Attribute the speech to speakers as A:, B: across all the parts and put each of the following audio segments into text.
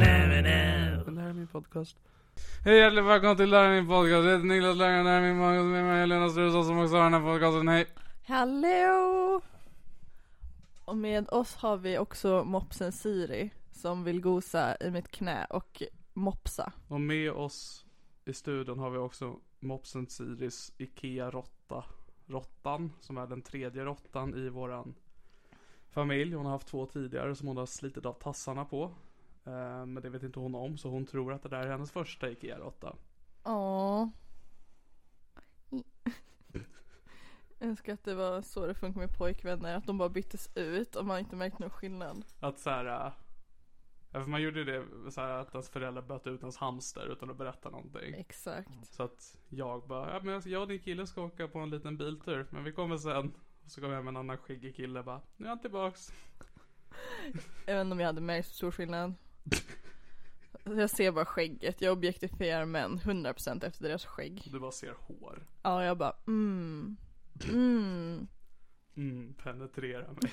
A: Lära min podcast. Hej hjärtligt välkomna till Lära min podcast. Jag heter Niklas Läraren, Lära min podcast. Med mig är Helena Struzan som också har den här podcasten. Hej.
B: Hallå! Och med oss har vi också mopsen Siri som vill gosa i mitt knä och mopsa.
A: Och med oss i studion har vi också mopsen Siris Ikea Råtta. Råttan, som är den tredje råttan i våran familj. Hon har haft två tidigare som hon har slitit av tassarna på. Eh, Men det vet inte hon om så hon tror att det där är hennes första IKEA-råtta.
B: Åh. Jag önskar att det var så det funkar med pojkvänner, att de bara byttes ut och man inte märkt någon skillnad.
A: Att så här. eh, ja, för man gjorde ju det så här att ens föräldrar böt ut ens hamster utan att berätta någonting.
B: Exakt.
A: Så att jag bara, ja, men alltså, jag- jag och din kille ska åka på en liten biltur, men vi kommer sen. Och så kom jag hem en annan skäggig kille bara, nu är han tillbaks.
B: Även om jag hade märkt så stor skillnad. Jag ser bara skägget, jag objektifierar män 100% efter deras skägg.
A: Du bara ser hår.
B: Ja, jag bara mm. Mm.
A: Mm, penetrera mig.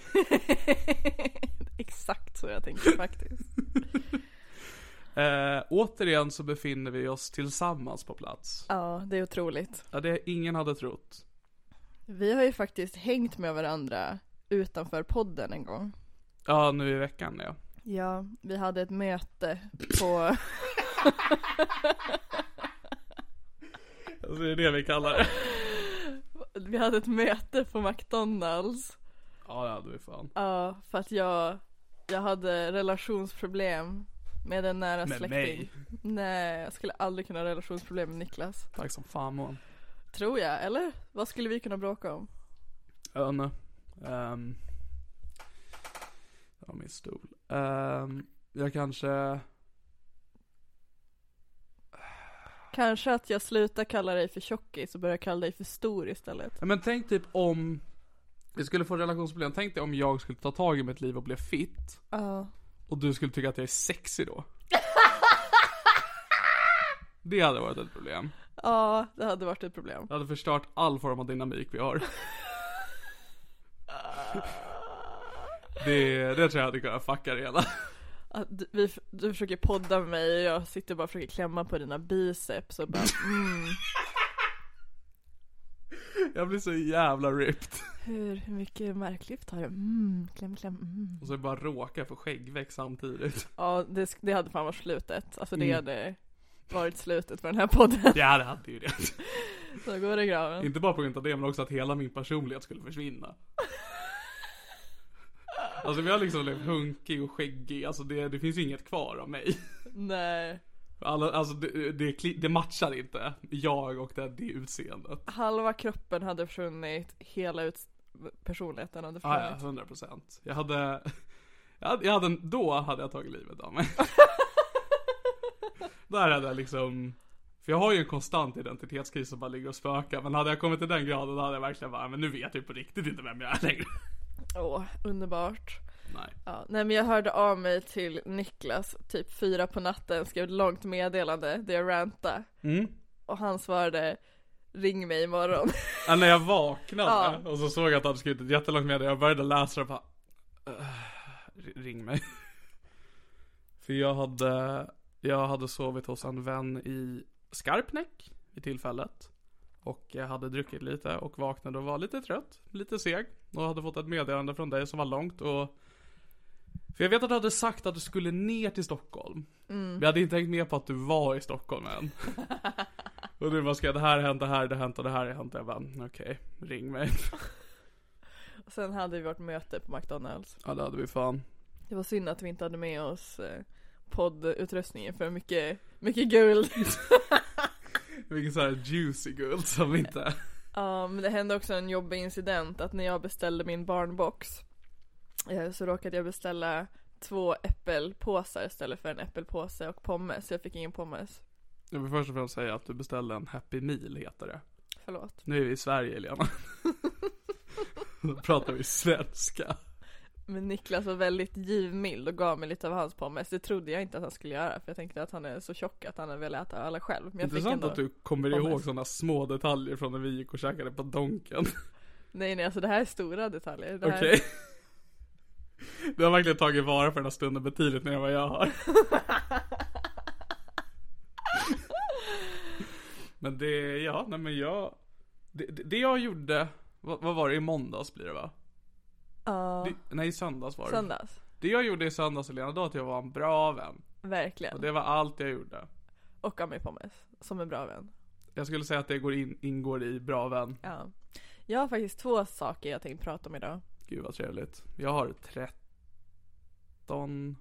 B: Exakt så jag tänker faktiskt.
A: Eh, återigen så befinner vi oss tillsammans på plats.
B: Ja, det är otroligt.
A: Ja, det ingen hade trott.
B: Vi har ju faktiskt hängt med varandra utanför podden en gång.
A: Ja, nu i veckan ja.
B: Ja, vi hade ett möte på...
A: Alltså, det är det vi kallar det.
B: vi hade ett möte på McDonalds.
A: Ja, det hade vi fan.
B: Ja, för att jag, jag hade relationsproblem med en nära
A: Med
B: släkting.
A: mig.
B: Nej, jag skulle aldrig kunna ha relationsproblem med Niklas.
A: Tack som fan man.
B: Tror jag, eller? Vad skulle vi kunna bråka om?
A: Ja, nu. Um, det var min stol. Ehm, jag kanske...
B: Kanske att jag slutar kalla dig för tjockis och börjar kalla dig för stor istället.
A: Ja, Men tänk typ om vi skulle få relationsproblem. Tänk dig om jag skulle ta tag i mitt liv och bli fit.
B: Ja.
A: Och du skulle tycka att jag är sexig då. Det hade varit ett problem.
B: Ja, det hade varit ett problem.
A: Det hade förstört all form av dynamik vi har.
B: Ah.
A: Det, det tror jag hade kunnat fucka det hela.
B: Att du, vi, f- du försöker podda med mig och jag sitter bara och försöker klämma på dina biceps och bara mm,
A: Jag blir så jävla ripped.
B: hur, hur mycket marklyft har du? Mm, kläm, kläm, mm.
A: Och så bara råka få skäggväxt samtidigt.
B: Ja, det, sk- det hade fan varit slutet. Alltså det
A: Mm.
B: hade varit slutet för den här podden.
A: Ja, det hade ju det.
B: Så går det i graven.
A: Inte bara på grund av det, men också att hela min personlighet skulle försvinna. Alltså men jag har liksom blivit hunkig och skäggig. Alltså det, det finns ju inget kvar av mig.
B: Nej.
A: Alla, alltså det, det, kli- det matchar inte. Jag och det, det utseendet.
B: Halva kroppen hade försvunnit, hela ut- personligheten hade
A: Ah, ja,
B: försvunnit.
A: 100 procent. Jag hade, jag hade, jag hade, en- då hade jag tagit livet av mig. Där hade jag liksom, för jag har ju en konstant identitetskris som bara ligger och spökar. Men hade jag kommit till den graden då hade jag verkligen bara, men nu vet jag ju på riktigt inte vem jag är längre.
B: Åh, underbart.
A: Nej.
B: Ja, nej men jag hörde av mig till Niklas typ fyra på natten, skrev ett långt meddelande där jag rantade.
A: Mm.
B: Och han svarade Ring mig imorgon.
A: Ja, när jag vaknade
B: Ja.
A: och så såg jag att jag hade skrivit ett jättelångt meddelande. Jag började läsa det och bara, "Ugh, ring mig. För jag hade, jag hade sovit hos en vän i Skarpnäck vid tillfället. Och jag hade druckit lite och vaknade och var lite trött, lite seg. Och hade fått ett meddelande från dig som var långt och för jag vet att du hade sagt att du skulle ner till Stockholm. Men jag hade inte tänkt med på att du var i Stockholm än. och du bara ska det här har hänt, det här det har hänt och det här har hänt. Jag bara okej, ring mig.
B: Och Sen hade vi vårt möte på McDonalds.
A: ja det hade vi fan.
B: Det var synd att vi inte hade med oss eh, poddutrustningen för mycket, mycket guld.
A: Vilken sån här juicy guld som inte...
B: Ja, men det hände också en jobbig incident att när jag beställde min barnbox eh, så råkade jag beställa två äppelpåsar istället för en äppelpåse och pommes. Så jag fick ingen pommes.
A: Jag vill först och främst säga att du beställde en Happy Meal heter det.
B: Förlåt.
A: Nu är vi i Sverige Elena. Då pratar vi svenska.
B: Men Niklas var väldigt givmild och gav mig lite av hans pommes. Det trodde jag inte att han skulle göra för jag tänkte att han är så tjock att han vill äta alla själv. Men jag fick
A: Intressant
B: ändå...
A: att du kommer
B: pommes.
A: ihåg sådana små detaljer från när vi gick och käkade på Donken.
B: Nej nej, alltså det här är stora detaljer. Det här...
A: Okej. Du har verkligen tagit vara på den här stunden betydligt mer än vad jag har. men det, ja, nej men jag. Det, det- det jag gjorde, vad, vad var det, i måndags blir det va?
B: Ja,
A: Det, nej, i söndags var det.
B: söndags.
A: Det jag gjorde i söndags Helena, då att jag var en bra vän.
B: Verkligen.
A: Och det var allt jag gjorde.
B: Och gav mig pommes. Som en bra vän.
A: Jag skulle säga att det går in, ingår i bra vän.
B: Ja. Jag har faktiskt två saker jag tänkte prata om idag.
A: Gud vad trevligt. Jag har 13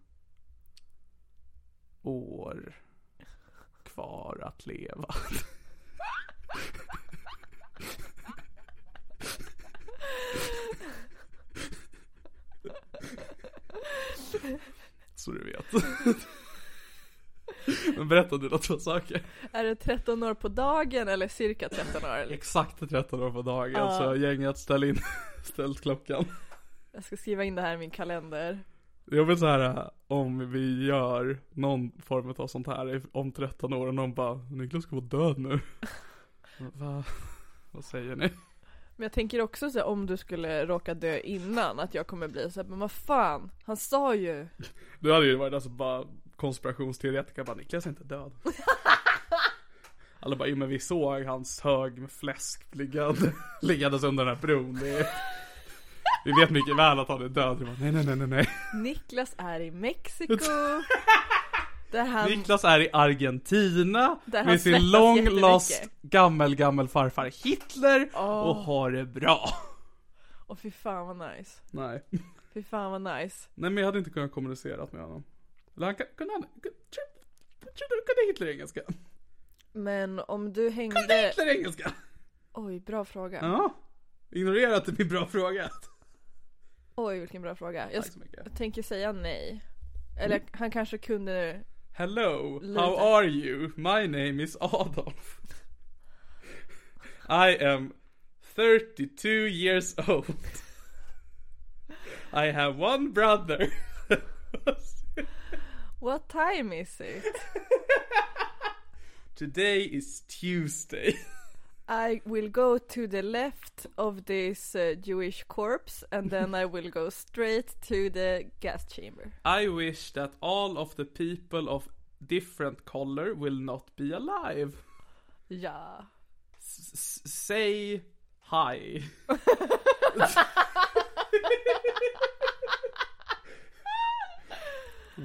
A: år kvar att leva. Så du vet. Men berätta dina två saker.
B: Är det 13 år på dagen eller cirka 13 år? Eller?
A: Exakt 13 år på dagen
B: Ja.
A: så gänget ställ in, ställt klockan.
B: Jag ska skriva in det här i min kalender.
A: Jag vill så här äh, om vi gör någon form av sånt här i- om 13 år och någon bara Niklas ska vara död nu. Va? Vad säger ni?
B: Men jag tänker också så här, om du skulle råka dö innan att jag kommer bli så här, men vad fan, han sa ju.
A: Du hade ju varit alltså bara konspirationsteoretiker bara Niklas är inte död. Alla bara, "Jo, men vi såg hans hög med fläsk liggande, liggandes under den här bron. Det är, vi vet mycket väl att han är död. Vi Bara, nej, nej, nej, nej, nej.
B: Niklas är i Mexiko. Där han,
A: Niklas är i Argentina
B: Ehm, Där han
A: med sin
B: svettas
A: long
B: jättemycket.
A: lost gammel gammel farfar Hitler och har det bra.
B: och fy fan vad nice.
A: Nej.
B: Fy fan vad nice.
A: Nej men jag hade inte kunnat kommunicera med honom. Eller han kan- kunde han, kunde, kunde Hitler engelska?
B: Men om du
A: Kunde
B: hängde,
A: Hitler engelska?
B: oj bra fråga.
A: Ja. Ignorera att det blir bra fråga.
B: Oj vilken bra fråga. Jag,
A: Tack så mycket.
B: jag tänker säga nej. Eller han kanske kunde
A: Hello,
B: Lite.
A: how are you? My name is Adolf. I am 32 years old. I have one brother.
B: What time is it?
A: Today is Tuesday.
B: I will go to the left of this uh, Jewish corpse and then I will go straight to the gas chamber.
A: I wish that all of the people of different color will not be alive.
B: Ja.
A: S- s- say hi.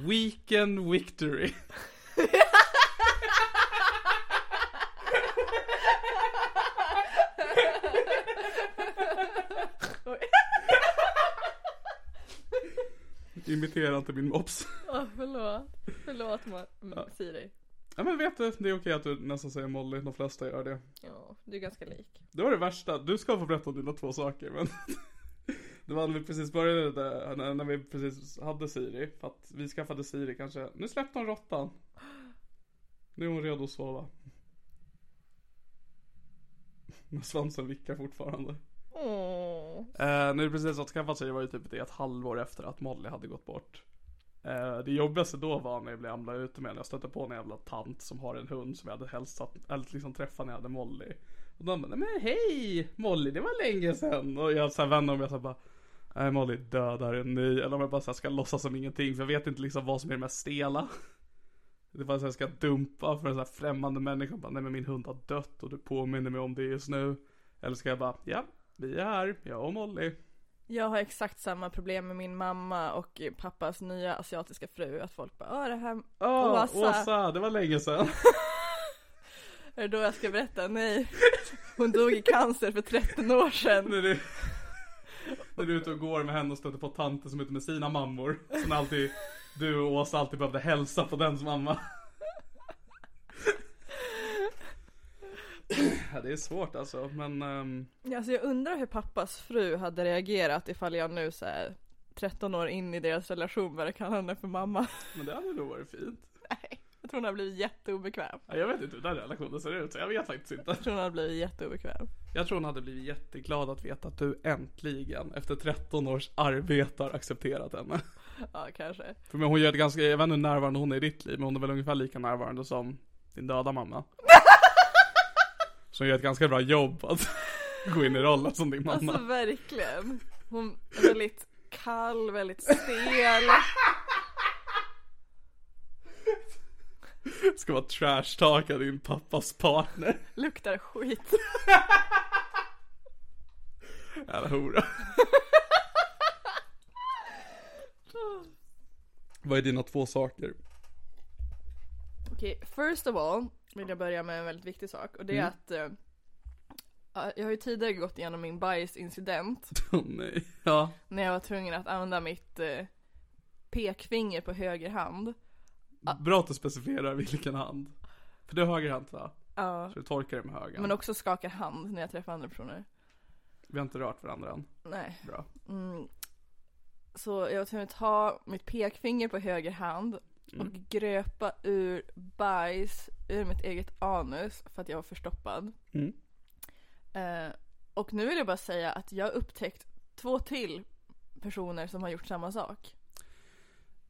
A: Weekend victory. imitera inte min mops.
B: Åh, förlåt. Förlåt Ma- Siri.
A: Ja men vet du, det är okej att du nästan säger Molly, de flesta gör det.
B: Ja, du är ganska lik.
A: Det var det värsta, du ska få berätta om dina två saker men Det var när vi precis började där, när- när vi precis hade Siri, för att vi skaffade Siri kanske, nu släppte hon råttan Nu är hon redo att sova Men svansen vickar fortfarande
B: Åh.
A: eh, När vi precis hade skaffat Siri var det typ det ett halvår efter att Molly hade gått bort eh, Det jobbigaste då var när jag blev amla ute med när jag stötte på en jävla tant som har en hund som jag hade hälsat, eller liksom träffat när jag hade Molly och de bara, "Nej, men hej Molly, det var länge sedan. Och jag såhär vände om och jag så här bara, nej Molly dödar en ny. Eller om jag bara så här ska låtsas som ingenting för jag vet inte liksom vad som är det mest stela. Det var så jag ska dumpa för en sån här främmande människa och bara, nej men min hund har dött och du påminner mig om det just nu. Eller ska jag bara, ja, vi är här, jag och Molly.
B: Jag har exakt samma problem med min mamma och pappas nya asiatiska fru. Att folk bara åh det här,
A: Åh,
B: Åsa.
A: Åsa, det var länge sedan.
B: är det då jag ska berätta? Nej. Hon dog i cancer för 13 år sedan.
A: när du, när du är ute och går med henne och stöter på tanter som är ute med sina mammor. Som alltid, du och Åsa alltid behövde hälsa på dens mamma. Ja, det är svårt alltså, men ehm,
B: Alltså jag undrar hur pappas fru hade reagerat ifall jag nu så här 13 år in i deras relation började kalla henne för mamma.
A: men det hade nog varit fint.
B: Nej, jag tror hon har blivit jätteobekväm.
A: Ja, Jag vet inte hur den relationen ser ut, så jag vet faktiskt inte.
B: Jag tror hon har blivit jätteobekväm.
A: Jag tror hon hade blivit jätteglad att veta att du äntligen, efter 13 års arbete, har accepterat henne.
B: Ja, kanske.
A: För men hon gör ett ganska, jag vet inte hur närvarande hon är i ditt liv, men hon är väl ungefär lika närvarande som din döda mamma. Så hon gör ett ganska bra jobb att gå in i rollen som din mamma.
B: Alltså verkligen. Hon är väldigt kall, väldigt stel.
A: Ska vara trashtalka din pappas partner.
B: Luktar skit.
A: Jävla hora. Vad är dina två saker?
B: Okej, first of all vill jag börja med en väldigt viktig sak och det är att eh, ja, jag har ju tidigare gått igenom min bajsincident
A: Åh nej. Ja.
B: när jag var tvungen att använda mitt eh, pekfinger på höger hand.
A: Bra att du specificerar vilken hand. För du har högerhänt va?
B: Ja,
A: Så du torkar dig med höger.
B: men också skakar hand när jag träffar andra personer.
A: Vi har inte rört varandra än.
B: Nej.
A: Bra.
B: Mm. Så jag var tvungen att ta mitt pekfinger på höger hand och gröpa ur bajs ur mitt eget anus för att jag var förstoppad.
A: Mm.
B: Eh, och nu vill jag bara säga att jag har upptäckt två till personer som har gjort samma sak.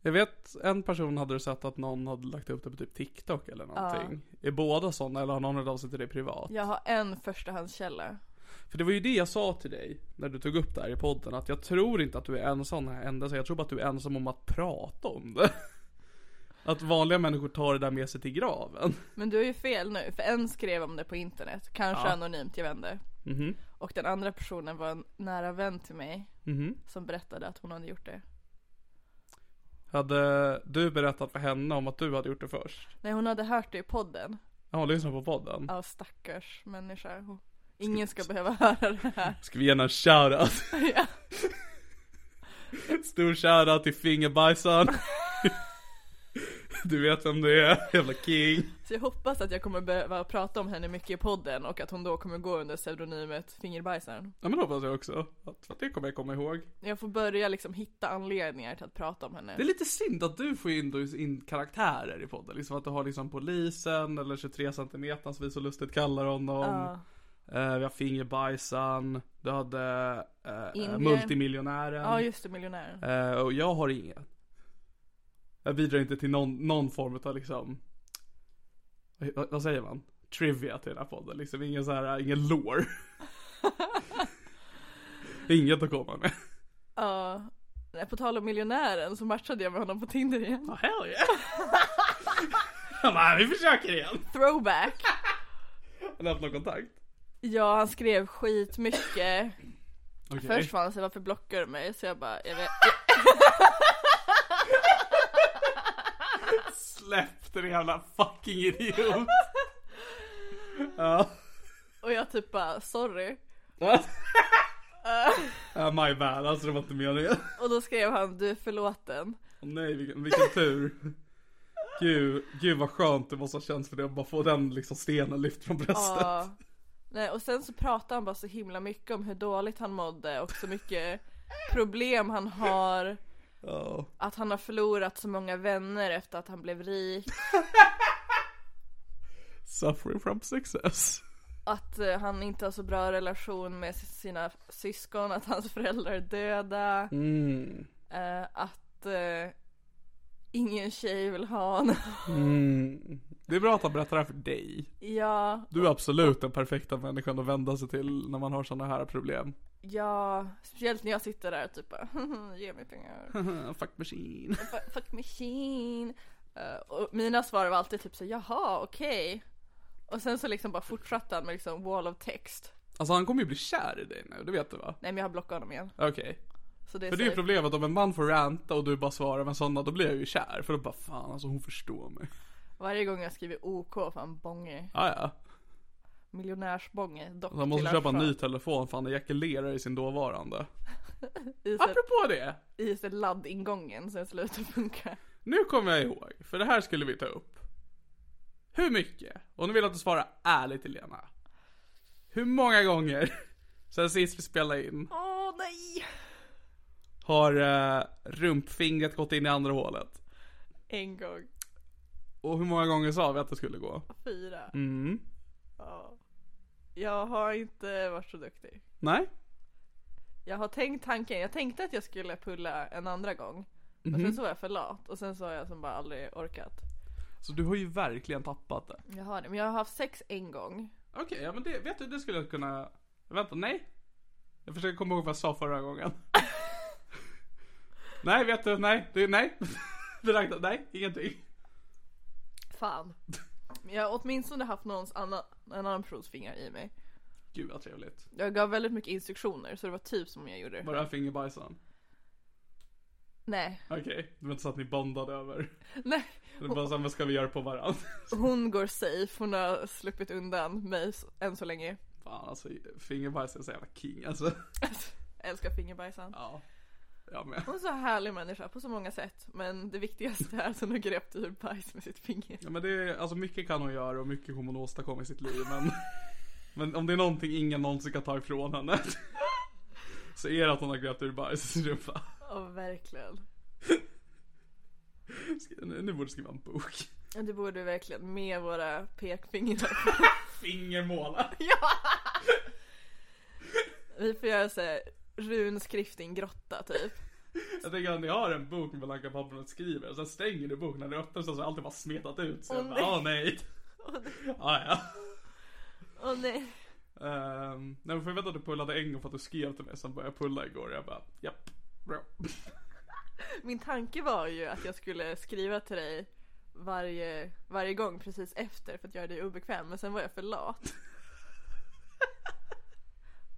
A: Jag vet en person hade sett att någon hade lagt upp det på typ TikTok eller någonting. Är båda sådana eller har någon hört av sig till dig privat?
B: Jag har en förstahandskälla.
A: För det var ju det jag sa till dig när du tog upp det här i podden. Att jag tror inte att du är ensam här ända så Jag tror bara att du är ensam om att prata om det. Att vanliga människor tar det där med sig till graven.
B: Men du har ju fel nu, för en skrev om det på internet. Kanske anonymt, jag vänder.
A: Mhm,
B: Och den andra personen var en nära vän till mig
A: mhm.
B: som berättade att hon hade gjort det.
A: Hade du berättat för henne om att du hade gjort det först?
B: Nej, hon hade hört det i podden.
A: Ja, hon lyssnar på podden.
B: Ja, stackars människa. Hon- Ingen ska behöva höra det här.
A: Ska vi ge henne en shoutout?
B: Ja.
A: Stor shoutout till fingerbajsaren. Du vet vem du är, jävla king.
B: Så jag hoppas att jag kommer behöva prata om henne mycket i podden och att hon då kommer gå under pseudonymet Fingerbajsaren.
A: Ja men det hoppas jag också. Att, för att det kommer jag komma ihåg.
B: Jag får börja liksom hitta anledningar till att prata om henne.
A: Det är lite synd att du får in, då in karaktärer i podden. Liksom att du har liksom polisen eller 23 centimeter som vi så lustigt kallar honom.
B: Ja.
A: Eh, vi har fingerbajsan. Du hade eh, eh,
B: Indier.
A: multimiljonären.
B: Ja, just det, miljonären.
A: Eh, och jag har inget. Jag bidrar inte till någon, någon form av liksom, vad, vad säger man? Trivia till den här podden. Liksom ingen så här, ingen lore. Inget att komma med.
B: Ja. Nej, på tal om miljonären så matchade jag med honom på Tinder igen.
A: Oh, hell yeah. Han bara, vi försöker igen.
B: Throwback!
A: Har ni haft någon kontakt?
B: Ja, han skrev skitmycket.
A: Okej.
B: Först var han så här, varför blockar du mig? Så jag bara, jag vet,
A: Släpp den jävla fucking idiot. ja.
B: Och jag typ bara, sorry.
A: Uh, my bad, alltså det var inte meningen.
B: Och då skrev han du är förlåten.
A: Åh nej, vilken, vilken tur. Gud, gud vad skönt det måste ha känts för det att bara få den liksom stenen lyft från bröstet.
B: Ja. Nej, och sen så pratade han bara så himla mycket om hur dåligt han mådde och så mycket problem han har.
A: Ja.
B: Att han har förlorat så många vänner efter att han blev rik.
A: Suffering from success.
B: Att eh, han inte har så bra relation med s- sina syskon, att hans föräldrar är döda.
A: Mm.
B: Eh, att eh, ingen tjej vill ha honom.
A: Mm. Det är bra att han berättar det här för dig.
B: ja,
A: Du är absolut den perfekta människan att vända sig till när man har sådana här problem.
B: ja, speciellt när jag sitter där och typ bara, ge mig pengar.
A: Fuck machine.
B: F- Fuck machine. Eh, och mina svar var alltid typ så jaha okej. Och sen så liksom bara fortsatte han med liksom wall of text.
A: Alltså han kommer ju bli kär i dig nu, det vet du va?
B: Nej men jag har blockat honom igen.
A: Okej.
B: Så det är
A: För det är ju
B: safe.
A: problemet, om en man får ranta och du bara svarar med sådana, då blir jag ju kär. För då bara fan alltså hon förstår mig.
B: Varje gång jag skriver OK för han bonger.
A: Ah, ja.
B: Miljonärsbonge. Dock
A: Så han måste
B: till
A: köpa en
B: Alfa.
A: ny telefon för han ejakulerar i sin dåvarande.
B: I så-
A: Apropå det!
B: I så laddingången sen slutar funka.
A: Nu kommer jag ihåg, för det här skulle vi ta upp. Hur mycket? Och nu vill jag att du svarar ärligt Helena. Hur många gånger sen sist vi spelade in
B: Åh nej!
A: har eh, rumpfingret gått in i andra hålet?
B: En gång.
A: Och hur många gånger sa vi att det skulle gå?
B: Fyra.
A: Mm.
B: Ja. Jag har inte varit så duktig.
A: Nej?
B: Jag har tänkt tanken, jag tänkte att jag skulle pulla en andra gång. Och
A: Mhm.
B: sen så var jag för lat och sen så har jag som bara aldrig orkat.
A: Så du har ju verkligen tappat det.
B: Jag har det, men jag har haft sex en gång.
A: Okej, ja men det, vet du, det skulle jag kunna... Vänta, nej. Jag försöker komma ihåg vad jag sa förra gången. nej, vet du, nej, det, nej. det räknas, nej, ingenting.
B: Fan. Men jag har åtminstone haft någons annan, en annan persons fingrar i mig.
A: Gud vad trevligt.
B: Jag gav väldigt mycket instruktioner så det var typ som jag gjorde.
A: Var det här fingerbajsaren?
B: Nej,
A: Okej, det var inte så att ni bondade över.
B: nej.
A: Det var bara såhär, vad ska vi göra på varandra?
B: Hon går safe, hon har sluppit undan mig s- än så länge.
A: Fan alltså, fingerbajs är så jävla king alltså.
B: Älskar fingerbajsan.
A: Ja, jag med.
B: Hon är så härlig människa på så många sätt. Men det viktigaste är att hon har greppt ur bajs med sitt finger.
A: Ja men det är, alltså mycket kan hon göra och mycket kommer hon åstadkomma i sitt liv men Men om det är någonting ingen någonsin kan ta ifrån henne Så är det att hon har grävt ur bajs i sin rumpa
B: Ja, verkligen.
A: Sk- Nu nu borde du skriva en bok
B: Det borde vi verkligen med våra pekfingrar.
A: Fingermåla
B: Vi får göra såhär runskrift i en grotta typ.
A: Jag tänker att ni har en bok med blanka papper och skriver och sen stänger du boken när du öppnar så har allt bara smetat ut så jag
B: Åh,
A: bara, åh nej ah, ja.
B: Åh nej.
A: Um, nej men för jag vet att du pullade en gång för att du skrev till mig sen började jag pulla igår och jag bara japp bra
B: Min tanke var ju att jag skulle skriva till dig varje, varje gång precis efter för att göra dig obekväm men sen var jag för lat.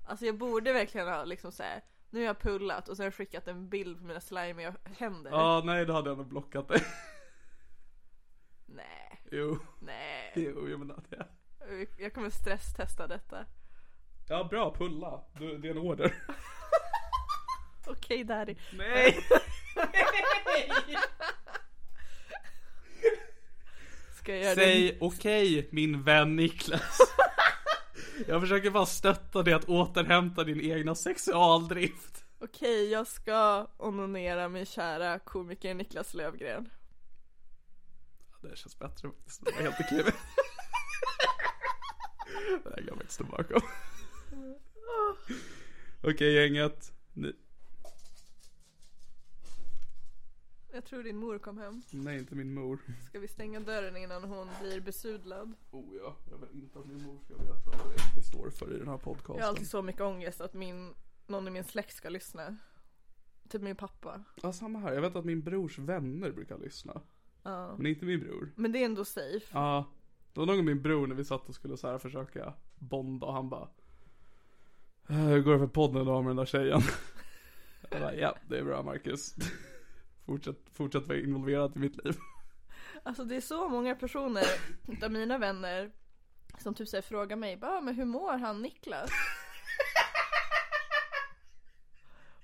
B: Alltså jag borde verkligen ha liksom såhär, nu har jag pullat och sen har jag skickat en bild på mina slimiga händer.
A: Ja ah, nej då hade jag nog blockat dig
B: Nej,
A: Jo,
B: nej.
A: jo jag menar det
B: Jag kommer stresstesta detta.
A: Ja bra, pulla. Du, det är en order.
B: Okej daddy.
A: Nej!
B: Ska jag göra det?
A: Säg okej min vän Niklas. Jag försöker bara stötta dig att återhämta din egna sexualdrift.
B: Okej, jag ska onanera min kära komiker Niklas Lövgren.
A: Det känns bättre faktiskt. Det var helt okej. Det här kan jag inte stå bakom. Okej gänget. Ni...
B: Jag tror din mor kom hem.
A: Nej inte min mor.
B: Ska vi stänga dörren innan hon blir besudlad?
A: Oh ja, jag vill inte att min mor ska veta vad det står för i den här
B: Jag har
A: podcasten.
B: alltid så mycket ångest att min, någon i min släkt ska lyssna. Typ min pappa.
A: Ja samma här, jag vet att min brors vänner brukar lyssna. Men inte min bror.
B: Men det är ändå safe.
A: Ja, det var någon gång min bror när vi satt och skulle så här försöka bonda och han bara "Eh, Hur går det för podden idag med den där tjejen? Jag bara, ja det är bra Marcus. Fortsätt, fortsätt vara involverad i mitt liv.
B: Alltså det är så många personer utav mina vänner som typ såhär frågar mig bara, "Ah, men hur mår han Niklas?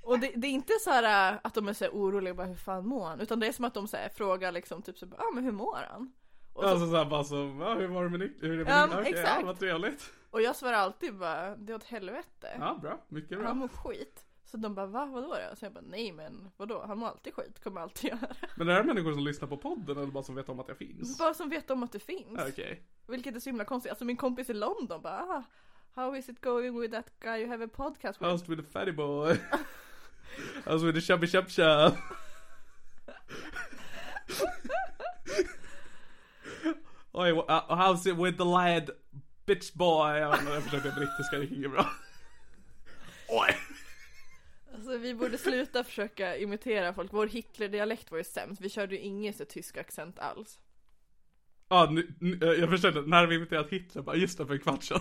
B: Och det, det är inte så här äh, att de är så här oroliga bara hur fan mår han? Utan det är som att de så här, frågar liksom typ så här, ah, men hur mår han? Och, så,
A: Alltså såhär bara så, ja, hur var det med Nick? Hur är det
B: Ja,
A: med Nick? Okej,
B: exakt.
A: ja, vad trevligt.
B: och jag svarar alltid bara det är åt helvete.
A: Ja, bra. Mycket
B: Han
A: bra.
B: mår skit. Så de bara va vadå då? Så jag bara nej men vadå han mår alltid skit, kommer alltid göra.
A: Men är det här människor som lyssnar på podden eller bara som vet om att jag finns?
B: Bara som vet om att det finns.
A: Okej.
B: Vilket är så himla konstigt. Alltså min kompis i London bara ah, How is it going with that guy you have a podcast with?
A: House with the fatty boy. House with the chubby chub chub. Oj, uh, how's it with the lad bitch boy? Jag vet inte, jag försökte brittiska, det gick inget bra. Oj.
B: Alltså vi borde sluta försöka imitera folk. Vår Hitler-dialekt var ju sämst. Vi körde ju ingen så tysk accent alls.
A: Ja, nu, nu, eh, jag förstår inte, när vi imiterat Hitler, bara just det, för en kvart sedan.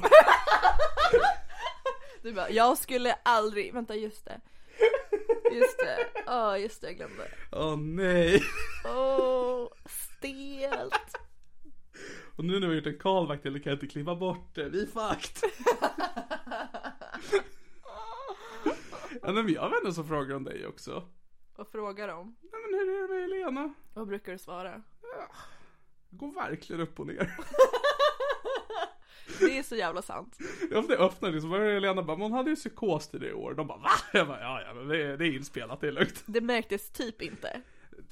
B: Du bara, jag skulle aldrig, vänta just det. Just det, ja just det jag glömde.
A: Åh nej.
B: Åh, stelt.
A: Och nu när vi har gjort en callback till det kan jag inte klippa bort det, vi är fucked. ja, men vi har vänner som frågar om dig också.
B: Vad frågar de?
A: Nej men hur är det med Helena?
B: Vad brukar du svara?
A: Det går verkligen upp och ner.
B: Det är så jävla sant.
A: Jag öppnar- jag öppnar liksom, vad är det Helena bara, men hon hade ju psykos till det i år. De bara va? Jag bara, ja ja men det, är- det är inspelat, det är lugnt.
B: Det märktes typ inte.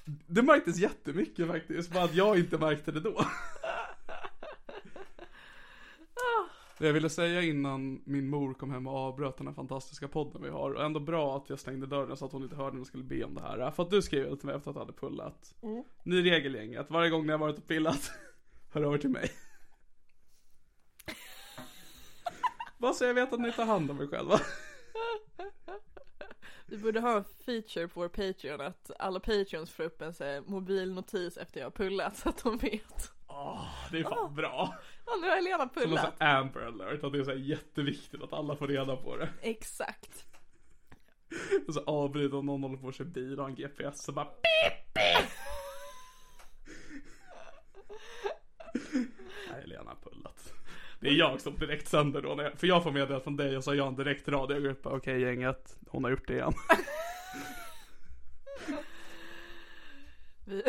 A: Det märktes jättemycket faktiskt, bara att jag inte märkte det då. Det jag ville säga innan min mor kom hem och avbröt den här fantastiska podden vi har. Och ändå bra att jag stängde dörren så att hon inte hörde när jag skulle be om det här. För att du skrev till mig efter att jag hade pullat. Ny regel gänget, varje gång ni har varit och pillat, hör över till mig. Bara så jag vet att ni tar hand om er själva.
B: Vi borde ha en feature på vår Patreon att alla Patreons får upp en så här, mobilnotis efter jag har pullat så att de vet.
A: Det är fan bra.
B: Ja nu har Helena
A: Som någon
B: pullat.
A: sån här Amber alert, att det är så här jätteviktigt att alla får reda på det.
B: Exakt.
A: Och så avbryter om någon håller på att köra bil och har en GPS så bara pip pip. Nej, Helena har pullat. Det är jag som direkt sänder då, när jag, för jag får meddelandet från dig och så har jag en direkt radio. Jag går upp och bara, okej gänget, hon har gjort det igen.
B: Vi,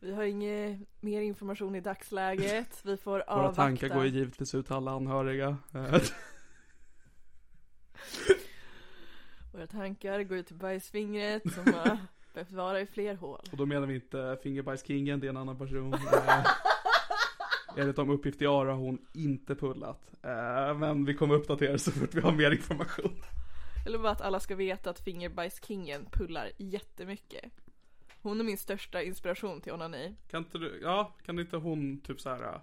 B: vi har ingen mer information i dagsläget. Vi får
A: Våra
B: avvakta.
A: tankar går ju givetvis ut till alla anhöriga. Eh,
B: Våra tankar går ut till bajsfingret som har behövt vara i fler hål.
A: och då menar vi inte Fingerbajskingen, det är en annan person. Eh, Enligt de uppgifter jag har har hon inte pullat. Eh, Men vi kommer uppdatera så fort vi har mer information.
B: Eller bara att alla ska veta att fingerbajskingen pullar jättemycket. Hon är min största inspiration till onani.
A: Kan inte du, ja, kan inte hon typ så här. äh,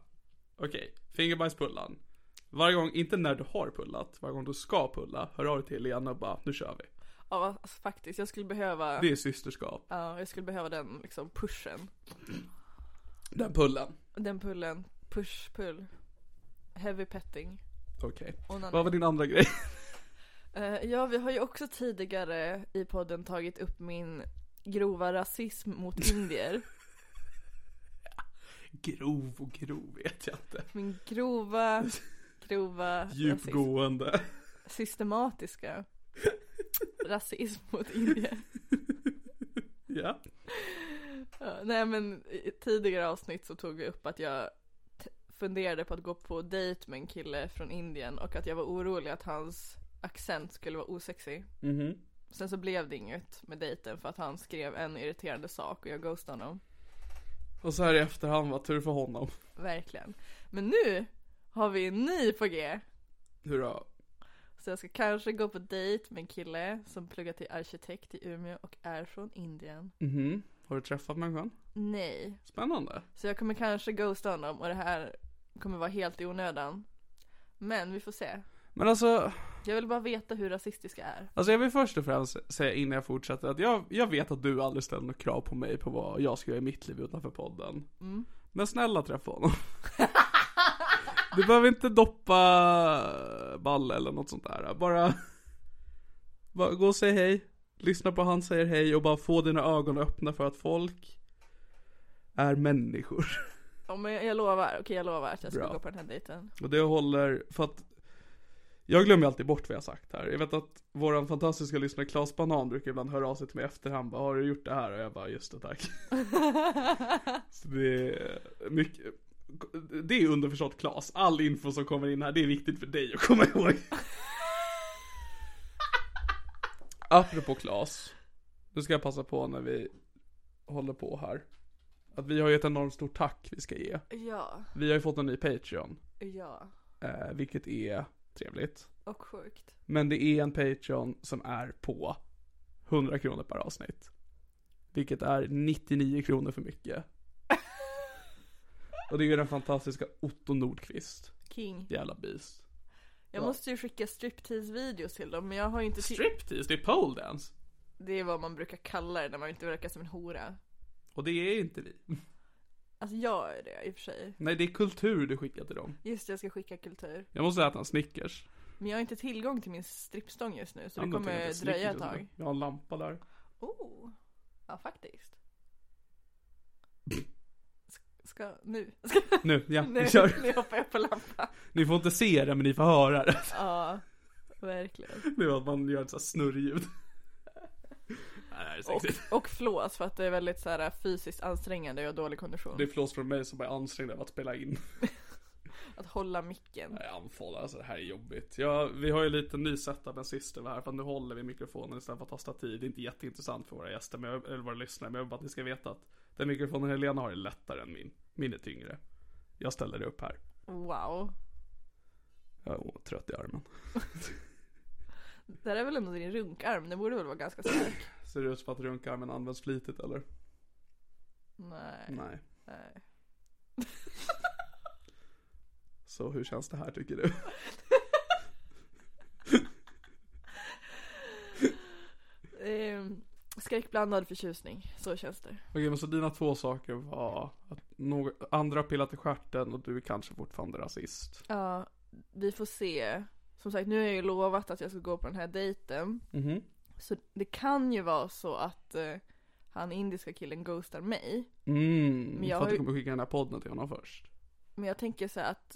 A: Okej, fingerbajspullan. Varje gång, inte när du har pullat, varje gång du ska pulla, hör av dig till Lena och bara, nu kör vi.
B: Ja alltså, faktiskt, jag skulle behöva,
A: Det är systerskap.
B: ja, jag skulle behöva den liksom pushen.
A: Den pullen.
B: Den pullen, push, pull. Heavy petting.
A: Okej.
B: Onani.
A: Vad var din andra grej?
B: Eh, Ja, vi har ju också tidigare i podden tagit upp min grova rasism mot indier.
A: Grov och grov vet jag inte.
B: Min grova, grova rasism.
A: Djupgående.
B: Systematiska rasism mot indier.
A: Ja.
B: Ja, nej men i tidigare avsnitt så tog vi upp att jag t- funderade på att gå på dejt med en kille från Indien och att jag var orolig att hans accent skulle vara osexig.
A: Mhm.
B: Sen så blev det inget med dejten för att han skrev en irriterande sak och jag ghostade honom.
A: Och så här i efterhand, vad tur för honom.
B: Verkligen. Men nu har vi en ny på G.
A: Hurra.
B: Så jag ska kanske gå på dejt med en kille som pluggar till arkitekt i Umeå och är från Indien.
A: Mhm. Har du träffat människan?
B: Nej.
A: Spännande.
B: Så jag kommer kanske ghosta honom och det här kommer vara helt i onödan. Men vi får se.
A: Men alltså,
B: Jag vill bara veta hur rasistiska är.
A: Alltså jag vill först och främst säga innan jag fortsätter att jag, jag vet att du aldrig ställer några krav på mig på vad jag ska göra i mitt liv utanför podden. Men snälla träffa honom. du behöver inte doppa balle eller något sånt där. Bara, bara gå och säg hej. Lyssna på han säger hej och bara få dina ögon öppna för att folk är människor.
B: Ja, men jag, jag lovar, okej jag lovar att jag ska
A: Bra.
B: gå på den här dejten.
A: Och det håller för att Jag glömmer alltid bort vad jag sagt här. Jag vet att våran fantastiska lyssnare Claes Banan brukar ibland höra av sig till mig i efterhand. Bara, har du gjort det här? Och jag bara, just det tack. Så det är mycket. Det är underförstått Claes. All info som kommer in här, det är viktigt för dig att komma ihåg. Apropå Claes. Nu ska jag passa på när vi håller på här. Att vi har ju ett enormt stort tack vi ska ge.
B: ja,
A: Vi har ju fått en ny Patreon.
B: ja.
A: Eh, vilket är trevligt.
B: Och sjukt.
A: Men det är en Patreon som är på 100 kronor per avsnitt. Vilket är 99 kronor för mycket. Och det är ju den fantastiska Otto Nordqvist.
B: King.
A: Jävla beast.
B: Jag måste ju skicka striptease-videos till dem men jag har inte ti-
A: Striptease, det är pole dance.
B: Det är vad man brukar kalla det när man inte verkar som en hora.
A: Och det är inte vi.
B: Alltså jag är det i och för sig.
A: Nej, det är kultur du skickar till dem.
B: Just det, jag ska skicka kultur.
A: Jag måste äta en Snickers.
B: Men jag har inte tillgång till min strippstång just nu så
A: Ja,
B: det
A: men tänk att
B: kommer
A: är
B: dröja ett
A: Snickers.
B: tag.
A: Jag har en lampa där.
B: Oh, ja faktiskt. S- Ska, nu? Ska,
A: Nu, ja,
B: nu,
A: vi kör.
B: nu hoppar jag på lampan.
A: Ni får inte se det, men ni får höra det.
B: Ja, verkligen.
A: Det var att man gör ett sånt här snurrljud. Nej, det här är
B: Och,
A: sexigt.
B: och flås för att det är väldigt så här, äh, fysiskt ansträngande och jag har dålig kondition.
A: Det är flås från mig som är ansträngd av att spela in.
B: Att hålla micken.
A: Jag är andfådd, alltså det här är jobbigt. Ja, vi har ju lite ny setup än sist över här för att nu håller vi mikrofonen istället för att ta stativ. Det är inte jätteintressant för våra gäster, men jag, eller våra lyssnare, men jag vill bara att ni ska veta att den mikrofonen Helena har är lättare än min. Min är tyngre. Jag ställer det upp här.
B: Wow.
A: Jag är trött i armen.
B: Det här är väl ändå din runkarm? Den borde väl vara ganska stark?
A: Ser det ut som att runkarmen används flitigt eller?
B: Nej.
A: Nej.
B: Nej.
A: Så hur känns det här tycker du?
B: Ehm, skräckblandad förtjusning, så känns det.
A: Okej, men så dina två saker var att några, andra har pillat i stjärten och du är kanske fortfarande rasist.
B: Ja, vi får se. Som sagt, nu har jag ju lovat att jag ska gå på den här dejten.
A: Mhm.
B: Så det kan ju vara så att eh, han indiska killen ghostar mig.
A: Mm,
B: Men jag
A: för
B: har
A: att du
B: ju-
A: kommer skicka den här podden till honom först.
B: Men jag tänker så här att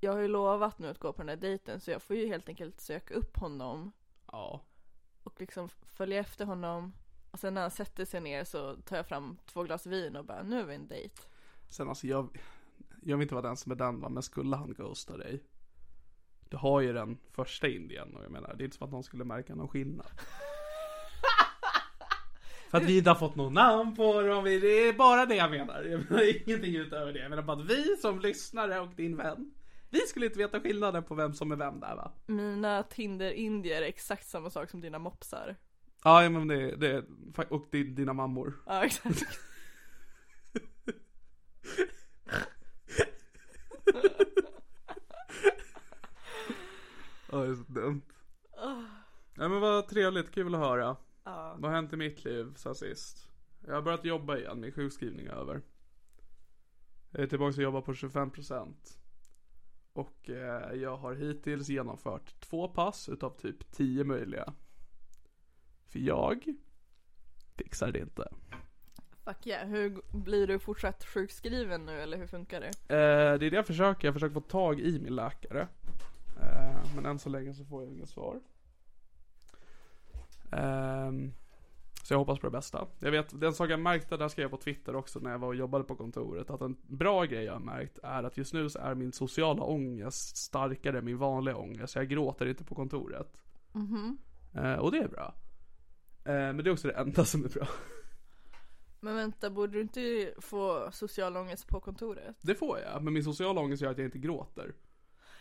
B: jag har ju lovat nu att gå på den här dejten så jag får ju helt enkelt söka upp honom
A: Ja.
B: och liksom följa efter honom. Och sen när han sätter sig ner så tar jag fram två glas vin och bara nu är vi en dejt.
A: Sen alltså jag, jag vill inte vara den som är den va, men skulle han ghosta dig? Du har ju den första indien och jag menar det är inte som att någon skulle märka någon skillnad. För att vi inte har fått något namn på dem, vi- det är bara det jag menar. Jag menar ingenting utöver det. Jag menar bara att vi som lyssnare och din vän, vi skulle inte veta skillnaden på vem som är vem där va?
B: Mina Tinder-indier är exakt samma sak som dina mopsar.
A: Ja, ja, men det, det och din- dina mammor.
B: Ja exakt.
A: Ja, det är så dumt. Ja, men vad trevligt, kul att höra.
B: Ja.
A: Vad har hänt i mitt liv sen sist? Jag har börjat jobba igen, min sjukskrivning är över. Jag är tillbaka och jobbar på 25%. Och eh, jag har hittills genomfört två pass utav typ 10 möjliga. För jag fixar det inte.
B: Fuck yeah. Hur g- blir du fortsatt sjukskriven nu eller hur funkar det?
A: Eh, det är det jag försöker, jag försöker få tag i min läkare. Eh, men än så länge så får jag inget svar. Ehm, så jag hoppas på det bästa. Jag vet, den sak jag märkte, där skrev jag på Twitter också när jag var och jobbade på kontoret, att en bra grej jag har märkt är att just nu så är min sociala ångest starkare än min vanliga ångest. Jag gråter inte på kontoret. Eh, och det är bra. Eh, men det är också det enda som är bra.
B: Men vänta, borde du inte få social ångest på kontoret?
A: Det får jag, men min sociala ångest gör att jag inte gråter.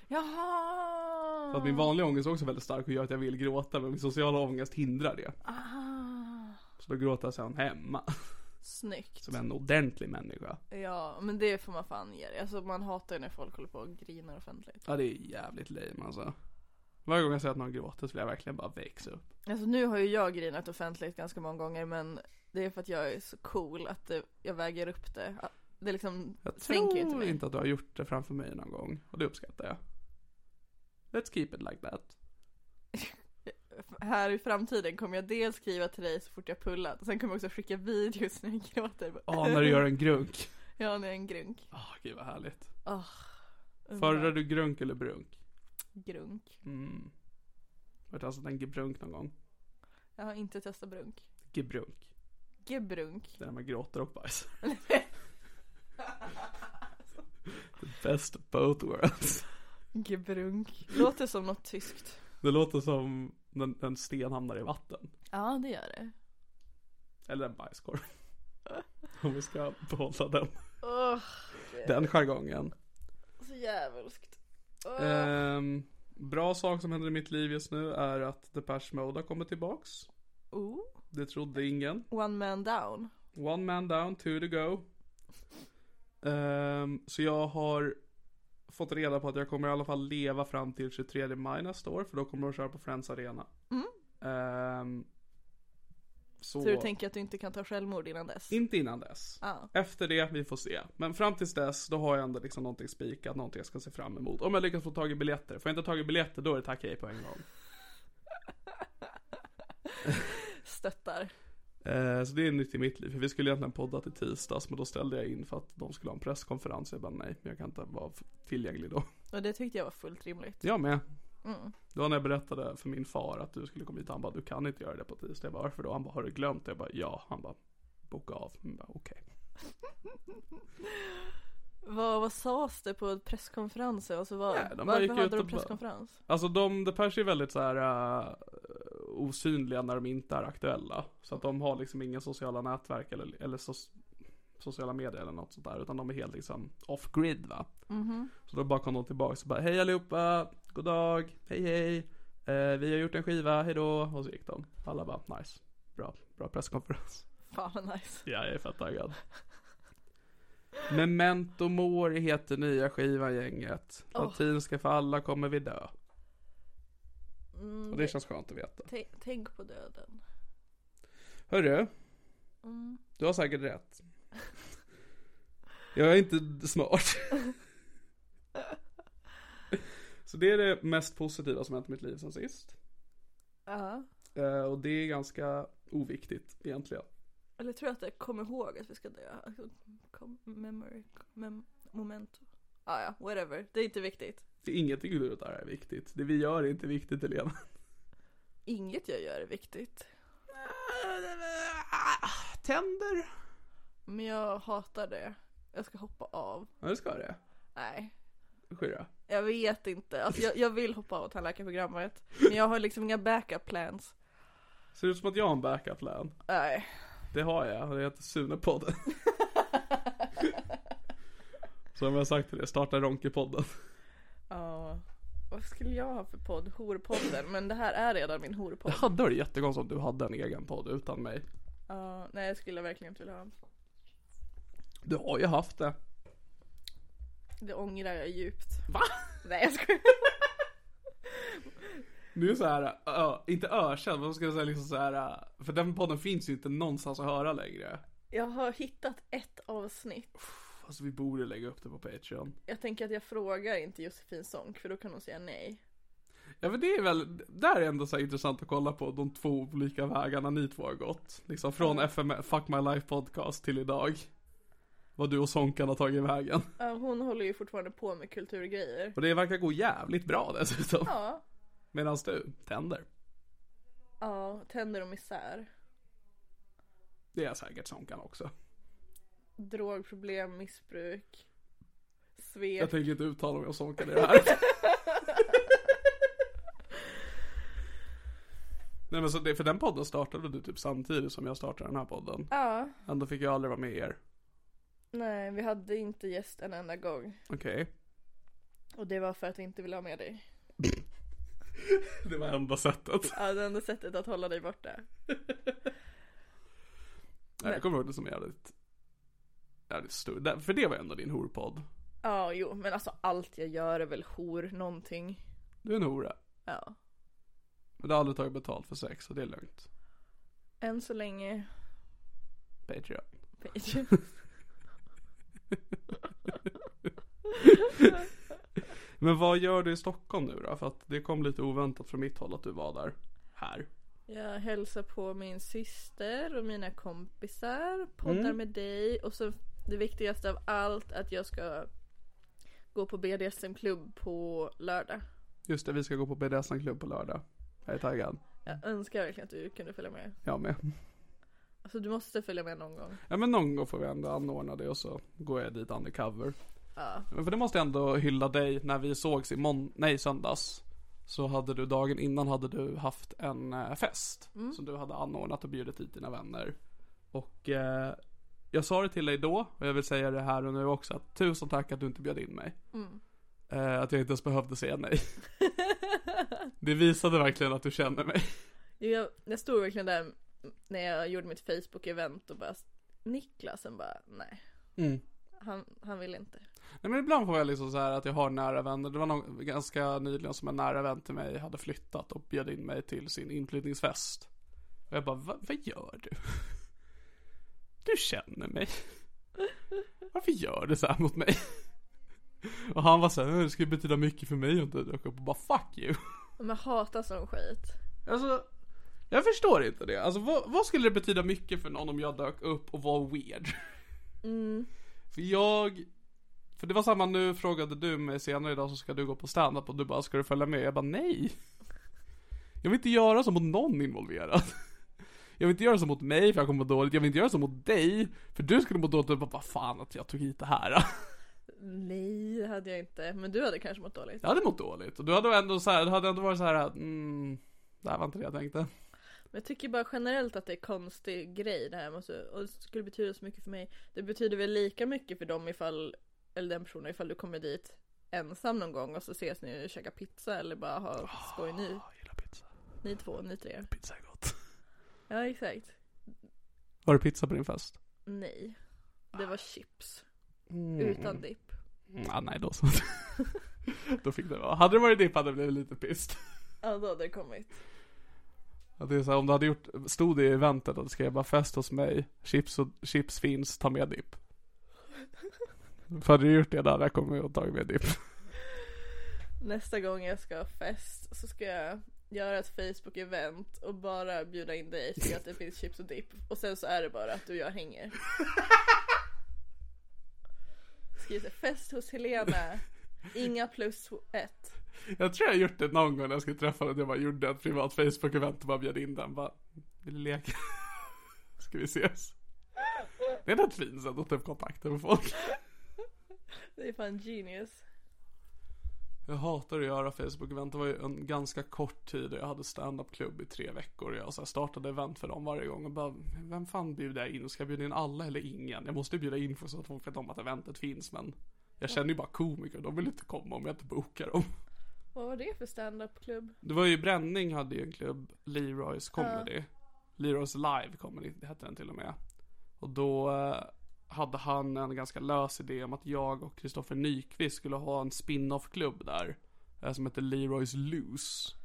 B: Jaha!
A: För att min vanliga ångest är också väldigt stark och gör att jag vill gråta men min sociala ångest hindrar det.
B: Ah,
A: Så då gråter jag sen hemma.
B: snyggt.
A: Som en ordentlig människa.
B: Ja, men det får man fan ge dig. Alltså man hatar ju när folk håller på och grinar offentligt.
A: Ja det är jävligt lame alltså. Varje gång jag ser att någon gråter så vill jag verkligen bara växa upp.
B: Alltså nu har ju jag grinat offentligt ganska många gånger men det är för att jag är så cool att det, jag väger upp det. Ah, Det är liksom
A: Jag
B: sänker
A: tror
B: ju inte mig.
A: att du har gjort det framför mig någon gång. Och det uppskattar jag. Let's keep it like that.
B: Här i framtiden kommer jag dels skriva till dig så fort jag pullat och sen kommer jag också skicka videos när jag gråter.
A: Ja, när du gör en grunk.
B: Ja, när jag är en grunk.
A: Ah, gud vad härligt.
B: Oh,
A: Föredrar du grunk eller brunk?
B: Grunk.
A: Mm. Har du testat en gebrunk någon gång?
B: Jag har inte testat brunk.
A: Gebrunk.
B: Gebrunk.
A: Det där med gråter och bajs. The best of both worlds.
B: Gebrunk. Låter som något tyskt.
A: Det låter som när en sten hamnar i vatten.
B: Ja, det gör det.
A: Eller en bajskorv. Om vi ska behålla den,
B: Åh,
A: den jargongen.
B: så djävulskt. Åh.
A: Ehm, bra sak som händer i mitt liv just nu är att Depeche Mode har kommit tillbaks.
B: Oh.
A: Det trodde ingen.
B: One man down.
A: One man down, two to go. Ehm, så jag har fått reda på att jag kommer i alla fall leva fram till 23 maj nästa år för då kommer de köra på Friends Arena. Ehm, så
B: Mm. Så du tänker att du inte kan ta självmord innan dess?
A: inte innan dess.
B: Ja.
A: Efter det, vi får se. Men fram tills dess, då har jag ändå liksom någonting spikat, någonting jag ska se fram emot. Om jag lyckas få tag i biljetter. Får jag inte tag i biljetter, då är det tack hej på en gång.
B: Stöttar.
A: Eh, Så det är nytt i mitt liv. För vi skulle egentligen podda till tisdags men då ställde jag in för att de skulle ha en presskonferens. Jag bara nej, men jag kan inte vara f- tillgänglig då.
B: Och det tyckte jag var fullt rimligt.
A: Jag med.
B: Mm.
A: Det var när jag berättade för min far att du skulle komma hit. Han bara du kan inte göra det på tisdag. Jag bara varför då? Han bara har du glömt det? Jag bara ja. Han bara boka av. Jag bara okej.
B: Vad, vad sades det på presskonferenser? Alltså vad,
A: Nej, de bara
B: varför
A: gick ut
B: hade
A: och
B: de
A: bara-
B: presskonferens?
A: Alltså de, Depeche är väldigt så här eh, osynliga när de inte är aktuella. Så att de har liksom inga sociala nätverk eller, eller so- sociala medier eller något sånt där. Utan de är helt liksom off-grid va. Så då bara kom de tillbaka och bara hej allihopa, god dag, hej hej. Eh, vi har gjort en skiva, hejdå. Och så gick de. Alla bara nice, bra, bra presskonferens.
B: Fan vad nice.
A: Ja, jag är fett taggad. Memento Mori heter nya skivan gänget.
B: Åh.
A: Latinska för alla kommer vi dö.
B: Mm,
A: Och det känns skönt att veta.
B: t- tänk på döden.
A: Hörru,
B: Mm.
A: du har säkert rätt. Jag är inte smart. Så det är det mest positiva som hänt i mitt liv sen sist.
B: Ja.
A: Eh, Och det är ganska oviktigt egentligen.
B: Eller tror jag att jag kommer ihåg att vi ska dö. Alltså, kom, memory, mem, momento. Ah, ja, whatever. Det är inte viktigt.
A: Det är ingenting i det där är viktigt. Det vi gör är inte viktigt Helena.
B: Inget jag gör är viktigt.
A: Tänder.
B: Men jag hatar det. Jag ska hoppa av.
A: Ja, det ska det.
B: Nej,
A: Skyra.
B: jag vet inte. Alltså, jag, jag vill hoppa av tandläkarprogrammet. Men jag har liksom inga backup plans.
A: Ser ut som att jag har en backup plan.
B: Nej.
A: Det har jag och det heter Sunepodden. Som jag sagt till er, starta Ronkepodden.
B: Ja. Vad skulle jag ha för podd? Horpodden. Men det här är redan min horpodd.
A: Jag hade varit jättekonstigt om du hade en egen podd utan mig.
B: Ja, nej, jag skulle verkligen inte vilja ha.
A: Du har ju haft det.
B: Det ångrar jag djupt.
A: Va?
B: Nej, jag skojar.
A: Nu är så här, ö, inte ökänd, men vad ska jag säga liksom så här, ö, för den podden finns ju inte någonstans att höra längre.
B: Jag har hittat ett avsnitt.
A: Alltså vi borde lägga upp det på Patreon.
B: Jag tänker att jag frågar inte Josefin Sonck för då kan hon säga nej.
A: Ja men det är väl, där är ändå så här intressant att kolla på de två olika vägarna ni två har gått. Liksom från FM, Fuck My Life Podcast till idag. Vad du och Sonkan har tagit vägen.
B: Ja, hon håller ju fortfarande på med kulturgrejer.
A: Och det verkar gå jävligt bra dessutom.
B: Ja,
A: Medan du, tänder.
B: ja, tänder och misär.
A: Det är säkert Sonkan också.
B: Drogproblem, missbruk.
A: Jag
B: Svek.
A: tänker inte uttala mig om Sonkan i det här. Nej men så det, för den podden startade du typ samtidigt som jag startade den här podden.
B: Ja,
A: Ändå fick jag aldrig vara med er.
B: nej, vi hade inte gäst en enda gång.
A: Okej.
B: Och det var för att vi inte ville ha med dig.
A: Det var enda sättet.
B: Ja, det enda sättet att hålla dig borta.
A: Nej, jag kommer ihåg det som jävligt... Jävligt stor. Där- För det var ändå din horpodd.
B: Ja, jo, men alltså allt jag gör är väl hor någonting.
A: Du är en hora.
B: Ja.
A: Men du har aldrig tagit betalt för sex så det är lugnt.
B: Än så länge
A: Patreon.
B: Page.
A: Men vad gör du i Stockholm nu då? För att det kom lite oväntat från mitt håll att du var där. Här.
B: Jag hälsar på min syster och mina kompisar, poddar med dig och så det viktigaste av allt att jag ska gå på BDSM-klubb på lördag.
A: Just det, vi ska gå på BDSM-klubb på lördag. Jag är taggad.
B: Jag önskar verkligen att du kunde följa med.
A: Jag med.
B: Alltså du måste följa med någon gång.
A: Ja men någon gång får vi ändå anordna det och så går jag dit undercover.
B: Ja.
A: Men för det måste jag ändå hylla dig, när vi sågs i mån- nej, söndags. Så hade du dagen innan hade du haft en eh, fest. Som du hade anordnat och bjudit hit dina vänner. Och eh, jag sa det till dig då och jag vill säga det här och nu också. Att tusen tack att du inte bjöd in mig.
B: Mm.
A: Eh, att jag inte ens behövde säga nej. det visade verkligen att du känner mig.
B: Jag, jag stod verkligen där när jag gjorde mitt Facebook-event och bara Niklasen bara nej.
A: Mm.
B: Han, han vill inte.
A: Nej men ibland får jag liksom så här att jag har nära vänner. Det var någon ganska nyligen som en nära vän till mig hade flyttat och bjöd in mig till sin inflyttningsfest. Och jag bara, Va, vad gör du? Du känner mig. Varför gör du så här mot mig? Och han var så här, det skulle betyda mycket för mig om du dök upp och bara fuck you.
B: Men jag hatar sån skit.
A: Alltså, jag förstår inte det. Alltså vad, vad skulle det betyda mycket för någon om jag dök upp och var weird?
B: Mm.
A: För jag, för det var samma nu frågade du mig senare idag så ska du gå på standup och du bara ska du följa med? Jag bara nej. Jag vill inte göra så mot någon involverad. Jag vill inte göra så mot mig för jag kommer må dåligt. Jag vill inte göra så mot dig för du skulle må dåligt. Jag bara vad fan att jag tog hit det här.
B: Nej det hade jag inte. Men du hade kanske mått dåligt.
A: Jag hade mått dåligt och du hade ändå så här, det hade ändå varit så här att mm, det här var inte det jag tänkte.
B: Men jag tycker bara generellt att det är konstig grej det här måste, och det skulle betyda så mycket för mig. Det betyder väl lika mycket för dem ifall, eller den personen ifall du kommer dit ensam någon gång och så ses ni och käkar pizza eller bara har skoj ni,
A: Ah, Jag gillar pizza.
B: ni två, ni tre.
A: Pizza är gott.
B: Ja exakt.
A: Var det pizza på din fest?
B: Nej. Det var chips. Utan dipp.
A: Mm, ah, nej, då så. då fick det vara. Hade det varit dipp hade det blivit lite pist.
B: Ja då hade det kommit.
A: Att det är så här, om du hade gjort, stod det i eventet att du skrev bara fest hos mig, chips, och, chips finns, ta med dipp. För hade du gjort det där, hade jag kommit och tagit med dipp.
B: Nästa gång jag ska ha fest så ska jag göra ett Facebook-event och bara bjuda in dig till att det finns chips och dipp. Och sen så är det bara att du och jag hänger. Skriv så här, fest hos Helena. Inga plus ett.
A: Jag tror jag har gjort det någon gång när jag skulle träffa den. Jag bara gjorde ett privat Facebook-event och bara bjöd in den. Bara, vill du leka? Ska vi ses? Det är rätt fint sätt att ta upp kontakter med folk.
B: Det är fan genius.
A: Jag hatar att göra Facebook-event. Det var ju en ganska kort tid och jag hade stand-up-klubb i tre veckor. Jag så här startade event för dem varje gång och bara, vem fan bjuder jag in? Ska jag bjuda in alla eller ingen? Jag måste ju bjuda in för så att folk vet om att eventet finns, men jag känner ju bara komiker. De vill inte komma om jag inte bokar dem.
B: Vad var det för stand-up-klubb?
A: Det var ju Bränning hade ju en klubb, Leroys Comedy. Leroys Live Comedy det hette den till och med. Och då eh, hade han en ganska lös idé om att jag och Kristoffer Nyqvist skulle ha en spin-off-klubb där. eh, Som hette Leroys Loose.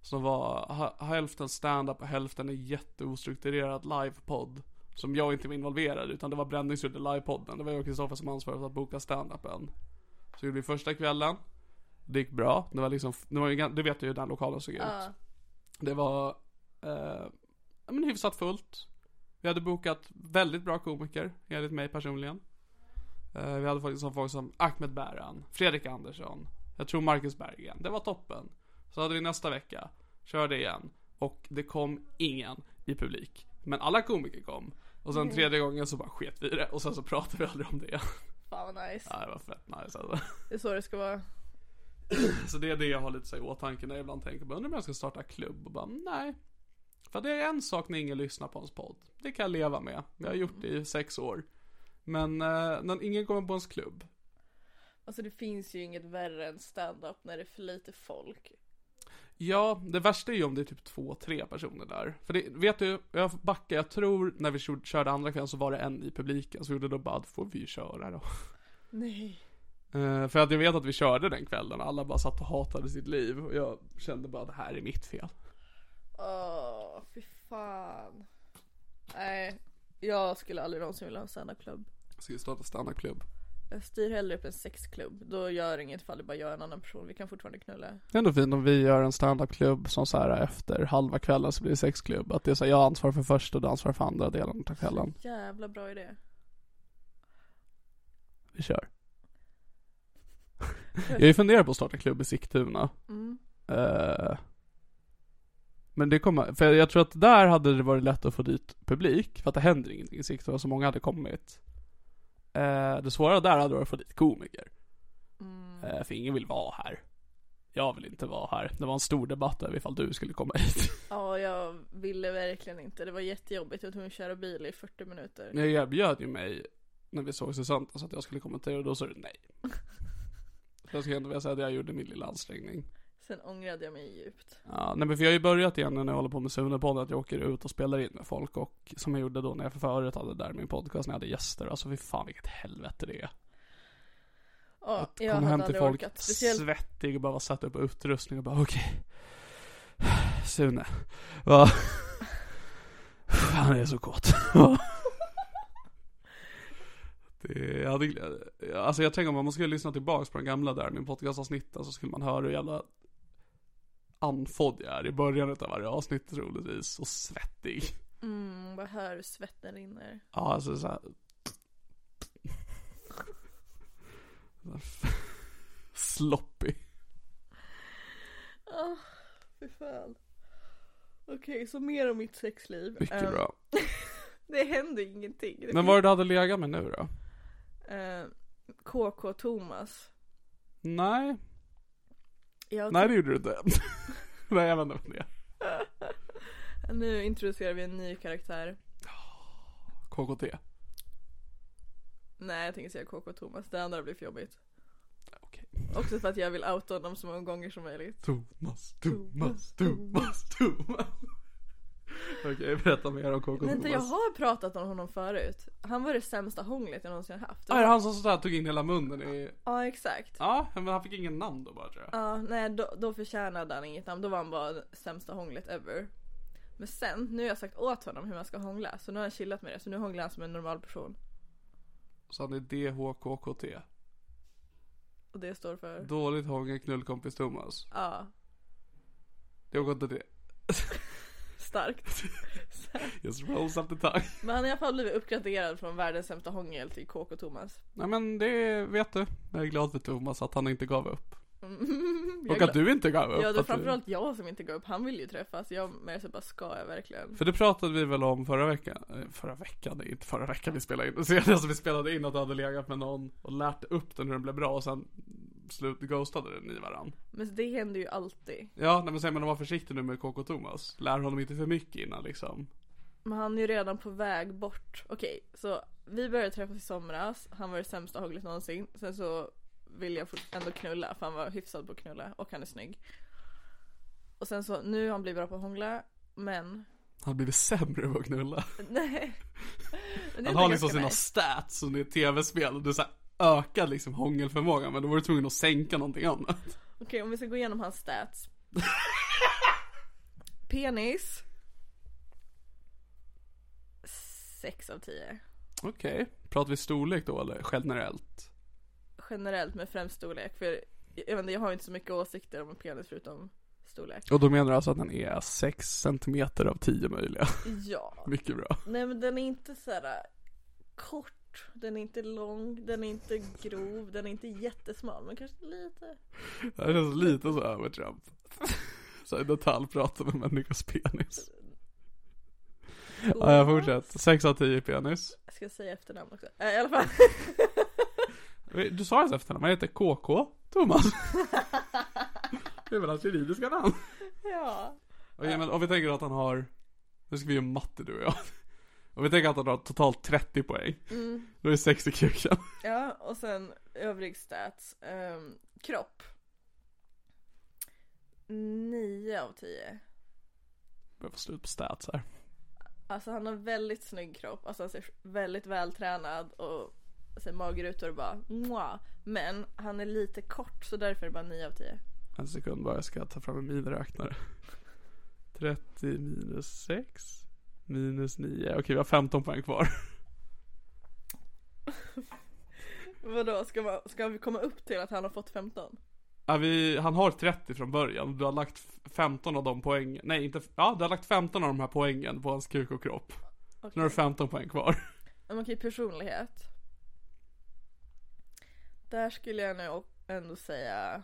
A: Som var ha- hälften stand-up och hälften en jätteostrukturerad livepodd. Som jag inte var involverad i, utan det var Bränning som gjorde livepodden. Det var jag och Kristoffer som ansvarade för att boka stand-upen. Så gjorde vi första kvällen. Det gick bra. Det var liksom, det var ju, gan- du vet ju hur den lokalen såg ut.
B: Ah,
A: Det var eh, ja, men hyfsat fullt. Vi hade bokat väldigt bra komiker, enligt mig personligen. Eh, vi hade folk som, folk som Ahmed Bäran, Fredrik Andersson, jag tror Marcus Berggren. Det var toppen. Så hade vi nästa vecka, körde igen. Och det kom ingen i publik. Men alla komiker kom. Och sen tredje gången så bara sket vi i det och sen så pratade vi aldrig om det igen.
B: Fan vad nice.
A: Ja, det var fett nice alltså.
B: Det är så det ska vara.
A: Så det är det jag har lite så här i åtanke när jag ibland tänker på, undrar om jag ska starta klubb och bara, nej. För det är en sak när ingen lyssnar på ens podd. Det kan jag leva med. Jag har gjort det i sex år. Men eh, när ingen kommer på ens klubb.
B: Alltså det finns ju inget värre än stand-up när det är för lite folk.
A: Ja, det värsta är ju om det är typ två, tre personer där. För det, vet du, jag backar, jag tror när vi kör- körde andra kvällen så var det en i publiken. Så gjorde då bara, då får vi köra då.
B: Nej.
A: Eh, för att jag vet att vi körde den kvällen och alla bara satt och hatade sitt liv. Och jag kände bara, det här är mitt fel.
B: Åh, fy fan. Nej, jag skulle aldrig någonsin vilja ha en standup-klubb.
A: Ska vi starta standup-klubb?
B: Jag styr hellre upp en sexklubb. Då gör det inget fall det bara gör en annan person. Vi kan fortfarande knulla.
A: Det är ändå fint om vi gör en standupklubb som så här efter halva kvällen så blir det sexklubb. Att det är så här, jag ansvarar för första och du ansvarar för andra delen av kvällen.
B: Jävla bra idé.
A: Vi kör. Jag har ju funderat på att starta en klubb i Sigtuna.
B: Mm.
A: Eh, men det kommer, för jag tror att där hade det varit lätt att få dit publik, för att det händer ingenting i Sigtuna, så många hade kommit. Eh, det svåra där hade varit att få dit komiker.
B: Mm.
A: Eh, för ingen vill vara här. Jag vill inte vara här. Det var en stor debatt över ifall du skulle komma hit.
B: Ja, jag ville verkligen inte. Det var jättejobbigt. Jag var tvungen att köra bil i 40 minuter.
A: Jag erbjöd ju mig när vi sågs i söndags att jag skulle kommentera och då sa du nej. Jag skulle ändå vilja säga att jag gjorde min lilla ansträngning.
B: Sen ångrade jag mig djupt.
A: Ja, nej men för jag har ju börjat igen nu när jag håller på med Sunepodden att jag åker ut och spelar in med folk och som jag gjorde då när jag förut hade där min podcast när jag hade gäster. Alltså fy fan vilket helvete det är.
B: Ja,
A: att
B: jag
A: komma
B: hade
A: hem till
B: aldrig
A: folk
B: orkat. Speciellt...
A: svettig och bara sätta upp utrustning och bara okej. Sune, vad? Han är så kåt. Det, jag hade, gl- alltså jag tänker om man skulle lyssna tillbaks på den gamla där, min podcastavsnitten, så skulle man höra hur jävla andfådd jag är i början av varje avsnitt troligtvis. Och svettig.
B: Mm, vad hör hur svetten rinner.
A: Ja, alltså såhär. Sloppy.
B: Ah, fy fan. Okej, så mer om mitt sexliv.
A: Mycket
B: Eh,
A: bra.
B: Det händer ingenting. Det
A: Men vad är det du hade legat med nu då?
B: Eh, KK Thomas.
A: Nej,
B: Jag
A: nej det gjorde du inte. nej, jag vänder på det.
B: Nu introducerar vi en ny karaktär.
A: KKT.
B: Nej, jag tänker säga KK Thomas. Det andra blir för jobbigt.
A: Okej.
B: Också för att jag vill outa honom så många gånger som möjligt.
A: Thomas, Thomas, Thomas, Thomas. Okej, berätta mer om KK
B: Vänta, jag
A: Thomas.
B: har pratat om honom förut. Han var det sämsta hånglet jag någonsin haft.
A: Ah, är det han som sådär tog in hela munnen i...
B: Ja, exakt. Ja,
A: Ja, men han fick ingen namn då bara tror jag.
B: nej, då, då förtjänade han inget namn. Då var han bara det sämsta hånglet ever. Men sen, nu har jag sagt åt honom hur man ska hångla. Så nu har han chillat med det. Så nu hånglar han som en normal person.
A: Så han är DHKKT.
B: Och det står för...
A: Dåligt hångel, knullkompis Thomas.
B: Ja,
A: Det var inte det.
B: starkt.
A: Just rolls up the tongue.
B: Men han har i alla fall blivit uppgraderad från världens sämsta hångel till KK Thomas.
A: Nej men det vet du. Jag är glad för Thomas att han inte gav upp.
B: Mm, jag
A: Och
B: är
A: att
B: glad-
A: du inte gav upp.
B: Ja, det var
A: Att du-
B: framförallt jag som inte gav upp. Han ville ju träffas. Jag mer så bara, ska jag verkligen?
A: För det pratade vi väl om förra veckan. Eh, Förra veckan, det är inte förra veckan vi spelade in. Senast vi spelade in att du hade legat med någon och lärt upp den hur den blev bra och sen slut ghostade den i varann.
B: Men det händer ju alltid.
A: Ja, nej, men säg men var försiktig nu med KK Thomas. Lär honom inte för mycket innan liksom.
B: Men han är ju redan på väg bort. Okej, så vi började träffas i somras. Han var det sämsta hånglet någonsin. Sen så ville jag fort- ändå knulla för han var hyfsad på att knulla och han är snygg. Och sen så, nu har han blivit bra på att hångla. Men,
A: Han har blivit sämre på att knulla.
B: nej. Men det
A: Han
B: är
A: har
B: ganska
A: liksom sina
B: nice.
A: stats som det är tv-spel och du såhär ökad liksom hångelförmågan men då var du tvungen att sänka någonting annat.
B: Okej, om vi ska gå igenom hans stats. Penis. 6 av 10.
A: Okej, pratar vi storlek då eller generellt?
B: Generellt men främst storlek. För jag, jag, vet inte, jag har ju inte så mycket åsikter om en penis förutom storlek.
A: Och då menar du alltså att den är 6 centimeter av 10 möjliga?
B: Ja.
A: Mycket bra.
B: Nej men den är inte så här äh, kort. Den är inte lång. Den är inte grov. Den är inte jättesmal. Men kanske lite.
A: Det här känns lite så övertramp. Så i detalj prata med människors penis. Ja, jag fortsätter. 6 av 10 penis.
B: Jag ska säga efternamn också. Äh, I alla fall.
A: Du sa hans efternamn, han heter KK Thomas. Det är väl hans juridiska namn?
B: ja.
A: Okej, men om vi tänker att han har, nu ska vi göra matte du och jag. Om vi tänker att han har totalt 30 poäng,
B: Mm.
A: då är 6 i kuken.
B: Ja, och sen övrig stats. Ehm, kropp. 9 av 10.
A: Jag får slut på stats här.
B: Alltså han har väldigt snygg kropp, alltså han ser väldigt vältränad och ser magrutor och bara Mwah. Men han är lite kort så därför är det bara 9 av 10.
A: En sekund bara, jag ska ta fram en miniräknare. 30 minus 6 minus 9. Okej, vi har 15 poäng kvar.
B: Vadå, ska, man, ska vi komma upp till att han har fått 15?
A: Ja, vi, han har 30 från början. Du har lagt f- 15 av de poängen. Nej, inte... f- Ja, du har lagt 15 av de här poängen på hans kuk och kropp. Nu har du 15 poäng kvar.
B: Men okej, personlighet. Där skulle jag nu och- ändå säga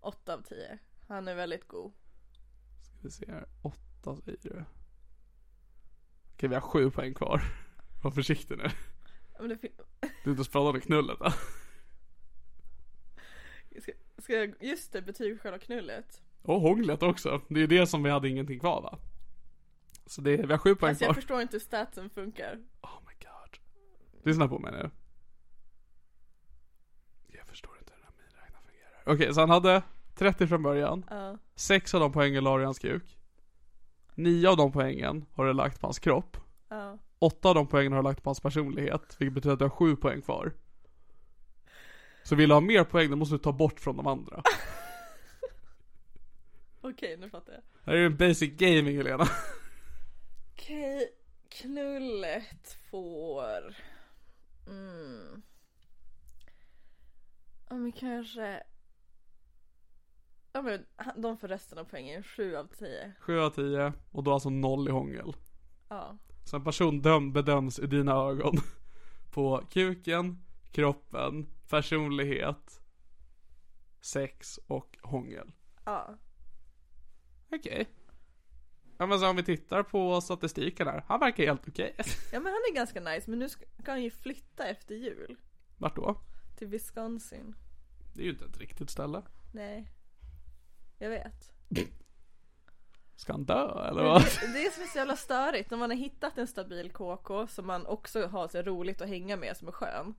B: 8 av 10. Han är väldigt god.
A: Ska vi se här. Åtta säger du. Okej, vi har sju poäng kvar. Var försiktig nu.
B: Men det fin-
A: Du är inte spelade knullet va?
B: ska, ska jag, just det, betyg för själva knullet.
A: Och hånglet också. Det är ju det som vi hade ingenting kvar va? Så det, vi har sju poäng
B: Alltså
A: kvar.
B: jag förstår inte hur statsen funkar.
A: Oh my god. Lyssna på mig nu. Jag förstår inte hur den här miniräknaren fungerar. Okej, så han hade 30 från början.
B: Ja.
A: Sex av de poängen la du i hans kuk. Nio av de poängen har du lagt på hans kropp.
B: Ja.
A: Åtta av de poängen har du lagt på hans personlighet, vilket betyder att du har sju poäng kvar. Så vill du ha mer poäng, då måste du ta bort från de andra.
B: Okej, nu fattar jag.
A: Det här är ju en basic gaming Helena.
B: Okej, knullet får... Mm. Ja men kanske... Ja men han- de får resten av poängen, 7 av 10.
A: Sju av tio, och då alltså noll i hångel.
B: Ja.
A: Så en person döm, bedöms i dina ögon på kuken, kroppen, personlighet, sex och hångel.
B: Ja.
A: Okej. Ja men så om vi tittar på statistiken här, han verkar helt okej.
B: Ja men han är ganska nice men nu ska ska han ju flytta efter jul.
A: Vart då?
B: Till Wisconsin.
A: Det är ju inte ett riktigt ställe.
B: Nej. Jag vet.
A: Ska han dö eller
B: Men
A: vad?
B: Det, det är som är så jävla störigt när man har hittat en stabil KK som man också har så roligt att hänga med som är skön.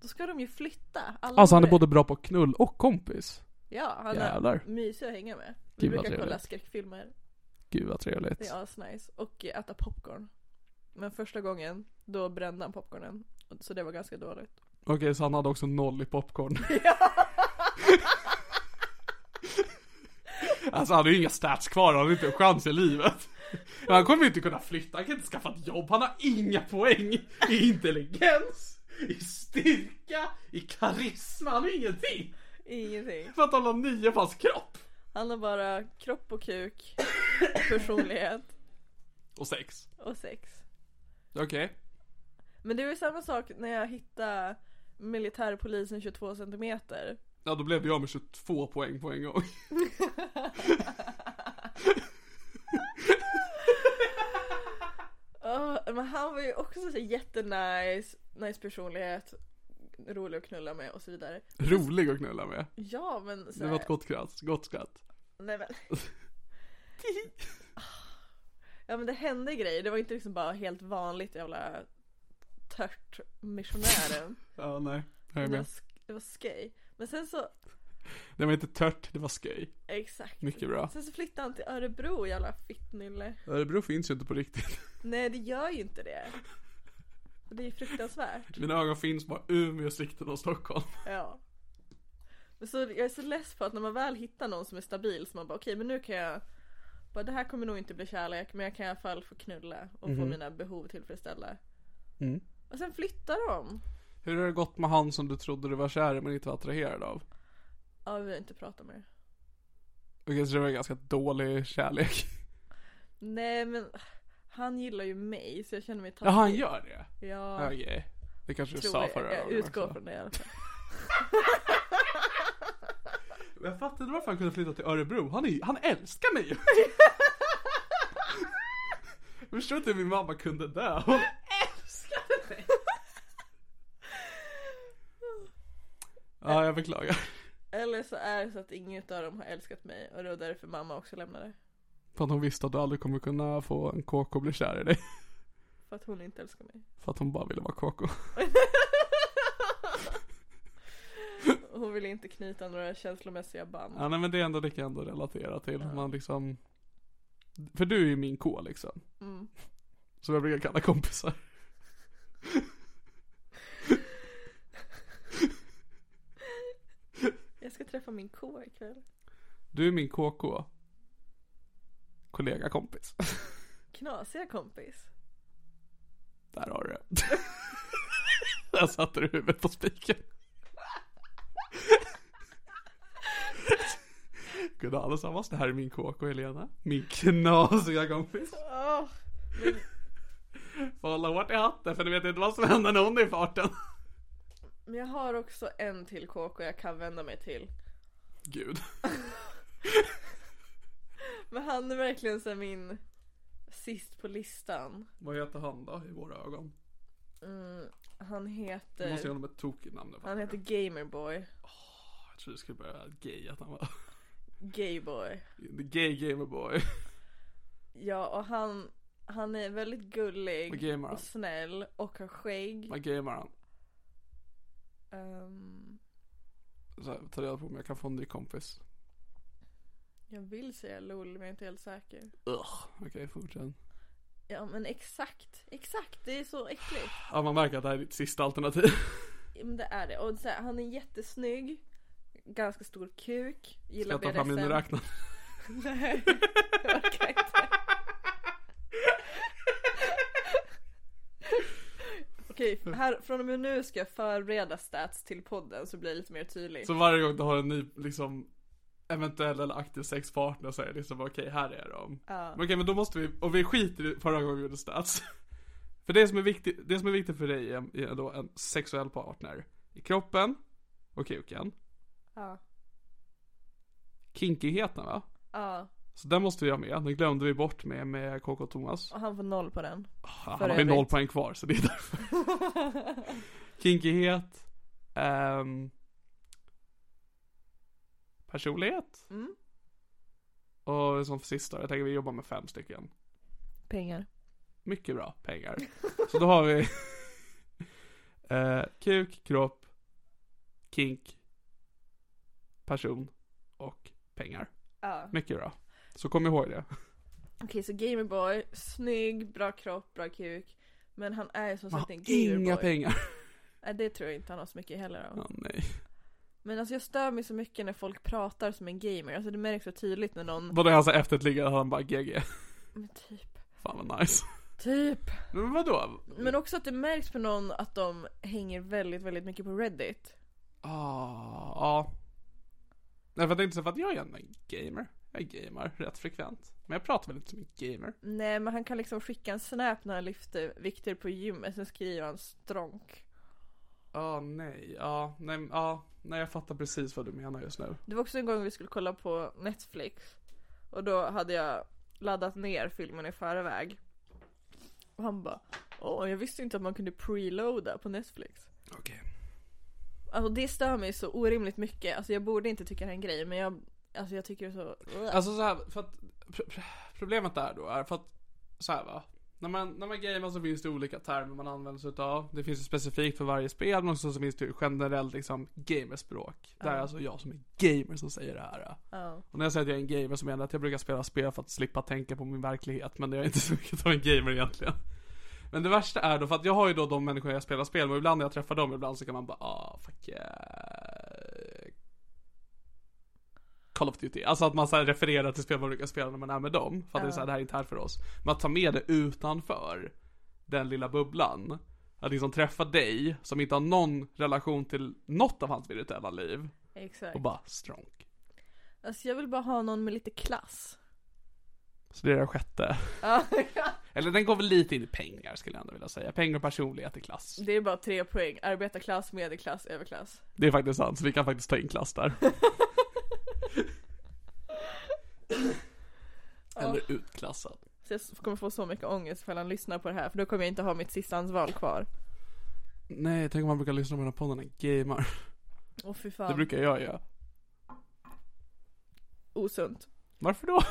B: Då ska de ju flytta. Alla
A: Mm. Alltså han är
B: andra-
A: både bra på knull och kompis.
B: Ja, han
A: Jävlar.
B: är mysig att hänga med. Vi
A: Gud, vad
B: brukar kolla
A: trevligt.
B: skräckfilmer,
A: Gud vad trevligt.
B: det är asnice. Och eh, äta popcorn. Men första gången, då brände han popcornen. Så det var ganska dåligt.
A: Okej så han hade också noll i popcorn. alltså han har ju inga stats kvar, han har inte en chans i livet. Men han kommer ju inte kunna flytta, han kan inte skaffa ett jobb, han har inga poäng i intelligens, i styrka, i karisma, han har ingenting.
B: Ingenting.
A: För att han har nio på hans kropp.
B: Han har bara kropp och kuk, personlighet
A: Och sex.
B: och sex.
A: Okej.
B: Men det var ju samma sak när jag hittade militärpolisen 22 centimeter.
A: Ja då blev jag med 22 poäng på en gång.
B: Ja, men han var ju också så jättenice, nice personlighet, rolig att knulla med och så vidare.
A: Rolig att knulla med.
B: Ja men så
A: Det var ett gott skratt, gott skratt.
B: Nej men. ja men det hände grejer, det var inte liksom bara helt vanligt jävla tört missionären.
A: Ja, nej. Jag är
B: Det var,
A: med.
B: sk- det var skoj. Men sen så,
A: Det var inte tört, det var sköj.
B: exakt.
A: Mycket bra.
B: Sen så flyttade han till Örebro jävla fittnylle.
A: Örebro finns ju inte på riktigt.
B: Nej det gör ju inte det. Och det är ju fruktansvärt.
A: Mina ögon finns bara Umeå, sikten och Stockholm.
B: Ja. Men så jag är så less på att när man väl hittar någon som är stabil så man bara okej men nu kan jag bara, det här kommer nog inte bli kärlek men jag kan i alla fall få knulla och
A: Mhm.
B: få mina behov tillfredsställda.
A: Mm.
B: Och sen flyttar de.
A: Hur har det gått med han som du trodde du var kär i men inte var attraherad av?
B: Ja vi har inte pratat mer.
A: Okej, så det var ganska dålig kärlek.
B: Nej men han gillar ju mig så jag känner mig
A: Ja,
B: taskig.
A: han gör det?
B: Ja.
A: Okej. Det kanske du
B: tror
A: sa
B: jag.
A: förra
B: Jag
A: gången
B: utgår
A: också.
B: från det i alla fall.
A: Men Jag fattar inte varför han kunde flytta till Örebro. Han, är, ju- han älskar mig ju. Jag förstår inte hur min mamma kunde dö. Hon älskade mig. Ja, jag beklagar.
B: Eller så är det så att inget av dem har älskat mig och det var därför mamma också lämnade.
A: För att hon visste att du aldrig kommer kunna få en KK bli kär i dig.
B: För att hon inte älskar mig.
A: För att hon bara ville vara KK.
B: Hon vill inte knyta några känslomässiga band.
A: Ja, nej men det är ändå, det kan jag ändå relatera till. Man liksom... För du är ju min K liksom.
B: Mm.
A: Som jag brukar kalla kompisar.
B: Jag ska träffa min K ikväll.
A: Du är min KK. Kollega kompis.
B: Knasiga kompis.
A: Där har du det. Där satte du huvudet på spiken. Gud allesammans, det här är min KK Helena. Min knasiga kompis.
B: Åh,
A: Får hålla hårt i hatten för ni vet inte vad som händer när hon är i farten.
B: Men jag har också en till kåk och jag kan vända mig till.
A: Gud.
B: Men han är verkligen så här min sist på listan.
A: Vad heter han då i våra ögon?
B: Mm, han
A: Du måste ge
B: heter,
A: honom ett tokigt namn nu.
B: han heter Gamerboy.
A: Jag trodde du skulle börja gay att han var
B: Gayboy.
A: the gay gamerboy.
B: Ja och han, han är väldigt
A: Vad
B: gullig
A: gamer han?
B: och snäll och har skägg.
A: Vad gamer han?
B: Ehm,
A: Så här, ta reda på om jag kan få en ny kompis.
B: jag vill säga LOL men jag är inte helt säker.
A: Ugh. Okej, fortsätt.
B: Ja men exakt, exakt det är så äckligt.
A: Ja, man märker att det här är ditt sista alternativ.
B: Ja, Men det är det. Och så här, han är jättesnygg. Ganska stor kuk.
A: Ska
B: Gillar
A: jag ta fram min
B: BDSM.
A: räknare?
B: Nej, jag orkar inte. Okej, här, från och med nu ska jag förbereda stats till podden så blir det lite mer tydligt.
A: Så varje gång du har en ny, liksom, eventuell eller aktiv sexpartner så är det liksom okej, här är de.
B: Ja.
A: Men Okej, men då måste vi, och vi skiter i förra gången vi gjorde stats. För det som är viktigt, det som är viktigt för dig är, är då en sexuell partner. I kroppen, och kuken.
B: Ja.
A: Kinkigheten va?
B: Ja,
A: Så den måste vi ha med, den glömde vi bort med, med KK Thomas.
B: och han får noll på den.
A: Han har ju
B: Ah, övrigt.
A: noll poäng kvar så det är därför. Kinkighet. ehm, personlighet.
B: Mm.
A: Och som för sista, jag tänker vi jobbar med fem stycken.
B: Pengar.
A: Mycket bra pengar. Så då har vi eh, kuk, kropp, kink, person och pengar.
B: Ja.
A: Mycket bra. Så kom ihåg det.
B: Alltså, Okej, så Gamerboy, snygg, bra kropp, bra kuk. Men han är ju som
A: Man
B: sagt
A: har
B: en Gamerboy.
A: inga pengar.
B: Nej, det tror jag inte han har så mycket heller av.
A: Ja, nej.
B: Men alltså jag stör mig så mycket när folk pratar som en gamer. Alltså det märks så tydligt när någon,
A: Vadå alltså efter ett ligga han bara GG.
B: men typ,
A: Fan vad nice.
B: typ.
A: Men vadå?
B: Men också att det märks på någon att de hänger väldigt, väldigt mycket på Reddit.
A: Ah, ja. Nej för jag tänkte så för att jag är ändå en gamer. Jag gamer rätt frekvent. Men jag pratar väl inte som en gamer.
B: Nej men han kan liksom skicka en snap när han lyfter vikter på gymmet, sen skriver han stronk.
A: Ja, nej. Ja, nej, ja. nej, jag fattar precis vad du menar just nu.
B: Det var också en gång vi skulle kolla på Netflix. Och då hade jag laddat ner filmen i förväg. Och han bara, åh jag visste inte att man kunde preloada på Netflix.
A: Okej.
B: Alltså det stör mig så orimligt mycket, alltså jag borde inte tycka det är en grej men jag, alltså jag tycker det är så...
A: Alltså så här, för att pr- pr- problemet där då är för att så här va. När man, när man gamer så finns det olika termer man använder sig utav. Det finns ju specifikt för varje spel men också så finns det ju generellt liksom gamerspråk. Det är alltså jag som är gamer som säger det här.
B: Ja.
A: Och när jag säger att jag är en gamer så menar jag att jag brukar spela spel för att slippa tänka på min verklighet. Men jag är inte så mycket av en gamer egentligen. Men det värsta är då, för att jag har ju då de människor jag spelar spel med. och Ibland när jag träffar dem, ibland så kan man bara ah, fuck yeah. Call of Duty. Alltså att man så här refererar till spel man brukar spela när man är med dem. För att det är så här, det här är inte här för oss. Men att ta med det utanför den lilla bubblan. Att liksom träffa dig som inte har någon relation till något av hans spirituella liv.
B: Exakt.
A: Och bara stronk.
B: Alltså jag vill bara ha någon med lite klass.
A: Så det är den sjätte.
B: Ja.
A: Eller den går väl lite in i pengar skulle jag ändå vilja säga. Pengar och personlighet i klass.
B: det är bara tre poäng, arbetarklass, medelklass, överklass.
A: Det är faktiskt sant, så vi kan faktiskt ta in klass där. Eller utklassad.
B: Så jag kommer få så mycket ångest ifall han lyssnar på det här för då kommer jag inte ha mitt sistahandsval kvar.
A: Nej, tänk om man brukar lyssna på den här podden när jag gamar.
B: Åh fy fan,
A: Det brukar jag göra.
B: osunt.
A: Varför då?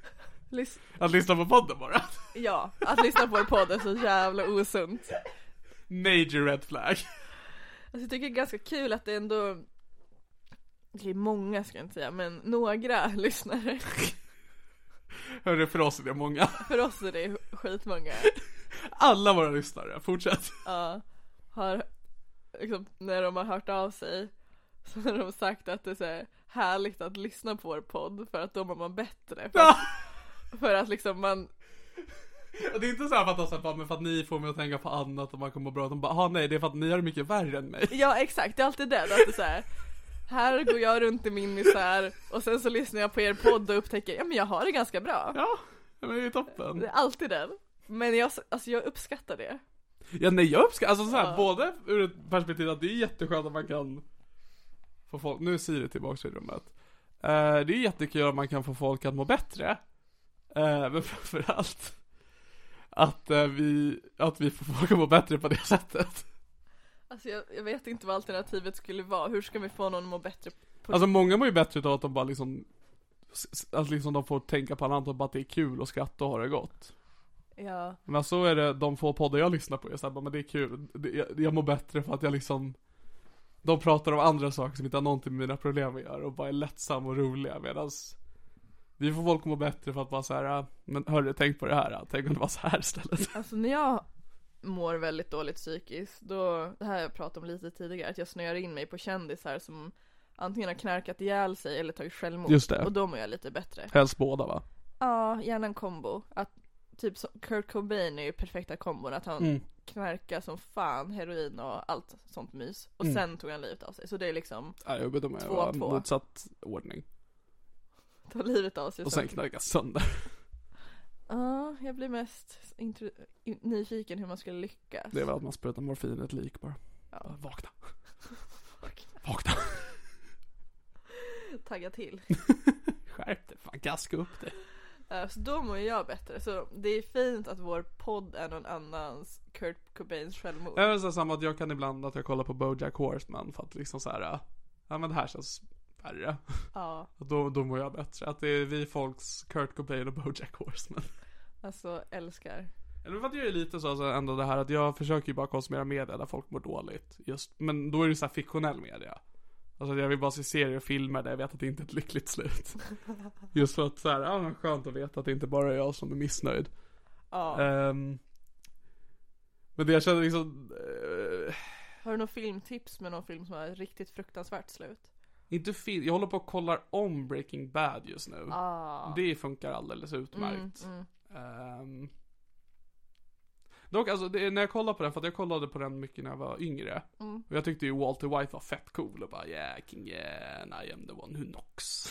B: Lys-
A: Att lyssna på podden bara?
B: ja, att lyssna på en podd är så jävla osunt.
A: Major red flag.
B: Alltså jag tycker det är ganska kul att det ändå Okej, många ska jag inte säga, men några lyssnare.
A: Hörru, för oss är det många.
B: För oss är det skitmånga.
A: Alla våra lyssnare, fortsätt.
B: Ja. Har, liksom, när de har hört av sig så har de sagt att det är så här härligt att lyssna på vår podd för att då mår man bättre. För att, för att liksom man,
A: Och det är inte så här för att, de säger, "Fan, men för att ni får mig att tänka på annat och man kommer bra. De bara, ah nej, det är för att ni har det mycket värre än mig.
B: ja exakt, det är alltid det. Att det är så här, här går jag runt i min misär och sen så lyssnar jag på er podd och upptäcker, ja men jag har det ganska bra.
A: Ja, men det är toppen.
B: Det är alltid den. Men jag, alltså jag uppskattar det.
A: Ja nej jag uppskattar, alltså såhär,
B: Ja.
A: både ur ett perspektiv att det är jätteskönt att man kan få folk, nu är Siri tillbaks i rummet. Eh, det är jättekul att man kan få folk att må bättre. Eh, men framförallt att eh, vi, att vi får folk att må bättre på det sättet.
B: Alltså jag, jag vet inte vad alternativet skulle vara. Hur ska vi få någon att må bättre? På...
A: Alltså många mår ju bättre av att de bara liksom, s- s- att liksom de får tänka på annat och bara att det är kul och skratta och ha det gott.
B: ja.
A: Men så är det, de få poddar jag lyssnar på är såhär, bara, men det är kul, Det- jag, jag mår bättre för att jag liksom De pratar om andra saker som inte har någonting med mina problem att göra och bara är lättsam och roliga medans Vi får folk att må bättre för att bara såhär, "Ah, men hörru tänk på det här, ah. tänk om det var så här istället
B: Alltså när jag mår väldigt dåligt psykiskt, då, det här har jag pratat om lite tidigare, att jag snöar in mig på kändisar som antingen har knarkat ihjäl sig eller tagit självmord.
A: Just det.
B: Och då mår jag lite bättre.
A: Helst båda va?
B: Ja, gärna en kombo. Att typ så, Kurt Cobain är ju perfekta kombon, att han
A: Mm.
B: knarkar som fan, heroin och allt sånt mys. Och
A: Mm.
B: sen tog han livet av sig. Så det är liksom,
A: Ja, jag vet om jag
B: Två,
A: var
B: två.
A: motsatt ordning
B: ta livet av sig.
A: och sen knarka sönder
B: Ja, jag blir mest intro- in- nyfiken hur man skulle lyckas.
A: Det är väl att man sprutar morfin i ett lik bara
B: Ja,
A: Bara, Vakna Vakna
B: tagga till.
A: Skärp dig, fan gaska upp dig
B: Eh, Så då mår ju jag bättre. Så det är fint att vår podd är någon annans Kurt Cobains självmord.
A: Jag vill säga samma att jag kan ibland att jag kollar på Bojack Horseman för att liksom så här. äh, ja men det här känns värre.
B: Ja,
A: Och Då, då mår jag bättre. Att det är vi folks Kurt Cobain och Bojack Horseman.
B: alltså älskar.
A: Eller för att jag är lite så alltså, ändå det här att jag försöker ju bara konsumera media där folk mår dåligt. Just, men då är det så här fiktionell media. Alltså jag vill bara se serier och filmer där jag vet att det inte är ett lyckligt slut. Just för att så här, ja men skönt att veta att det inte bara är jag som är missnöjd.
B: Ja.
A: Ehm, men det jag känner liksom, eh,
B: Har du någon filmtips med någon film som har ett riktigt fruktansvärt slut?
A: Inte film, jag håller på och kollar om Breaking Bad just nu.
B: Ja.
A: Mm. Det funkar alldeles utmärkt.
B: Ah. Mm, mm.
A: Ehm. dock, alltså det, är- när jag kollar på den, för att jag kollade på den mycket när jag var yngre.
B: Mm.
A: Och jag tyckte ju Walter White var fett cool och bara yeah, king yeah, and I am the one who knocks.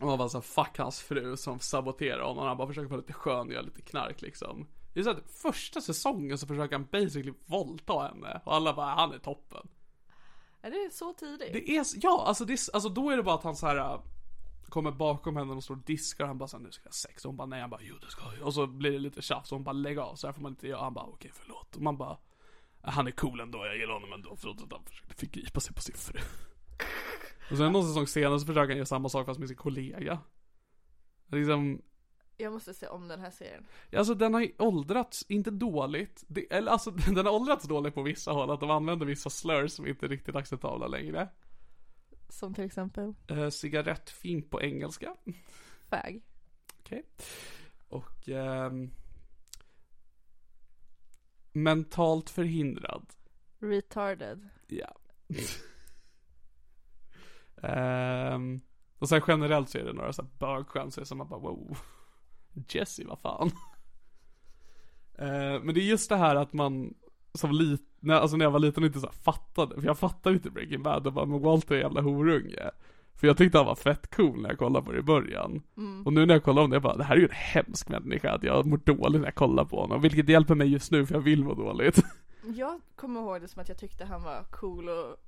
A: och man bara såhär, fuck hans fru som saboterar honom. Han bara försöker vara lite skön och göra lite knark liksom. Det är så att första säsongen så försöker han basically våldta henne. Och alla bara, han är toppen.
B: Är det så tidigt?
A: Det är, s- ja alltså, det, är s- alltså då är det bara att han så här äh, kommer bakom henne och står och diskar och han bara såhär, nu ska jag ha sex. Och hon bara, nej. Han bara, jo det ska jag. Och så blir det lite tjafs och hon bara, lägg av. Så här får man inte göra. Han bara, okej förlåt. Och man bara, "Äh, han är cool ändå. Jag gillar honom ändå. Förutom att han försökte förgripa sig på sin fru. och sen någon säsong senare så försöker han göra samma sak fast med sin kollega. Liksom,
B: Jag måste se om den här serien.
A: Alltså den har ju åldrats, inte dåligt. Det, eller alltså den har åldrats dåligt på vissa håll. Att de använder vissa slurs som inte är riktigt acceptabla längre.
B: Som till exempel?
A: Eh, cigarettfink på engelska.
B: Fag.
A: Okej. Och ehm, mentalt förhindrad.
B: Retarded.
A: Ja. Ehm, och sen generellt så är det några så här bögchanser som man bara wow. Jesse, vad fan. Eh, men det är just det här att man som lit, när, alltså när jag var liten inte så här fattade, för jag fattade inte Breaking Bad och bara men Walter är en jävla horunge. För jag tyckte han var fett cool när jag kollade på det i början. Och nu när jag kollar om det, jag bara det här är ju en hemsk människa att jag mår dåligt när jag kollar på honom. Vilket hjälper mig just nu för jag vill må dåligt.
B: Jag kommer ihåg det som att jag tyckte han var cool och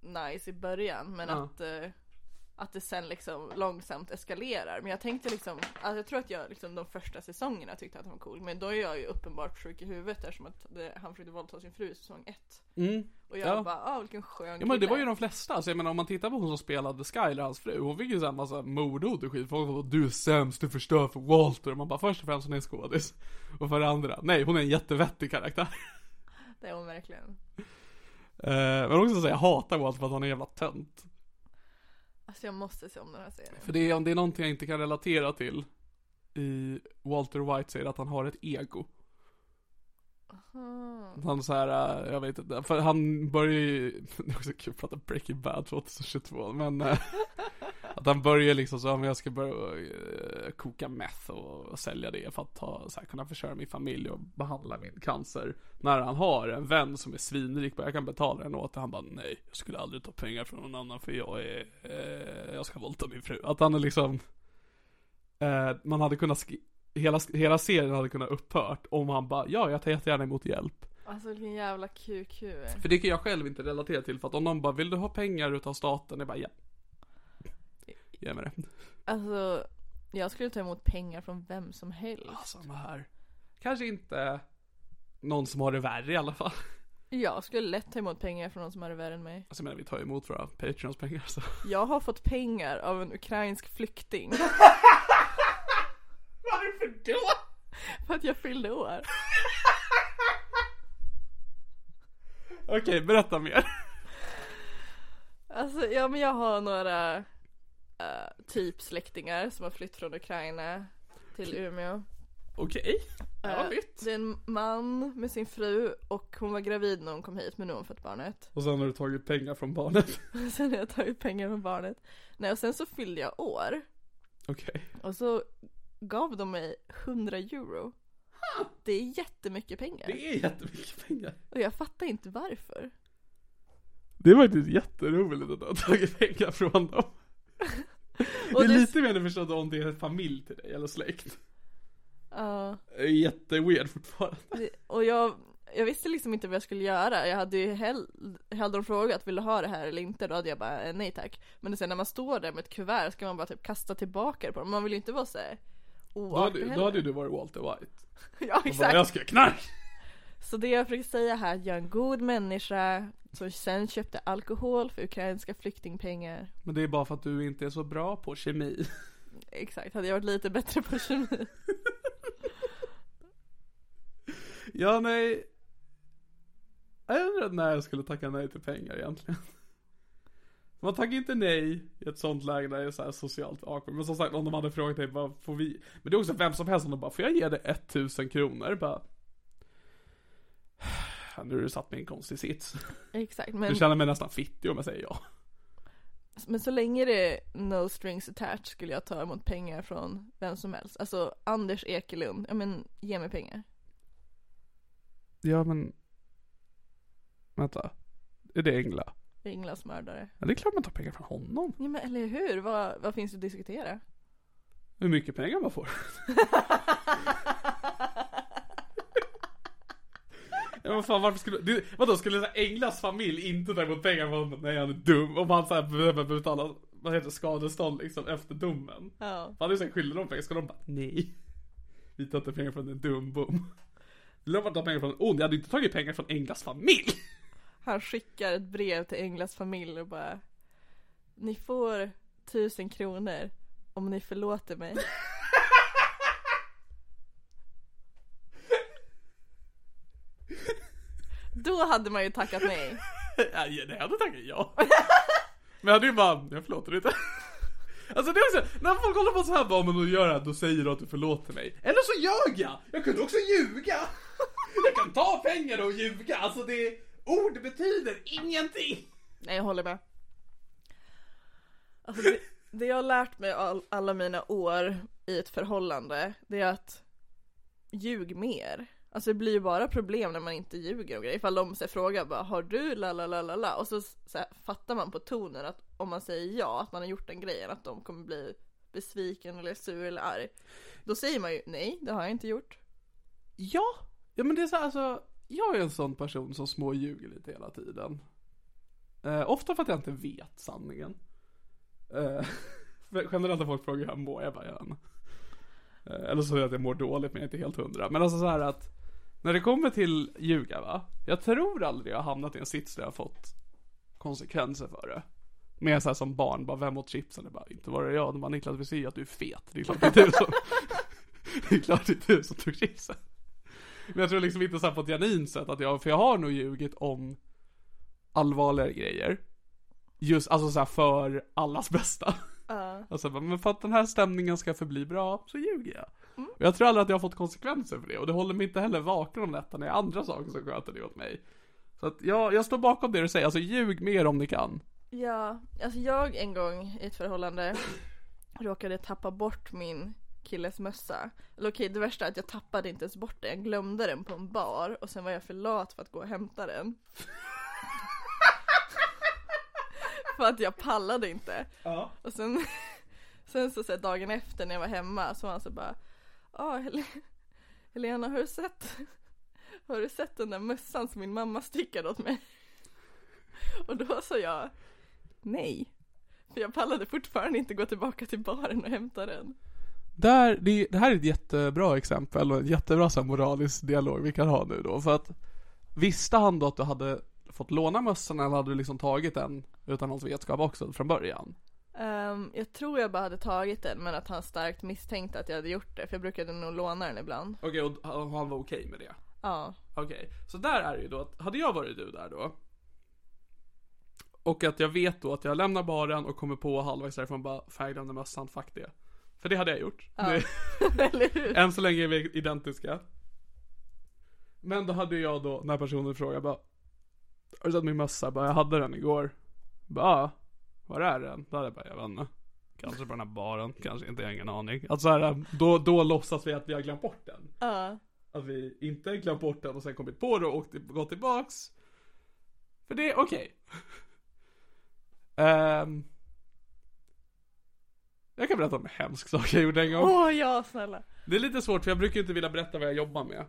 B: nice i början men
A: Ja.
B: att, eh, att det sen liksom långsamt eskalerar. Men jag tänkte liksom, alltså jag tror att jag liksom de första säsongerna tyckte att han var cool men då är jag ju uppenbart sjuk i huvudet eftersom att det, han försökte våldta sin fru i säsong ett. Och jag
A: Mm. Ja.
B: bara, ah vilken skön
A: Ja men det
B: kille."
A: var ju de flesta, alltså jag menar om man tittar på hon som spelade Skyler, hans fru, hon fick ju såhär massa mordhot och skit, folk bara du är sämst, du förstör för Walter, och man bara först och främst hon är en skådis. Och för det andra, nej hon är en jättevettig karaktär.
B: Det är hon verkligen.
A: Eh, men också så här, jag hatar Walter för att han är en jävla tönt.
B: Alltså jag måste se om den här serien.
A: För det är, om det är någonting jag inte kan relatera till i Walter White säger att han har ett ego.
B: Ah.
A: Att Han så här, eh, jag vet inte, för han börjar ju, det är också kul att prata Breaking Bad 2022, men eh, att han börjar liksom så, ja, men jag ska börja eh, koka meth och sälja det för att ta, så här, kunna försörja min familj och behandla min cancer. När han har en vän som är svinrik, bara, jag kan betala den åt det. han bara nej, jag skulle aldrig ta pengar från någon annan för jag är, äh, eh, jag ska våldta min fru. Att han är liksom, eh, äh, man hade kunnat skri- hela, hela serien hade kunnat upphört om han bara, ja jag tar jättegärna emot hjälp.
B: Alltså vilken jävla QQ.
A: För det kan jag själv inte relatera till, för att om någon bara, vill du ha pengar utav staten? Jag bara, ja. Ge mig det.
B: Alltså, jag skulle ta emot pengar från vem som helst.
A: Samma Alltså, här. Kanske inte någon som har det värre i alla fall.
B: Jag skulle lätt ta emot pengar från någon som har det värre än mig.
A: Alltså jag menar, vi tar ju emot våra Patreons pengar så.
B: Jag har fått pengar av en ukrainsk flykting
A: Varför då?
B: för att jag fyllde år.
A: Okej, berätta mer.
B: Alltså, ja men jag har några eh, typ släktingar som har flytt från Ukraina till Umeå.
A: Okej. Ja,
B: Eh,
A: nytt.
B: Det är en man med sin fru och hon var gravid när hon kom hit men nu har hon fått barnet.
A: Och sen har du tagit pengar från barnet.
B: Sen har jag tagit pengar från barnet. Nej och sen så fyllde jag år
A: Okej.
B: och så gav de mig 100 euro. Det är jättemycket pengar.
A: Det är jättemycket pengar.
B: Och jag fattar inte varför.
A: Det är faktiskt jätteroligt att du har tagit pengar från dem.
B: Och
A: det är
B: det-
A: lite mer förstått om det är en familj till dig eller släkt.
B: Ja.
A: Det är Jätteweird fortfarande.
B: Det- Och jag, jag visste liksom inte vad jag skulle göra. Jag hade ju hell, hade de frågat vill du ha det här eller inte då hade jag bara eh, nej tack. Men sen när man står där med ett kuvert ska man bara typ kasta tillbaka det på dem. Man vill ju inte vara såhär
A: Då hade, då hade ju du varit Walter White.
B: Ja
A: Och bara,
B: exakt.
A: jag ska göra knark!
B: Så det jag försöker säga här, jag är en god människa som sen köpte alkohol för ukrainska flyktingpengar.
A: Men det är bara för att du inte är så bra på kemi.
B: Exakt, hade jag varit lite bättre på kemi.
A: Ja, nej. Jag undrar när jag skulle tacka nej till pengar egentligen. Man tackar inte nej i ett sånt läge när det är så här socialt awkward. Men som sagt, om de hade frågat dig bara, får vi? Men det är också vem som helst som de bara, får jag ge dig 1000 kronor? Bara... Nu har du satt mig i en konstig sits.
B: Exakt,
A: Du
B: men,
A: känner mig nästan fittig om jag säger ja.
B: men så länge det är no strings attached skulle jag ta emot pengar från vem som helst. Alltså Anders Ekelund, ja men ge mig pengar.
A: Ja, men... Vänta. Är det Engla?
B: Englas mördare.
A: Ja, det är klart man tar pengar från honom.
B: Ja men eller hur, vad, vad finns det att diskutera?
A: Hur mycket pengar man får. Ja, men fan varför skulle, du, vadå skulle så här Englas familj inte ta emot pengar från honom? Nej han är dum. Om han såhär behöver betala, vad heter det, skadestånd liksom efter domen.
B: Ja.
A: Fan det är så här, skyldig de pengar, ska de bara nej. Vi tar inte pengar från en dum bom. Vill de bara ta pengar från en ond? Jag hade ju inte tagit pengar från Englas familj.
B: Han skickar ett brev till Englas familj och bara Ni får tusen kronor om ni förlåter mig. Då hade man ju tackat nej.
A: Ja, ja, det hade tackat ja. Men jag hade ju bara, jag förlåter inte. Alltså det är också, när folk håller på så här bara, men då gör jag, då säger du att du förlåter mig. Eller så ljög jag! Jag kunde också ljuga! Jag kan ta pengar och ljuga, alltså det, ord betyder ingenting!
B: Nej jag håller med. Alltså det, det jag har lärt mig all, alla mina år i ett förhållande det är att ljug mer. Alltså det blir ju bara problem när man inte ljuger och grejer. Ifall de så här, frågar bara har du la la la la la och så, så här, fattar man på tonen att om man säger ja att man har gjort den grejen att de kommer bli besviken eller sur eller arg. Då säger man ju nej det har jag inte gjort.
A: Ja, ja men det är så här, alltså, jag är en sån person som småljuger lite hela tiden. Eh, ofta för att jag inte vet sanningen. Eh, för generellt när folk frågar hur jag mår, jag bara gör eh, Eller så är det att jag mår dåligt men jag är inte helt hundra. Men alltså så här att, när det kommer till ljuga va. Jag tror aldrig jag har hamnat i en sits där jag har fått konsekvenser för det. Mer så här som barn, bara vem åt chipsen? Det bara, inte var det jag. De bara Niklas vi ser ju att du är fet. Det är klart det är du som, det är klart det är du som tog chipsen. Men jag tror liksom inte så här på ett genuint sätt att jag, för jag har nog ljugit om allvarligare grejer. Just, alltså så här för allas bästa.
B: Uh.
A: Alltså bara, men för att den här stämningen ska förbli bra, så ljuger jag. Och jag tror aldrig att jag har fått konsekvenser för det och det håller mig inte heller vaken om nätterna, när jag har andra saker som sköter det åt mig. Så att jag, jag står bakom det du säger, alltså ljug mer om ni kan.
B: Ja, alltså jag en gång i ett förhållande råkade tappa bort min killes mössa. Eller okej, det värsta är att jag tappade inte ens bort den. Jag glömde den på en bar och sen var jag för lat för att gå och hämta den. för att jag pallade inte. Och sen, sen så, så här, dagen efter när jag var hemma så var han så bara ah, Hel- Helena har du sett Har du sett den där mössan som min mamma stickade åt mig? Och då sa jag Nej För jag pallade fortfarande inte gå tillbaka till baren och hämta den
A: Där, det, det här är ett jättebra exempel och en jättebra så här, moralisk dialog vi kan ha nu då. För att visste han då att du hade fått låna mössan eller hade du liksom tagit den utan hans vetskap också från början?
B: Ehm, Jag tror jag bara hade tagit den men att han starkt misstänkte att jag hade gjort det för jag brukade nog låna den ibland
A: Okej, och han han var okej med det?
B: Ja
A: Okej, så där är det ju då att, hade jag varit du där då och att jag vet då att jag lämnar baren och kommer på halvvägs därifrån bara, fan jag glömde mössan, fuck det. För det hade jag gjort. Det-
B: Eller hur?
A: Än så länge är vi identiska. Men då hade jag då, när personen frågade bara Har du sett min mössa? Jag Bara, jag hade den igår. Bara, "Ja, var är den? Då hade jag bara, jag vet inte. Kanske på den här baren, kanske inte, jag har ingen aning. Alltså så här, då, då låtsas vi att vi har glömt bort den.
B: Ja
A: Att vi inte har glömt bort den och sen kommit på det och åkt, gått tillbaks. För det, okej. Ehm. jag kan berätta om en hemsk sak jag gjorde en gång.
B: Åh ja snälla
A: Det är lite svårt för jag brukar ju inte vilja berätta vad jag jobbar med.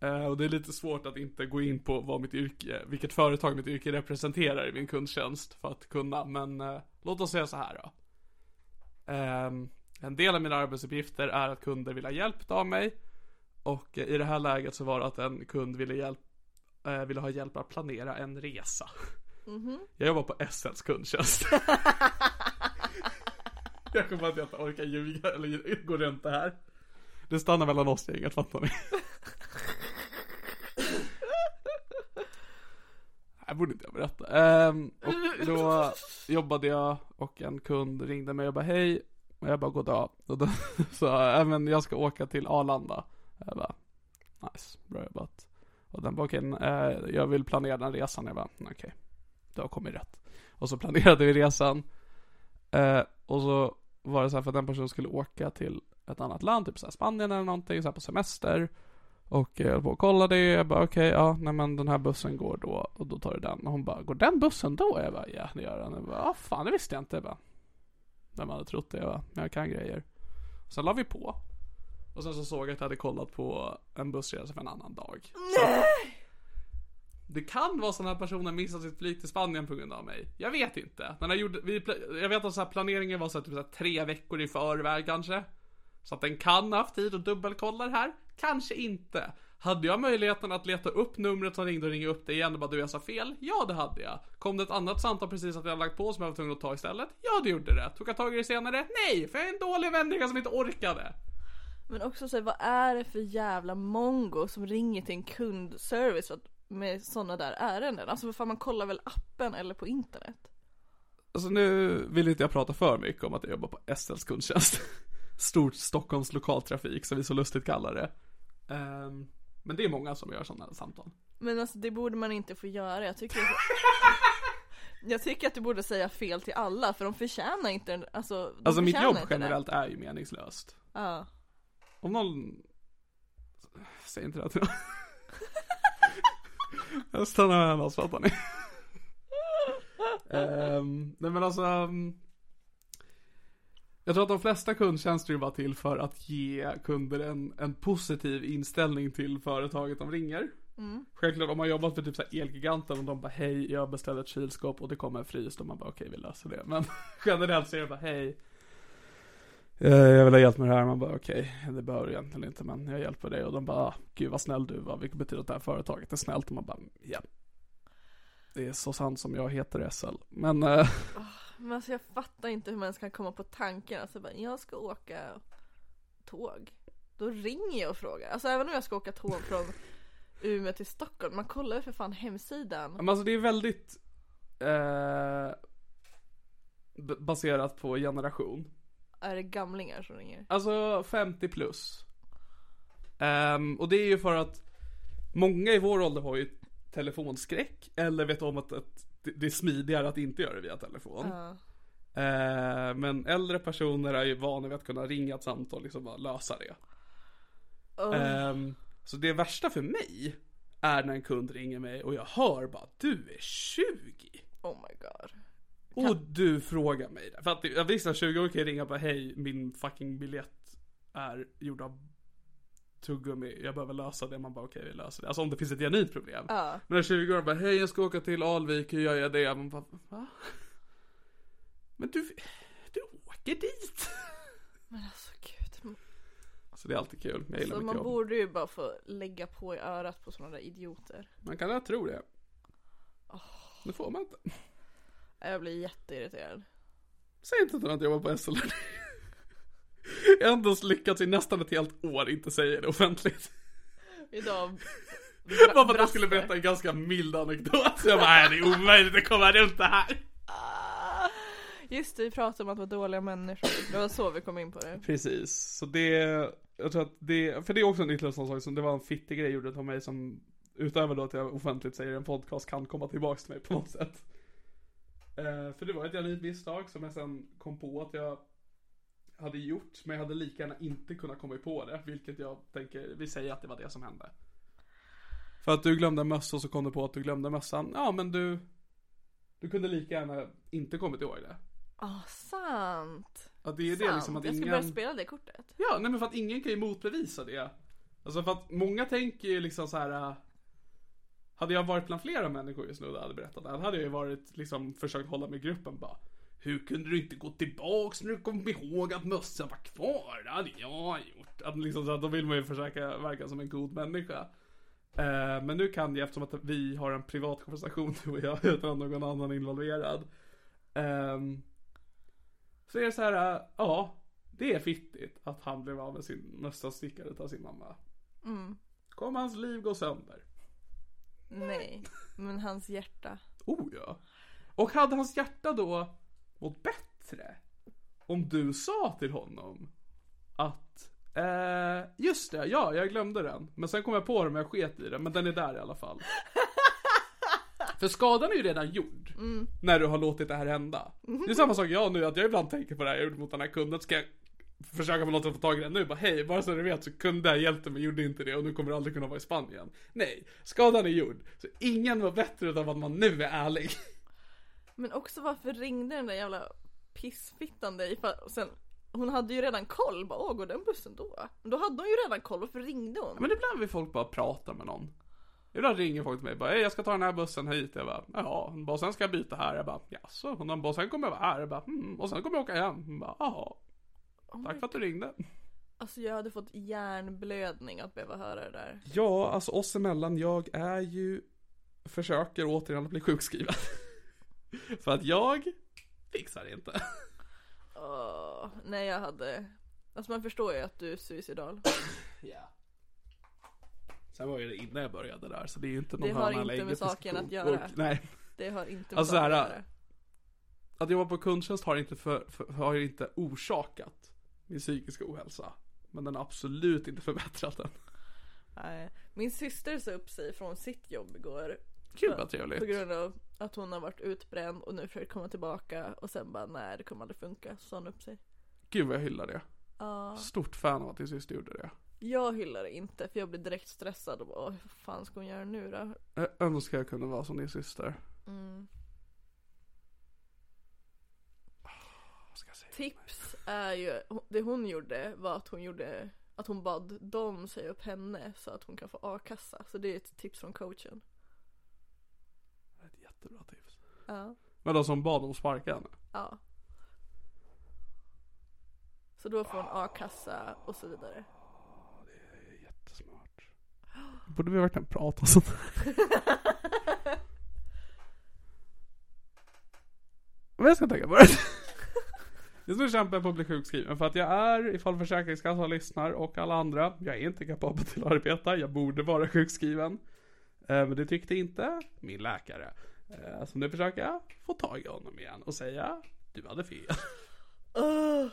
A: Eh, och det är lite svårt att inte gå in på vad mitt yrke, vilket företag mitt yrke representerar i min kundtjänst för att kunna. Men eh, låt oss säga så här då. Ehm, en del av mina arbetsuppgifter är att kunder vill ha hjälp av mig. Och eh, i det här läget så var det att en kund ville, hjälp, eh, ville ha hjälp att planera en resa. Jag jobbar på SLs kundtjänst. jag kommer att jag inte orkar ljuga eller gå runt det här. Det stannar mellan oss gänget, fattar ni? Det borde inte jag berätta. Ehm, och då jobbade jag och en kund ringde mig och bara hej. Och jag bara goddag. Och då sa jag, "Ja, men jag ska åka till Arlanda. Jag bara, nice, bra jobbat. Och den bara, okej, eh, jag vill planera den resan. Jag bara, okej, du har kommit rätt. Och så planerade vi resan. Eh, och så var det så här för att den personen skulle åka till ett annat land, typ så här Spanien eller någonting, så här på semester. Och eh, jag höll på och kollade, jag bara okej, ja, nej men den här bussen går då, och då tar du den. Och hon bara, går den bussen då? Jag bara, ja det gör den. Jag bara, ah, fan det visste jag inte. Jag bara, vem hade trott det? Jag bara, jag kan grejer. Sen la vi på. Och sen så såg jag att jag hade kollat på en bussresa för en annan dag. Nej! Det kan vara så att den här personen missade sitt flyg till Spanien på grund av mig. Jag vet inte. Den här gjorde, vi, pla- jag vet att så här planeringen var så här, typ så här tre veckor i förväg kanske. Så att den kan ha haft tid och dubbelkolla det här. Kanske inte. Hade jag möjligheten att leta upp numret som ringde och ringa upp det igen och bara du jag sa fel? Ja det hade jag. Kom det ett annat samtal precis att jag hade lagt på som jag var tvungen att ta istället? Ja det gjorde det. Tog jag tag i det senare? Nej, för jag är en dålig människa som inte orkade.
B: Men också så här, vad är det för jävla mongo som ringer till en kundservice för att- med sådana där ärenden? Alltså vad fan man kollar väl appen eller på internet?
A: Alltså nu vill inte jag prata för mycket om att jag jobbar på SLs kundtjänst. Stort Stockholms lokaltrafik som vi så lustigt kallar det. Ehm, men det är många som gör sådana samtal.
B: Men alltså det borde man inte få göra, jag tycker Jag tycker att du borde säga fel till alla för de förtjänar inte en- alltså, de
A: Alltså mitt
B: förtjänar
A: jobb
B: inte det.
A: generellt är ju meningslöst.
B: Ja.
A: Om någon... Säg inte det till någon. Jag stannar med henne, fattar ni? Ehm, nej men alltså... mm, Jag tror att de flesta kundtjänster är bara till för att ge kunder en, en positiv inställning till företaget de ringer.
B: Mm.
A: Självklart om man jobbat för typ så här Elgiganten och de bara hej, jag beställde ett kylskåp och det kommer en frys. Då man bara okej, vi löser det. Men generellt så är det bara hej, Eh, Jag vill ha hjälp med det här. Man bara okej, det behöver jag egentligen inte men jag hjälper dig. Och de bara ah, gud vad snäll du var. Vilket betyder att det här företaget är snällt. Och man bara ja. Det är så sant som jag heter SL. Men eh,
B: Men alltså jag fattar inte hur man ens kan komma på tanken, alltså bara, jag ska åka tåg. Då ringer jag och frågar, alltså även om jag ska åka tåg från Umeå till Stockholm, man kollar ju för fan hemsidan.
A: men alltså det är väldigt eh, b- baserat på generation.
B: Är det gamlingar som ringer?
A: Alltså 50 plus. Ehm, och det är ju för att många i vår ålder har ju telefonskräck eller vet om att, att det- det är smidigare att inte göra det via telefon. Ehm, men äldre personer är ju vana vid att kunna ringa ett samtal och liksom bara lösa det. Ehm, så det värsta för mig är när en kund ringer mig och jag hör bara du är 20.
B: Oh my god.
A: Och du frågar mig det. För att jag visste att 20 år kan jag ringa och bara hej min fucking biljett är gjord av tuggummi, jag behöver lösa det. Man bara okej vi löser det. Alltså om det finns ett genuint problem.
B: Ja.
A: Men när 20-åringen bara hej jag ska åka till Alvik, hur gör jag det? Man bara va? Men du, du åker dit!
B: Men alltså gud.
A: Så det är alltid kul, jag gillar
B: Så
A: mitt
B: man
A: jobb.
B: borde ju bara få lägga på i örat på sådana där idioter.
A: Man kan lätt tro det. Det får man inte.
B: Ja, Jag blir jätteirriterad.
A: Säg inte att du inte jobbar på SLR. Jag har ändå lyckats i nästan ett helt år inte säga det offentligt.
B: Idag
A: Bara för att jag skulle berätta en ganska mild anekdot. Så jag bara, nej det är omöjligt att komma runt det här.
B: Ah! Just det, vi pratade om att vara dåliga människor. Det var så vi kom in på det.
A: Precis, så det, jag tror att det, för det är också en ytterligare sån sak som det var en fittig grej gjorde av mig som utöver då att jag offentligt säger en podcast kan komma tillbaks till mig på något sätt. Eh, för det var ett genuint misstag som jag sen kom på att jag hade gjort, men jag hade lika gärna inte kunnat komma på det, vilket jag tänker, vi säger att det var det som hände. För att du glömde mössa och så kom du på att du glömde mössan, ja men du, du kunde lika gärna inte kommit ihåg det.
B: Ah, sant!
A: Ja, det är det
B: sant.
A: liksom att
B: jag ska
A: ingen...
B: börja spela det kortet.
A: Ja, nej men för att ingen kan ju motbevisa det. Alltså för att många tänker ju liksom så här. äh, Hade jag varit bland flera människor just nu och hade berättat det här, hade jag ju varit liksom försökt hålla med gruppen bara. Hur kunde du inte gå tillbaks när du kom ihåg att mössan var kvar? Det hade jag gjort. Att liksom så att då vill man ju försöka verka som en god människa. Eh, men nu kan jag eftersom att vi har en privat konversation du och jag utan att någon annan är involverad. Ehm, så är det så här, äh, ja, det är fittigt att han blev av med sin mössa stickad av sin mamma.
B: Mm.
A: Kommer hans liv gå sönder?
B: Nej, men hans hjärta.
A: Oh ja. Och hade hans hjärta då mått bättre om du sa till honom att eh, just det, ja, jag glömde den. Men sen kom jag på den, men jag sket i den. Men den är där i alla fall. För skadan är ju redan gjord när du har låtit det här hända. Det är samma sak jag nu, att jag ibland tänker på det här jag gjorde mot den här kunden. Ska jag försöka på något sätt få tag i den nu? Bara hej, bara så du vet så kunde jag hjälpte mig, gjorde inte det och nu kommer du aldrig kunna vara i Spanien. Nej, skadan är gjord. Så ingen var bättre utav att man nu är ärlig.
B: Men också varför ringde den där jävla pissfittan dig? För sen, hon hade ju redan koll. Bara, Åh, går den bussen då? Men då hade hon ju redan koll. Varför ringde hon?
A: Men ibland vill folk bara prata med någon. Ibland ringer folk till mig bara, hej jag ska ta den här bussen hit. Jag bara, jaha. Hon bara, sen ska jag byta här. Jag bara, jaså? Hon bara, sen kommer jag vara här. Jag bara, mm. Och sen kommer jag åka hem. Hon bara, jaha.
B: Oh
A: Tack
B: my-
A: för att du ringde.
B: Alltså jag hade fått hjärnblödning att behöva höra det där.
A: Ja, alltså oss emellan, jag är ju, försöker återigen att bli sjukskriven. för att jag fixar inte.
B: Åh, nej jag hade... Alltså man förstår ju att du är suicidal.
A: Ja. Sen var ju det innan jag började där, så det är ju inte någon
B: Det har
A: hörna
B: inte
A: eller
B: med
A: ägget
B: saken att
A: diskussion.
B: göra.
A: Och- Nej.
B: Det har inte
A: Alltså,
B: saken
A: såhär,
B: att göra.
A: Att jobba på kundtjänst har inte, för, för, har inte orsakat min psykiska ohälsa. Men den har absolut inte förbättrat den.
B: Nej. Min syster sa upp sig från sitt jobb igår.
A: Kul vad
B: På
A: trevligt.
B: grund av att hon har varit utbränd och nu försöker komma tillbaka och sen bara nej det kommer aldrig funka. Så sa hon upp sig.
A: Gud vad jag hyllar det.
B: Ja.
A: Stort fan av att din syster gjorde det.
B: jag hyllar det inte för jag blir direkt stressad och bara "Åh, vad fan ska hon göra nu då?
A: Jag önskar jag kunde vara som din syster.
B: Mm.
A: Vad ska jag säga?
B: Tips är ju, det hon gjorde var att hon gjorde att hon bad dem säga upp henne så att hon kan få a-kassa. Så det är ett tips från coachen.
A: Det är Ett jättebra tips.
B: Ja.
A: Men de som bad om sparka henne.
B: ja. Så då får hon a-kassa och så vidare.
A: Jättesmart. Borde vi verkligen prata sånt här? Men jag ska tänka på det. Just nu kämpar jag på att bli sjukskriven för att jag är, ifall Försäkringskassan lyssnar och alla andra, jag är inte kapabel till att arbeta, jag borde vara sjukskriven. Eh, Men det tyckte inte min läkare. Eh, Så nu försöker jag få tag i honom igen och säga, du hade fel.
B: Åh,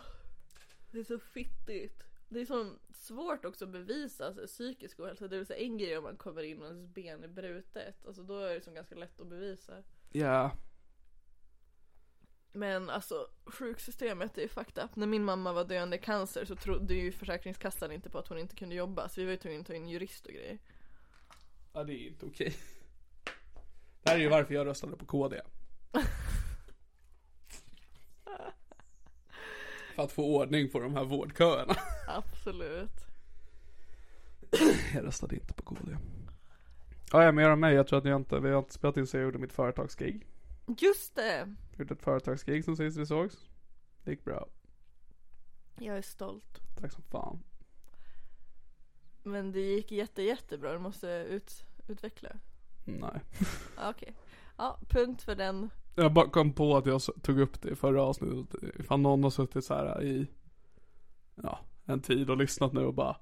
B: det är så fittigt. Det är så svårt också att bevisa alltså, psykisk ohälsa. Det är väl så en grej om man kommer in och ens ben är brutet. Alltså då är det som ganska lätt att bevisa.
A: Ja.
B: Men alltså sjuksystemet är ju fucked up. När min mamma var döende i cancer så trodde ju Försäkringskassan inte på att hon inte kunde jobba. Så vi var ju tvungna att ta in jurist och grejer.
A: Ja, det är inte okej. Det här är ju varför jag röstade på KD. För att få ordning på de här vårdköerna.
B: Absolut.
A: Jag röstade inte på KD. Ja, ja, mer om mig. Jag tror att ni har inte, vi har inte spelat in så jag gjorde mitt företagsgig.
B: Just det!
A: Gjorde ett företagsgig som sist vi sågs. Det gick bra.
B: Jag är stolt.
A: Tack som fan.
B: Men det gick jätte, jättebra, du måste ut, utveckla.
A: Nej.
B: Ja, Okej. Ja, punkt för den.
A: Jag bara kom på att jag s- tog upp det i förra avsnittet. Ifall någon har suttit så här i ja, en tid och lyssnat nu och bara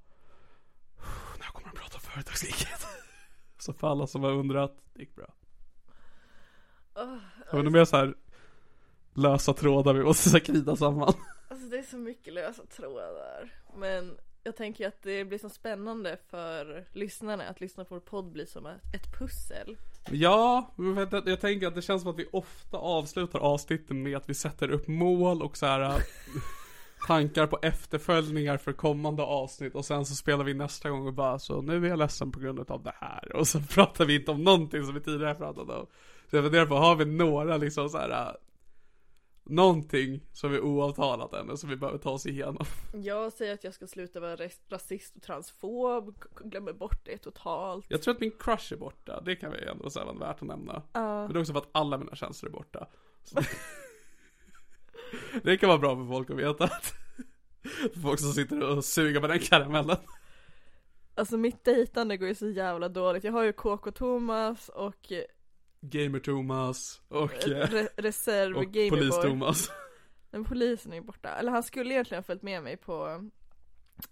A: När kommer de prata om företagsgiget? Så för alla som har undrat, det gick bra.
B: Åh, alltså,
A: Jag undrar mer så här lösa trådar vi måste så här knyta samman.
B: Alltså det är så mycket lösa trådar. Men jag tänker ju att det blir så spännande för lyssnarna att lyssna på vår podd blir som ett pussel.
A: Ja, men vet du, jag tänker att det känns som att vi ofta avslutar avsnitten med att vi sätter upp mål och så här äh, tankar på efterföljningar för kommande avsnitt och sen så spelar vi nästa gång och bara så nu är jag ledsen på grund av det här och så pratar vi inte om någonting som vi tidigare pratat om. Så jag funderar på, har vi några liksom så här äh, någonting som vi oavtalat ännu som vi behöver ta oss igenom?
B: Jag säger att jag ska sluta vara res- rasist och transfob, k- k- glömmer bort det totalt.
A: Jag tror att min crush är borta, det kan vi ändå säga var värt att nämna. Men det är också för att alla mina känslor är borta. Så- det kan vara bra för folk att veta. Att för folk som sitter och suger på den karamellen.
B: Alltså mitt dejtande går ju så jävla dåligt. Jag har ju KK Thomas och eh,
A: Gamer Thomas och, eh,
B: re- reserv
A: och
B: Gameboy.
A: Polis Thomas.
B: Men polisen är ju borta. Eller han skulle egentligen ha följt med mig på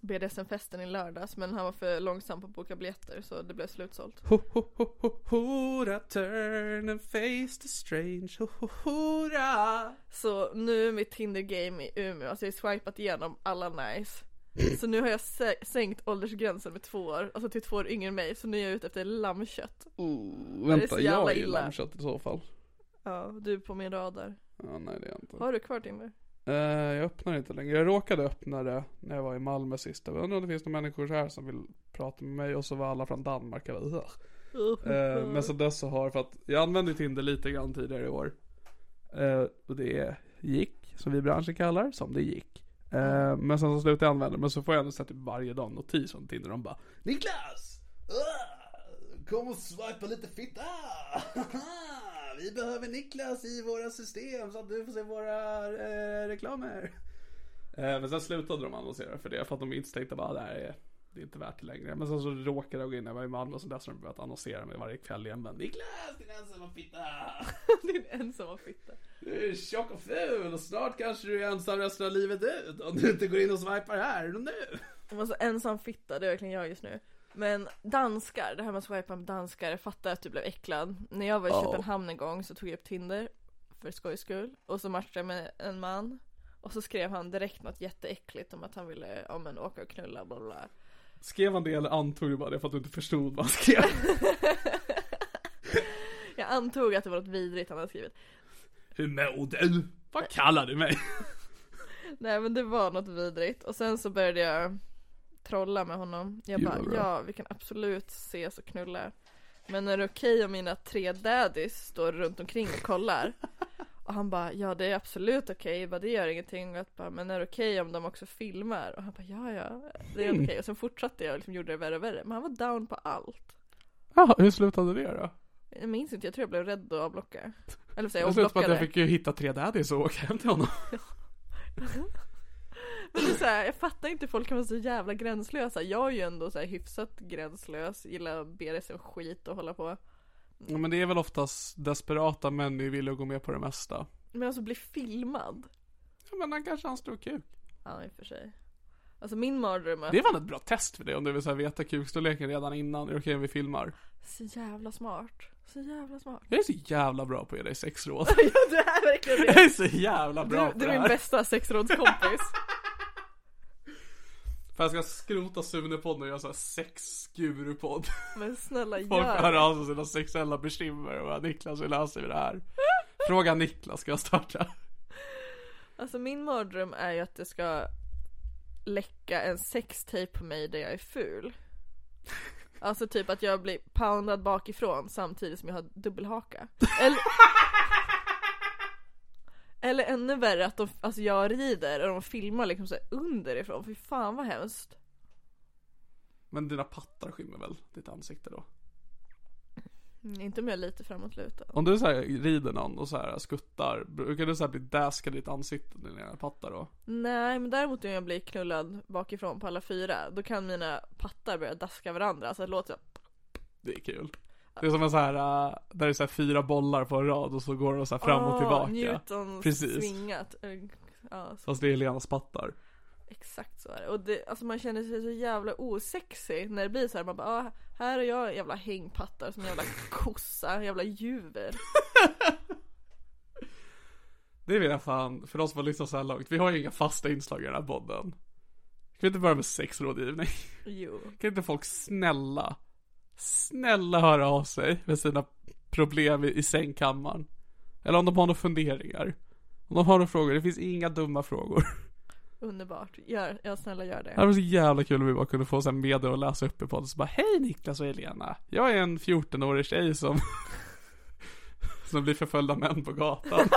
B: BDSM-festen i lördags men han var för långsam på att boka biljetter så det blev slutsålt.
A: Ho, ho, ho, ho, hora, turn and face the strange. Ho, ho, hora.
B: Så nu är mitt Tinder-game i Umeå, alltså jag har swipat igenom alla nice.
A: Mm.
B: Så nu har jag sä- sänkt åldersgränsen med två år, alltså till två år yngre än mig, så nu är jag ute efter lammkött.
A: Oh,
B: Det är så
A: vänta,
B: jävla
A: jag är ju
B: illa.
A: lammkött i så fall.
B: Ja, du är på min radar.
A: Ja, nej det är jag inte.
B: Har du kvar Tinder?
A: Eh, jag öppnar inte längre. Jag råkade öppna det när jag var i Malmö sist. Jag undrar om det finns några människor här som vill prata med mig och så var alla från Danmark. Jag bara, "Ugh." Eh, men sen dess så har för att jag använde ju Tinder lite grann tidigare i år. Eh, och det gick, som vi i branschen kallar, som det gick. Eh, men sen så slutade jag använda det, men så får jag ändå sätta typ varje dag en notis från Tinder. De bara Niklas! Ah, kom och swipa lite fitta! vi behöver Niklas i våra system så att du får se våra eh, reklamer. Eh, men sen slutade de annonsera för det för att de inte tänkte bara det här är, det är inte värt det längre. Men sen så råkade jag gå in när jag var i Malmö och så dess har de börjat annonsera mig varje kväll igen. Men Niklas din ensamma fitta!
B: Din ensamma fitta.
A: Du är tjock och ful och snart kanske du är ensam resten av livet ut om du inte går in och swipar här och nu.
B: Jag var så ensam fitta, det är verkligen jag just nu. Men danskar, det här med att swipa med danskar, jag fattar att du blev äcklad. När jag var i
A: Ja.
B: Köpenhamn en gång så tog jag upp Tinder för skojs skull och så matchade jag med en man. Och så skrev han direkt något jätteäckligt om att han ville ja, men, åka och knulla bla bla, bla.
A: Skrev han det eller antog du bara det för att du inte förstod vad han skrev?
B: Jag antog att det var något vidrigt han hade skrivit.
A: Hur mår du? Vad kallar du mig?
B: Nej men det var något vidrigt och sen så började jag trolla med honom. Jag
A: Gud,
B: bara,
A: vad bra.
B: ja vi kan absolut ses och knulla. Men är det okej om mina tre daddies står runt omkring och kollar? Och han bara, ja det är absolut okej, Jag bara, det gör ingenting. Och jag bara, men är det okej om de också filmar? Och han bara, ja ja, det är helt okej. Och sen fortsatte jag och liksom gjorde det värre och värre. Men han var down på allt.
A: Ja, hur slutade det då?
B: Jag minns inte, jag tror jag blev rädd och avblockade. Eller så jag
A: Jag slutade med att jag
B: avblockade.
A: fick ju hitta tre daddies och åka hem till honom.
B: typ. Mhm. Men det är så här, jag fattar inte hur folk kan vara så jävla gränslösa. Jag är ju ändå så här hyfsat gränslös, gillar BDSM skit och hålla på.
A: Ja, men det är väl oftast desperata män är villiga att gå med på det mesta.
B: Men alltså bli filmad.
A: Ja, men han kanske har en stor kuk.
B: Ja i och för sig. Alltså min mardröm är
A: Det är väl ett bra test för dig om du vill så här, veta kukstorleken redan innan. Är det okej om vi filmar?
B: så jävla smart. Så jävla smart.
A: Jag är så jävla bra på att ge dig sexråd.
B: ja du är verkligen
A: Jag
B: det.
A: är så jävla bra
B: Du,
A: på det
B: du är
A: här.
B: min bästa sexrådskompis.
A: För jag ska skrota Sune-podden och göra såhär sex-guru-podd.
B: Men snälla
A: Folk hör
B: gör det.
A: av sig sina sexuella bekymmer och bara Niklas hur löser vi det här? Fråga Niklas ska jag starta.
B: Alltså min mardröm är ju att det ska läcka en sextape på mig där jag är ful. Alltså typ att jag blir poundad bakifrån samtidigt som jag har dubbelhaka. Eller, eller ännu värre att de, alltså jag rider och de filmar liksom så här underifrån. Fy fan vad hemskt.
A: Men dina pattar skymmer väl ditt ansikte då?
B: Mm, Inte om jag är lite framåtlutad.
A: Om du så här rider någon och så här skuttar, brukar du så här bli daskad i ditt ansikte när dina pattar då?
B: Nej men däremot om jag blir knullad bakifrån på alla fyra då kan mina pattar börja daska varandra så det låter så.
A: Det är kul. Det är som en så här, äh, där det är så här fyra bollar på en rad och så går de så här fram och
B: Åh,
A: tillbaka.
B: Newton
A: Precis.
B: svingat. Eh, Ja, så,
A: Fast det är Helenas pattar.
B: exakt så är det. Och det, alltså man känner sig så jävla osexig när det blir så här. Man bara, ah, här är jag jävla hängpattar som en jävla kossa, jävla juver.
A: Det vill jag fan, för de som har lyssnat så här långt, vi har ju inga fasta inslag i den här podden. Kan vi inte börja med sexrådgivning?
B: Jo.
A: Kan inte folk snälla, snälla höra av sig med sina problem i, i sängkammaren? Eller om de har några funderingar. Om de har några frågor, det finns inga dumma frågor.
B: Underbart. Gör, ja snälla gör
A: Det här
B: det.
A: var så jävla kul om vi bara kunde få sen media att läsa upp i podden så bara Hej Niklas och Helena, jag är en 14-årig tjej som Som blir förföljd av män på gatan.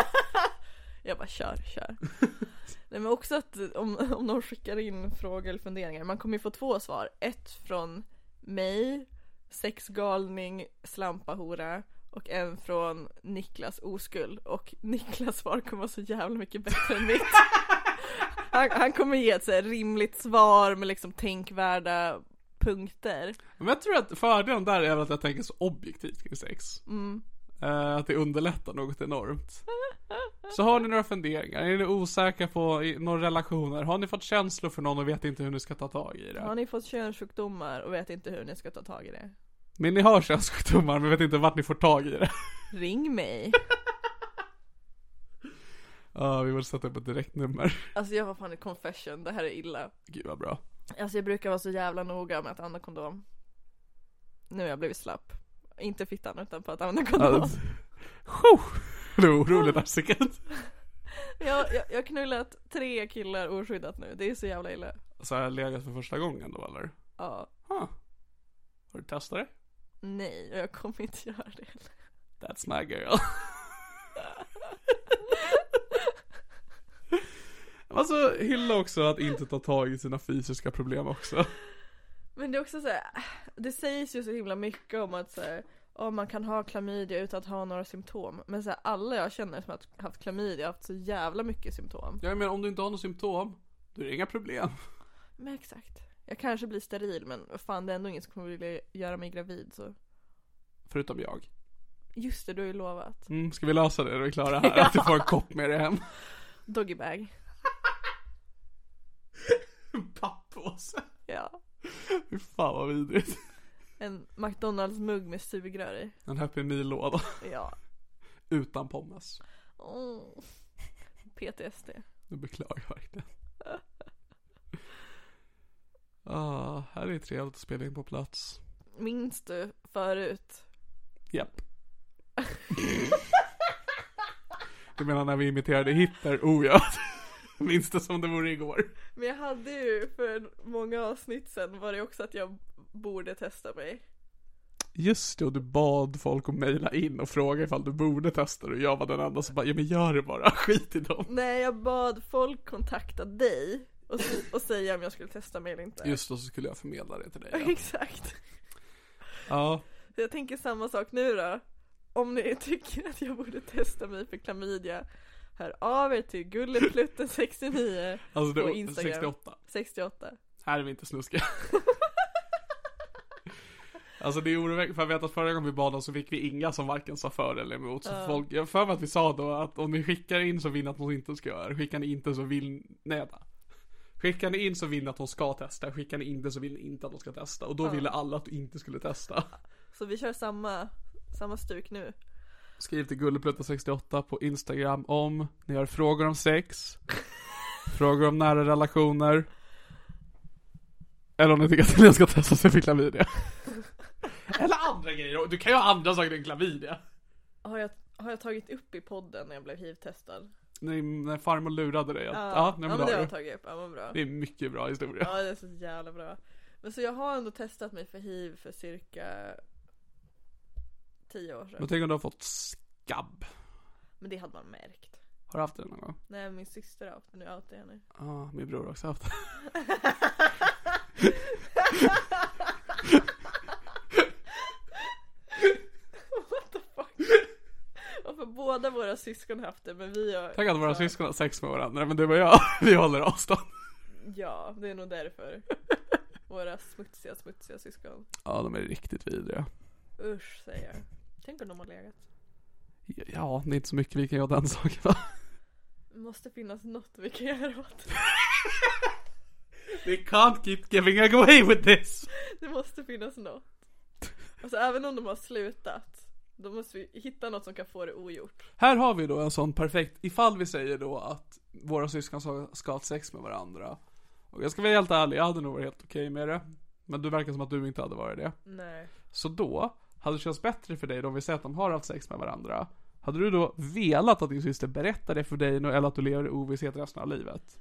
B: Jag bara kör, kör. Nej men också att eh, om, om de skickar in frågor eller funderingar, man kommer ju få två svar. Ett från mig, sexgalning, slampahora och en från Niklas oskuld. Och Niklas svar kommer vara så jävla mycket bättre än mitt. Han, han kommer ge ett så här rimligt svar med liksom tänkvärda punkter.
A: Men jag tror att fördelen där är väl att jag tänker så objektivt kring sex. Eh, att det underlättar något enormt. Så har ni några funderingar? Är ni osäkra på i- några relationer? Har ni fått känslor för någon och vet inte hur ni ska ta tag i det?
B: Har ni fått könssjukdomar och vet inte hur ni ska ta tag i det?
A: Men ni har könssjukdomar men vet inte vart ni får tag i det.
B: Ring mig!
A: Ja, vi vill sätta upp ett direktnummer.
B: Alltså jag har fan ett confession, det här är illa.
A: Gud vad bra.
B: Alltså jag brukar vara så jävla noga med att använda kondom. Nu har jag blivit slapp. Inte fittan utan på att använda kondom.
A: Alltså, tjo! Du är orolig där säkert.
B: Jag, jag, jag har knullat tre killar oskyddat nu, det är så jävla illa.
A: Så har jag legat för första gången då eller?
B: Ja,
A: Huh. Har du testat det?
B: nej och jag kommer inte göra det.
A: That's my girl. Alltså hylla också att inte ta tag i sina fysiska problem också.
B: Men det är också så här, det sägs ju så himla mycket om att så här, "Ja, man kan ha klamydia utan att ha några symptom. Men så här, alla jag känner som har haft klamydia har haft så jävla mycket symptom.
A: Jag menar om du inte har några symptom, då är det inga problem.
B: Men exakt. Jag kanske blir steril men vad fan det är ändå ingen som kommer vilja göra mig gravid så.
A: Förutom jag.
B: Just det, du har ju lovat.
A: Mm, ska vi lösa det då vi är klara här? Att du får en kopp med dig hem.
B: Doggybag.
A: En pappåse.
B: Ja.
A: Fy fan vad vidrigt.
B: En McDonalds-mugg med sugrör i.
A: En Happy Meal-låda.
B: Ja.
A: Utan pommes.
B: Oh. PTSD.
A: Nu beklagar jag verkligen. Ah, här är det trevligt att spela in på plats.
B: Minns du förut?
A: Japp. Du menar när vi imiterade Hitler? Oh ja. Minns det som det vore igår.
B: Men jag hade ju för många avsnitt sen var det också att jag borde testa mig.
A: Just det, och du bad folk att mejla in och fråga ifall du borde testa det. Och jag var den enda som bara, ja men gör det bara, skit i dem.
B: Nej, jag bad folk kontakta dig och, s- och säga om jag skulle testa mig eller inte.
A: Just då så skulle jag förmedla det till dig. Ja.
B: Exakt.
A: ja.
B: Så jag tänker samma sak nu då. Om ni tycker att jag borde testa mig för klamydia, hör av er till gulleplutten69
A: Alltså det
B: på
A: var
B: Instagram.
A: 68.
B: 68.
A: Här är vi inte snuskiga. Alltså det är oroväckande, för jag vet att förra gången vi bad om så fick vi inga som varken sa för eller emot. Så folk, jag har för mig att vi sa då att om ni skickar in så vill ni att hon inte ska göra det. Skickar ni inte så vill, nej vänta. Skickar ni in så vill ni att hon ska testa, skickar ni inte så vill ni inte att hon ska testa. Och då ville alla att du inte skulle testa.
B: Så vi kör samma, samma stuk nu.
A: Skriv till gulleplutta68 på Instagram om ni har frågor om sex, frågor om nära relationer, eller om ni tycker att Helena ska testa sig för klamydia. Eller andra grejer, du kan ju ha andra saker än klamydia.
B: Har jag, har jag tagit upp i podden när jag blev hiv-testad?
A: Nej, när farmor lurade dig att, ja, nej,
B: ja
A: men
B: men det har
A: har
B: jag
A: du.
B: tagit upp, ja men bra.
A: Det är en mycket bra historia.
B: Ja det är så jävla bra. Men så jag har ändå testat mig för hiv för cirka 10 år sedan.
A: Men tänk om du har fått skabb.
B: Men det hade man märkt.
A: Har du haft det någon gång?
B: Nej min syster har haft det, nu outar jag henne.
A: Ja, min bror har också haft det.
B: What the fuck? Varför båda våra syskon haft det men vi har...
A: Tänk att våra syskon har sex med varandra, men du och jag, vi håller avstånd.
B: Ja, det är nog därför. Våra smutsiga, smutsiga syskon.
A: Ja, de är riktigt vidriga.
B: Usch säger jag. Tänk om de har legat.
A: Ja, det är inte så mycket vi kan göra åt den saken va?
B: Det måste finnas något vi kan göra åt det.
A: They can't keep giving away with this!
B: Det måste finnas något. Alltså även om de har slutat. Då måste vi hitta något som kan få det ogjort.
A: Här har vi då en sån perfekt, ifall vi säger då att våra syskon ska- ska ha sex med varandra. Och jag ska vara helt ärlig, jag hade nog varit helt okej med det. Men du verkar som att du inte hade varit det.
B: Nej.
A: Så då, hade det känts bättre för dig då om vi säger att de har haft sex med varandra? Hade du då velat att din syster berättar det för dig nu, eller att du lever i ovisshet resten av livet?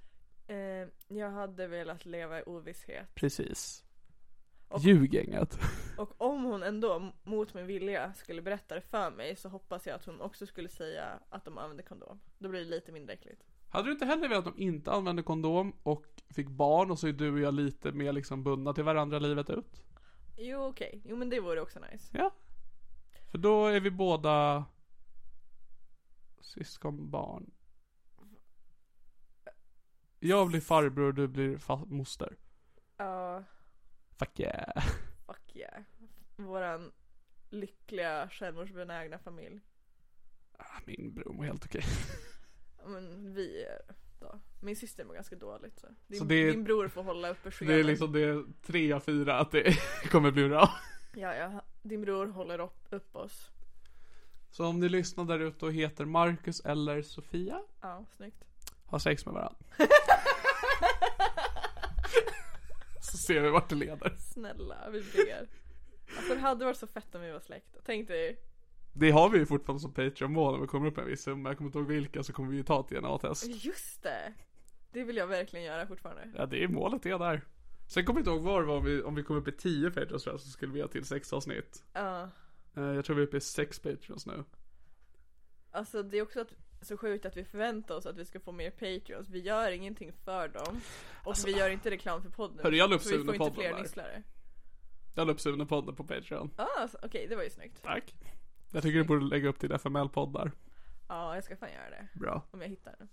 B: Eh, jag hade velat leva i ovisshet.
A: Precis.
B: Och-
A: Ljug gänget.
B: Och om hon ändå mot min vilja skulle berätta det för mig så hoppas jag att hon också skulle säga att de använder kondom. Då blir det lite mindre äckligt.
A: Hade du inte heller velat att de inte använde kondom och fick barn och så är du och jag lite mer liksom bundna till varandra livet ut?
B: Jo okej, jo men det vore också nice.
A: Ja. För då är vi båda syskonbarn. Jag blir farbror och du blir fa- moster.
B: Ja,
A: Fuck yeah.
B: fuck yeah. Våran lyckliga självmordsbenägna familj.
A: Ah, Min bror mår helt okej.
B: Ja, Men vi är då. Min syster mår ganska dåligt så. Din,
A: Så det-
B: din bror får hålla uppe
A: Det
B: skeden.
A: är liksom det tre av fyra att det kommer bli bra.
B: Ja, ja. Din bror håller upp, upp oss.
A: Så om ni lyssnar där ute och heter Marcus eller Sofia,
B: Ja, snyggt.
A: ha sex med varandra. Så ser vi vart det leder.
B: Snälla, vi ber. Alltså det hade varit så fett om vi var släkt. Tänk dig.
A: Det har vi ju fortfarande som Patreon-mål om vi kommer upp med en viss summa. Jag kommer inte ihåg vilka så kommer vi ju ta ett DNA-test.
B: Just det! Det vill jag verkligen göra fortfarande.
A: Ja, det är målet det där. Sen kommer jag inte ihåg var det var om vi, om vi kom upp i 10 Patreons tror jag, så skulle vi ha till sex avsnitt.
B: Ja.
A: Eh, jag tror vi är uppe i sex Patreons nu.
B: alltså det är också att, så sjukt att vi förväntar oss att vi ska få mer patreons. Vi gör ingenting för dem. Och vi gör inte reklam för podden.
A: Hörru, jag la upp
B: så vi får inte
A: Sune-podden
B: fler
A: där.
B: nisslare.
A: Jag la upp Sune-podden på Patreon.
B: Ah, alltså, Okej, det var ju snyggt. Ja,
A: Tack. Jag tycker du borde lägga upp din FML-podd där.
B: jag ska fan göra det.
A: Bra.
B: Om jag hittar den.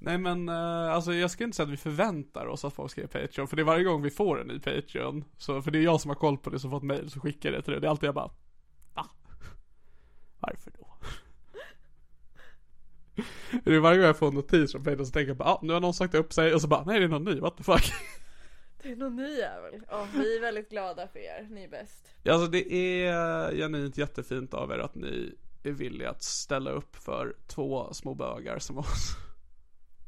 A: Nej men eh, alltså jag skulle inte säga att vi förväntar oss att folk ska ge Patreon. För det är varje gång vi får en ny Patreon. Så, för det är jag som har koll på det som fått mail så skickar jag det till dig. Det är alltid jag bara Va? Varför då? det är varje gång jag får en notis från Patreon så tänker jag bara ah, nu har någon sagt upp sig. Och så bara nej det är någon ny, what the fuck.
B: Det är någon ny jävel. Ja, vi är väldigt glada för er. Ni är bäst.
A: Ja, Alltså det är genuint jättefint av er att ni är villiga att ställa upp för två små bögar som oss.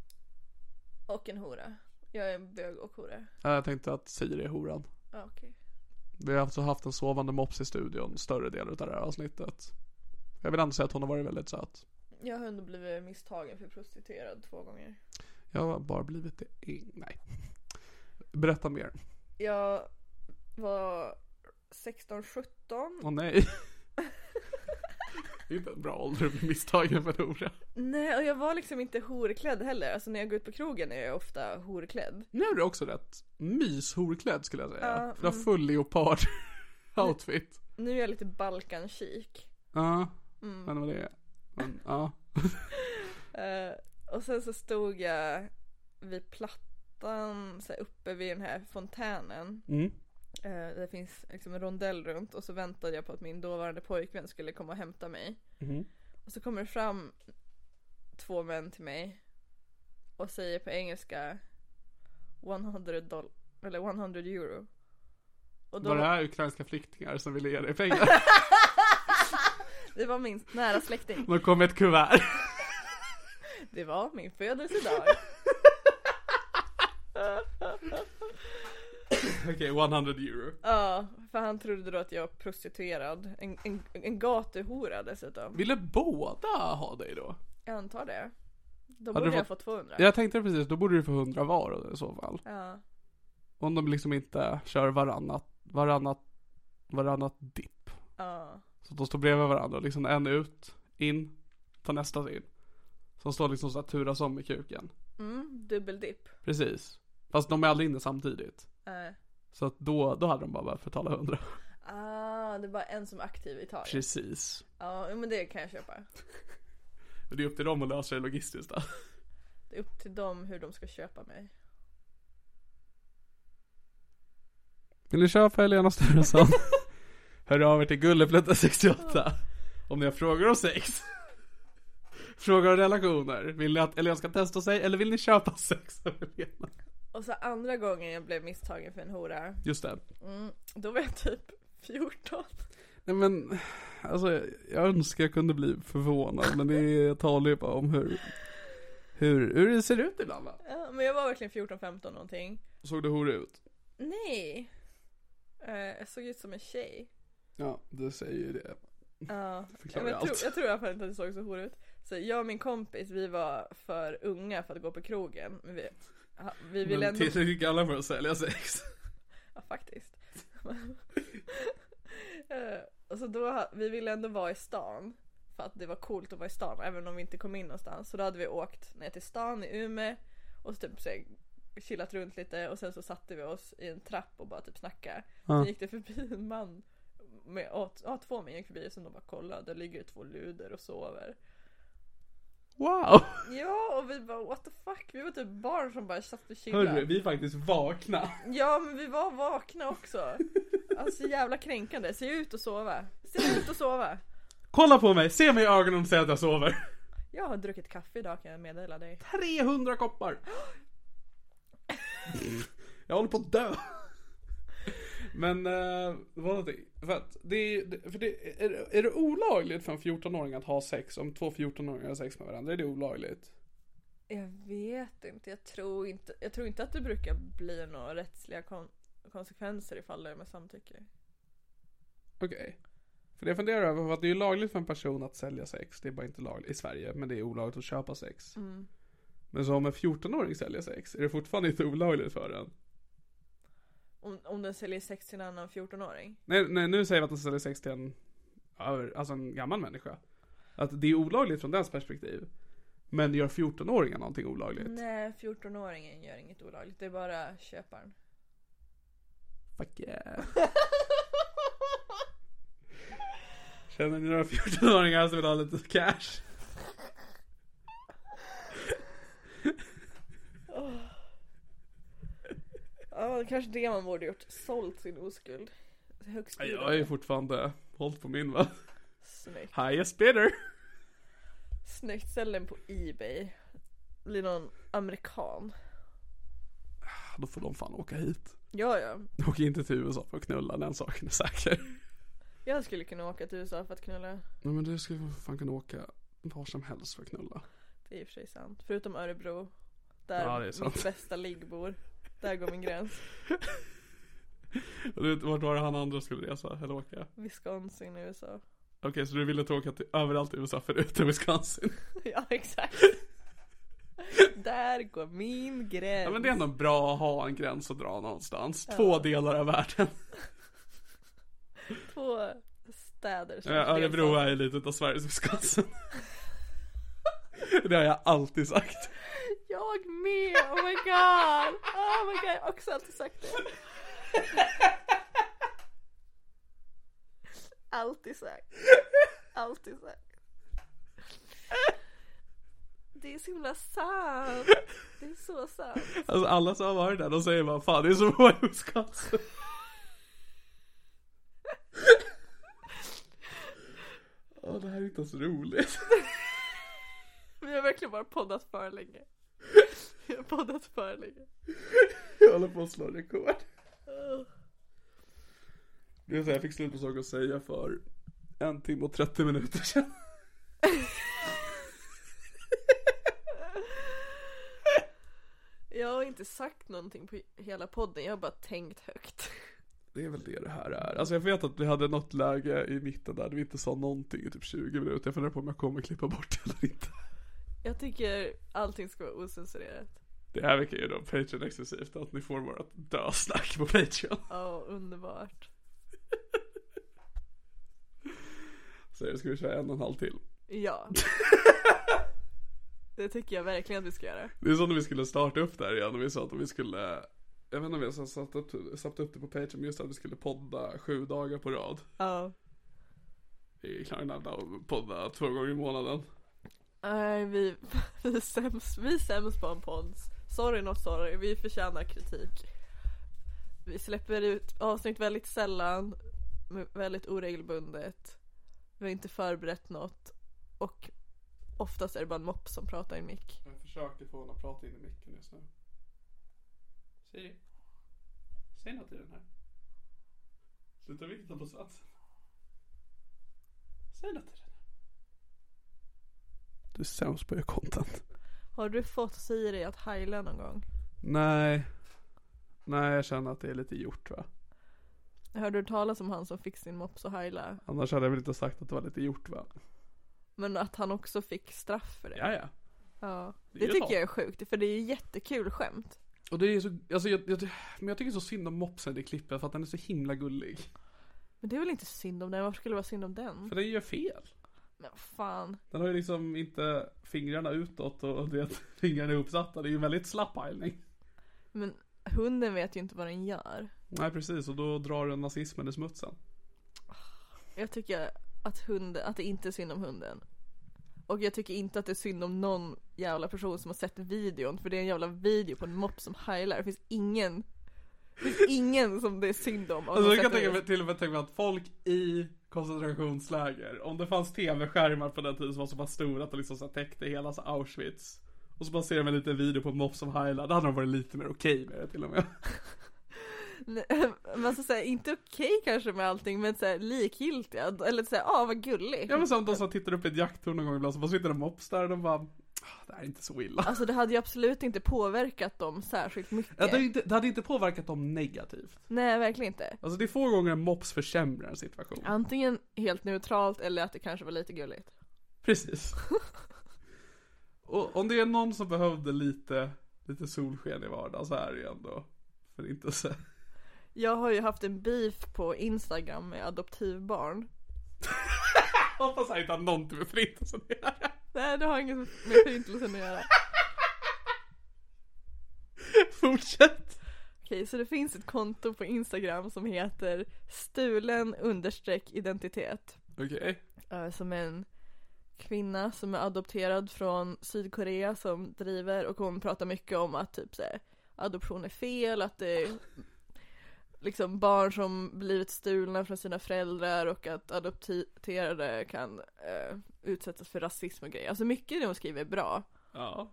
B: Och en hora. Jag är en bög och hora.
A: Ja, Jag tänkte att Siri är horan.
B: Ja, okej.
A: Vi har alltså haft en sovande mops i studion större delen av det här avsnittet. Jag vill ändå säga att hon har varit väldigt söt.
B: Jag har ändå blivit misstagen för prostituerad två gånger.
A: Jag har bara blivit det en... Nej. Berätta mer.
B: Jag var 16-17.
A: Åh nej. Det är inte en bra ålder att bli misstagen för en hora.
B: Nej, och jag var liksom inte horklädd heller. Alltså när jag går ut på krogen är jag ofta horklädd.
A: Nu är du också rätt myshorklädd skulle jag säga.
B: Ja, mm.
A: du har full leopard outfit.
B: Nu är jag lite Balkan-chic.
A: Ja,
B: Mm.
A: men vad det är. Men, ja.
B: Eh, och sen så stod jag vid plattan, så här uppe vid den här fontänen.
A: Mm.
B: Eh, det finns liksom en rondell runt och så väntade jag på att min dåvarande pojkvän skulle komma och hämta mig.
A: Mhm.
B: Och så kommer det fram två män till mig och säger på engelska 100 dollar, eller 100 euro. Och då,
A: Var det här ukrainska flyktingar som ville ge dig pengar?
B: det var min nära släkting.
A: De kom med ett kuvert.
B: Det var min födelsedag.
A: Okej, 100 euro.
B: Ja, för han trodde då att jag var prostituerad. En, en, en gatuhora dessutom.
A: Ville båda ha dig då?
B: Jag antar det. Då
A: Hade
B: borde
A: du
B: jag
A: fått-
B: fått 200.
A: Jag tänkte precis, då borde du få 100 var i så fall.
B: Ja.
A: Om de liksom inte kör varannat, varannat, varannat dipp.
B: ja.
A: Så att de står bredvid varandra och liksom en ut, in, tar nästa in. Som står liksom såhär turas om i kuken.
B: Mm, dubbeldipp. Eh,
A: Precis. Fast de är aldrig inne samtidigt.
B: Nej.
A: Så att då, då hade de bara börjat betala 100.
B: Ah, det är bara en som är aktiv i taget. Ja,
A: Precis.
B: ah, men det kan jag köpa.
A: Och Det är upp till dem att lösa det logistiskt då.
B: Det är upp till dem hur de ska köpa mig.
A: Vill ni köpa Helena Sturesson? Hör av er till Gulleplutta68 om ni har frågor om sex. Frågor om relationer. Vill ni att Helena ska testa sig eller vill ni köpa sex av Helena?
B: Och så andra gången jag blev misstagen för en hora,
A: Just det.
B: mm, då var jag typ 14.
A: Nej men, alltså jag- jag önskar jag kunde bli förvånad men det är, jag talar ju bara om hur, hur, hur det ser ut ibland va?
B: Ja, men jag var verkligen 14-15 någonting.
A: Såg det hora ut?
B: Nej! Eh, jag såg ut som en tjej.
A: Ja, det säger ju det.
B: Ja,
A: Förklarar
B: men jag,
A: allt.
B: tror, jag tror i alla fall inte att det såg så hor ut. Så jag och min kompis, vi var för unga för att gå på krogen. Men vi, ja, vi ville
A: Men
B: ändå...
A: tillräckligt gamla för att sälja sex.
B: Ja, faktiskt. Eh, och så då, ha- vi ville ändå vara i stan. För att det var coolt att vara i stan, även om vi inte kom in någonstans. Så då hade vi åkt ner till stan i Umeå och så typ så här, chillat runt lite och sen så satte vi oss i en trapp och bara typ snackade. Sen gick det förbi en man, med, ja, t- ja, två män gick förbi som de bara kollade, där ligger det två luder och sover.
A: Wow!
B: Ja och vi bara what the fuck, vi var typ barn som bara satt och chillade.
A: Hörru, vi är faktiskt vakna.
B: Ja men vi var vakna också. Alltså jävla kränkande. Se ut och sova. Se ut och sova.
A: Kolla på mig, se mig i ögonen och säg att jag sover.
B: Jag har druckit kaffe idag kan jag meddela dig.
A: 300 koppar. jag håller på att dö. Men eh, det var någonting. För att det är, det- för det, är, det- är det olagligt för en 14-åring att ha sex om två 14-åringar har sex med varandra? Är det olagligt?
B: Jag vet inte. Jag tror inte, jag tror inte att det brukar bli några rättsliga kon- konsekvenser ifall det är med samtycke.
A: Okej. För det jag funderar över var att det är ju lagligt för en person att sälja sex. Det är bara inte lagligt i Sverige, men det är olagligt att köpa sex. Men så om en 14-åring säljer sex, är det fortfarande inte olagligt för den?
B: Om, om den säljer sex till en annan 14-åring.
A: Nej, nej nu säger vi att den säljer sex till en, alltså en gammal människa. Att det är olagligt från dens perspektiv. Men gör 14-åringar någonting olagligt?
B: Nej, 14-åringen gör inget olagligt. Det är bara köparen.
A: Fuck yeah. Känner ni några 14-åringar som vill ha lite cash?
B: Ja, det kanske det man borde gjort. Sålt sin oskuld. Högst
A: Nej, Jag är ju fortfarande hållt på min va?
B: Snyggt.
A: Highest bidder.
B: Snyggt, sälj den på Ebay. Blir någon amerikan.
A: Då får de fan åka hit.
B: Ja, ja.
A: Åk inte till USA för att knulla, den saken är säker.
B: Jag skulle kunna åka till USA för att knulla.
A: Nej men du ska ju fan kunna åka var som helst för att knulla.
B: Det är i och för sig sant. Förutom Örebro. Där
A: Ja, det är sant.
B: mitt bästa ligg bor. Där går min gräns.
A: Och du vet, vart var det han andra skulle resa eller åka?
B: Wisconsin i USA.
A: Okej, så du ville inte åka till överallt i USA förutom Wisconsin?
B: ja, exakt. Där går min gräns.
A: Ja men det är ändå bra att ha en gräns att dra någonstans. Två delar av världen.
B: Två städer. som
A: Ja, Örebro
B: delstater.
A: är ju lite utav Sveriges Wisconsin. Det har jag alltid sagt.
B: Jag med! Oh my god! Oh my god, jag har också alltid sagt det. Alltid sagt. Alltid sagt. Det är så himla sant. Det är så sant.
A: Alltså alla som har varit där, de säger bara fan det är som att vara i Wisconsin. Åh det här är inte ens roligt.
B: Vi har verkligen bara poddat för länge. Vi har poddat för länge.
A: Jag håller på att slå rekord. Det är så här, jag fick slut på saker att säga för en timme och 30 minuter sedan.
B: Jag har inte sagt någonting på hela podden, jag har bara tänkt högt.
A: Det är väl det det här är. Alltså jag vet att vi hade något läge i mitten där vi inte sa någonting i typ 20 minuter. Jag funderar på om jag kommer klippa bort det eller inte.
B: Jag tycker allting ska vara osensurerat.
A: Det här verkar ju då Patreon exklusivt att ni får vårat dösnack på Patreon.
B: Ja, underbart.
A: Så nu ska vi köra en och en halv till.
B: Ja. Det tycker jag verkligen att vi ska göra.
A: Det är som när vi skulle starta upp där igen och vi sa att vi skulle Jag vet inte om jag satt upp, satt upp det på Patreon just att vi skulle podda sju dagar på rad.
B: Ja.
A: Vi klarar inte av att podda två gånger i månaden.
B: Nej, vi, vi, är sämst, vi är sämst på en podd. Sorry not sorry, vi förtjänar kritik. Vi släpper ut avsnitt väldigt sällan, men väldigt oregelbundet. Vi har inte förberett något och oftast är det bara en mopp som pratar i mick.
A: Jag försöker få honom att prata in i micken just nu. Siri. Säg något i den här. Sluta vikta på satsen. Säg något i den här. Du är sämst på att göra content.
B: Har du fått Siri att heila någon gång?
A: Nej. Nej, jag känner att det är lite gjort va.
B: Hörde du talas om han som fick sin mops att heila?
A: Annars hade jag väl inte sagt att det var lite gjort va.
B: Men att han också fick straff för det.
A: Ja, ja.
B: Ja.
A: Det
B: Det,
A: är
B: tycker
A: bra.
B: jag är sjukt, för det är ju jättekul skämt.
A: Och det är så, alltså jag, jag, men jag tycker så synd om mopsen i klippet för att den är så himla gullig.
B: Men det är väl inte synd om den, varför skulle det vara synd om den?
A: För den gör fel.
B: Men vad fan.
A: Den har ju liksom inte fingrarna utåt och du vet, fingrarna är uppsatta. Det är ju en väldigt slapp heilning.
B: Men hunden vet ju inte vad den gör.
A: Nej precis och då drar den nazismen i smutsen.
B: Jag tycker att, hund, att det inte är synd om hunden. Och jag tycker inte att det är synd om någon jävla person som har sett videon. För det är en jävla video på en mopp som heilar. Det finns ingen. Det finns ingen som det är synd om. av
A: Alltså
B: de
A: jag kan
B: sätter
A: tänka mig,
B: ut.
A: till och med tänka mig att folk i koncentrationsläger, om det fanns tv-skärmar på den tiden som var så pass stora att de liksom så här täckte hela så Auschwitz. Och så bara ser de en liten video på en mops som heilar, då hade de varit lite mer okej med det till och med.
B: Nej, Men alltså såhär, inte okej kanske med allting men såhär likgiltiga. Eller såhär, ah vad gullig.
A: Ja men som de som tittar upp i ett jakttorn någon gång ibland så bara sitter en mops där och de bara, "Ah, det här är inte så illa.
B: Alltså det hade ju absolut inte påverkat dem särskilt mycket.
A: Ja, det, hade inte, det hade inte påverkat dem negativt.
B: Nej verkligen inte.
A: Alltså det är få gånger en mops försämrar en situation.
B: Antingen helt neutralt eller att det kanske var lite gulligt.
A: Precis. Och om det är någon som behövde lite, lite solsken i vardagen så är det ju ändå förintelse.
B: Jag har ju haft en beef på Instagram med adoptivbarn.
A: Jag hoppas jag inte har någonting med förintelsen att göra.
B: Nej det har inget med förintelsen att göra.
A: Fortsätt.
B: Okej så det finns ett konto på Instagram som heter stulen understreck identitet.
A: Okej.
B: eh, Som är en kvinna som är adopterad från Sydkorea som driver och hon pratar mycket om att typ så här, adoption är fel, att det är liksom barn som blivit stulna från sina föräldrar och att adopterade kan eh, utsättas för rasism och grejer. Alltså mycket i det hon skriver är bra.
A: Ja.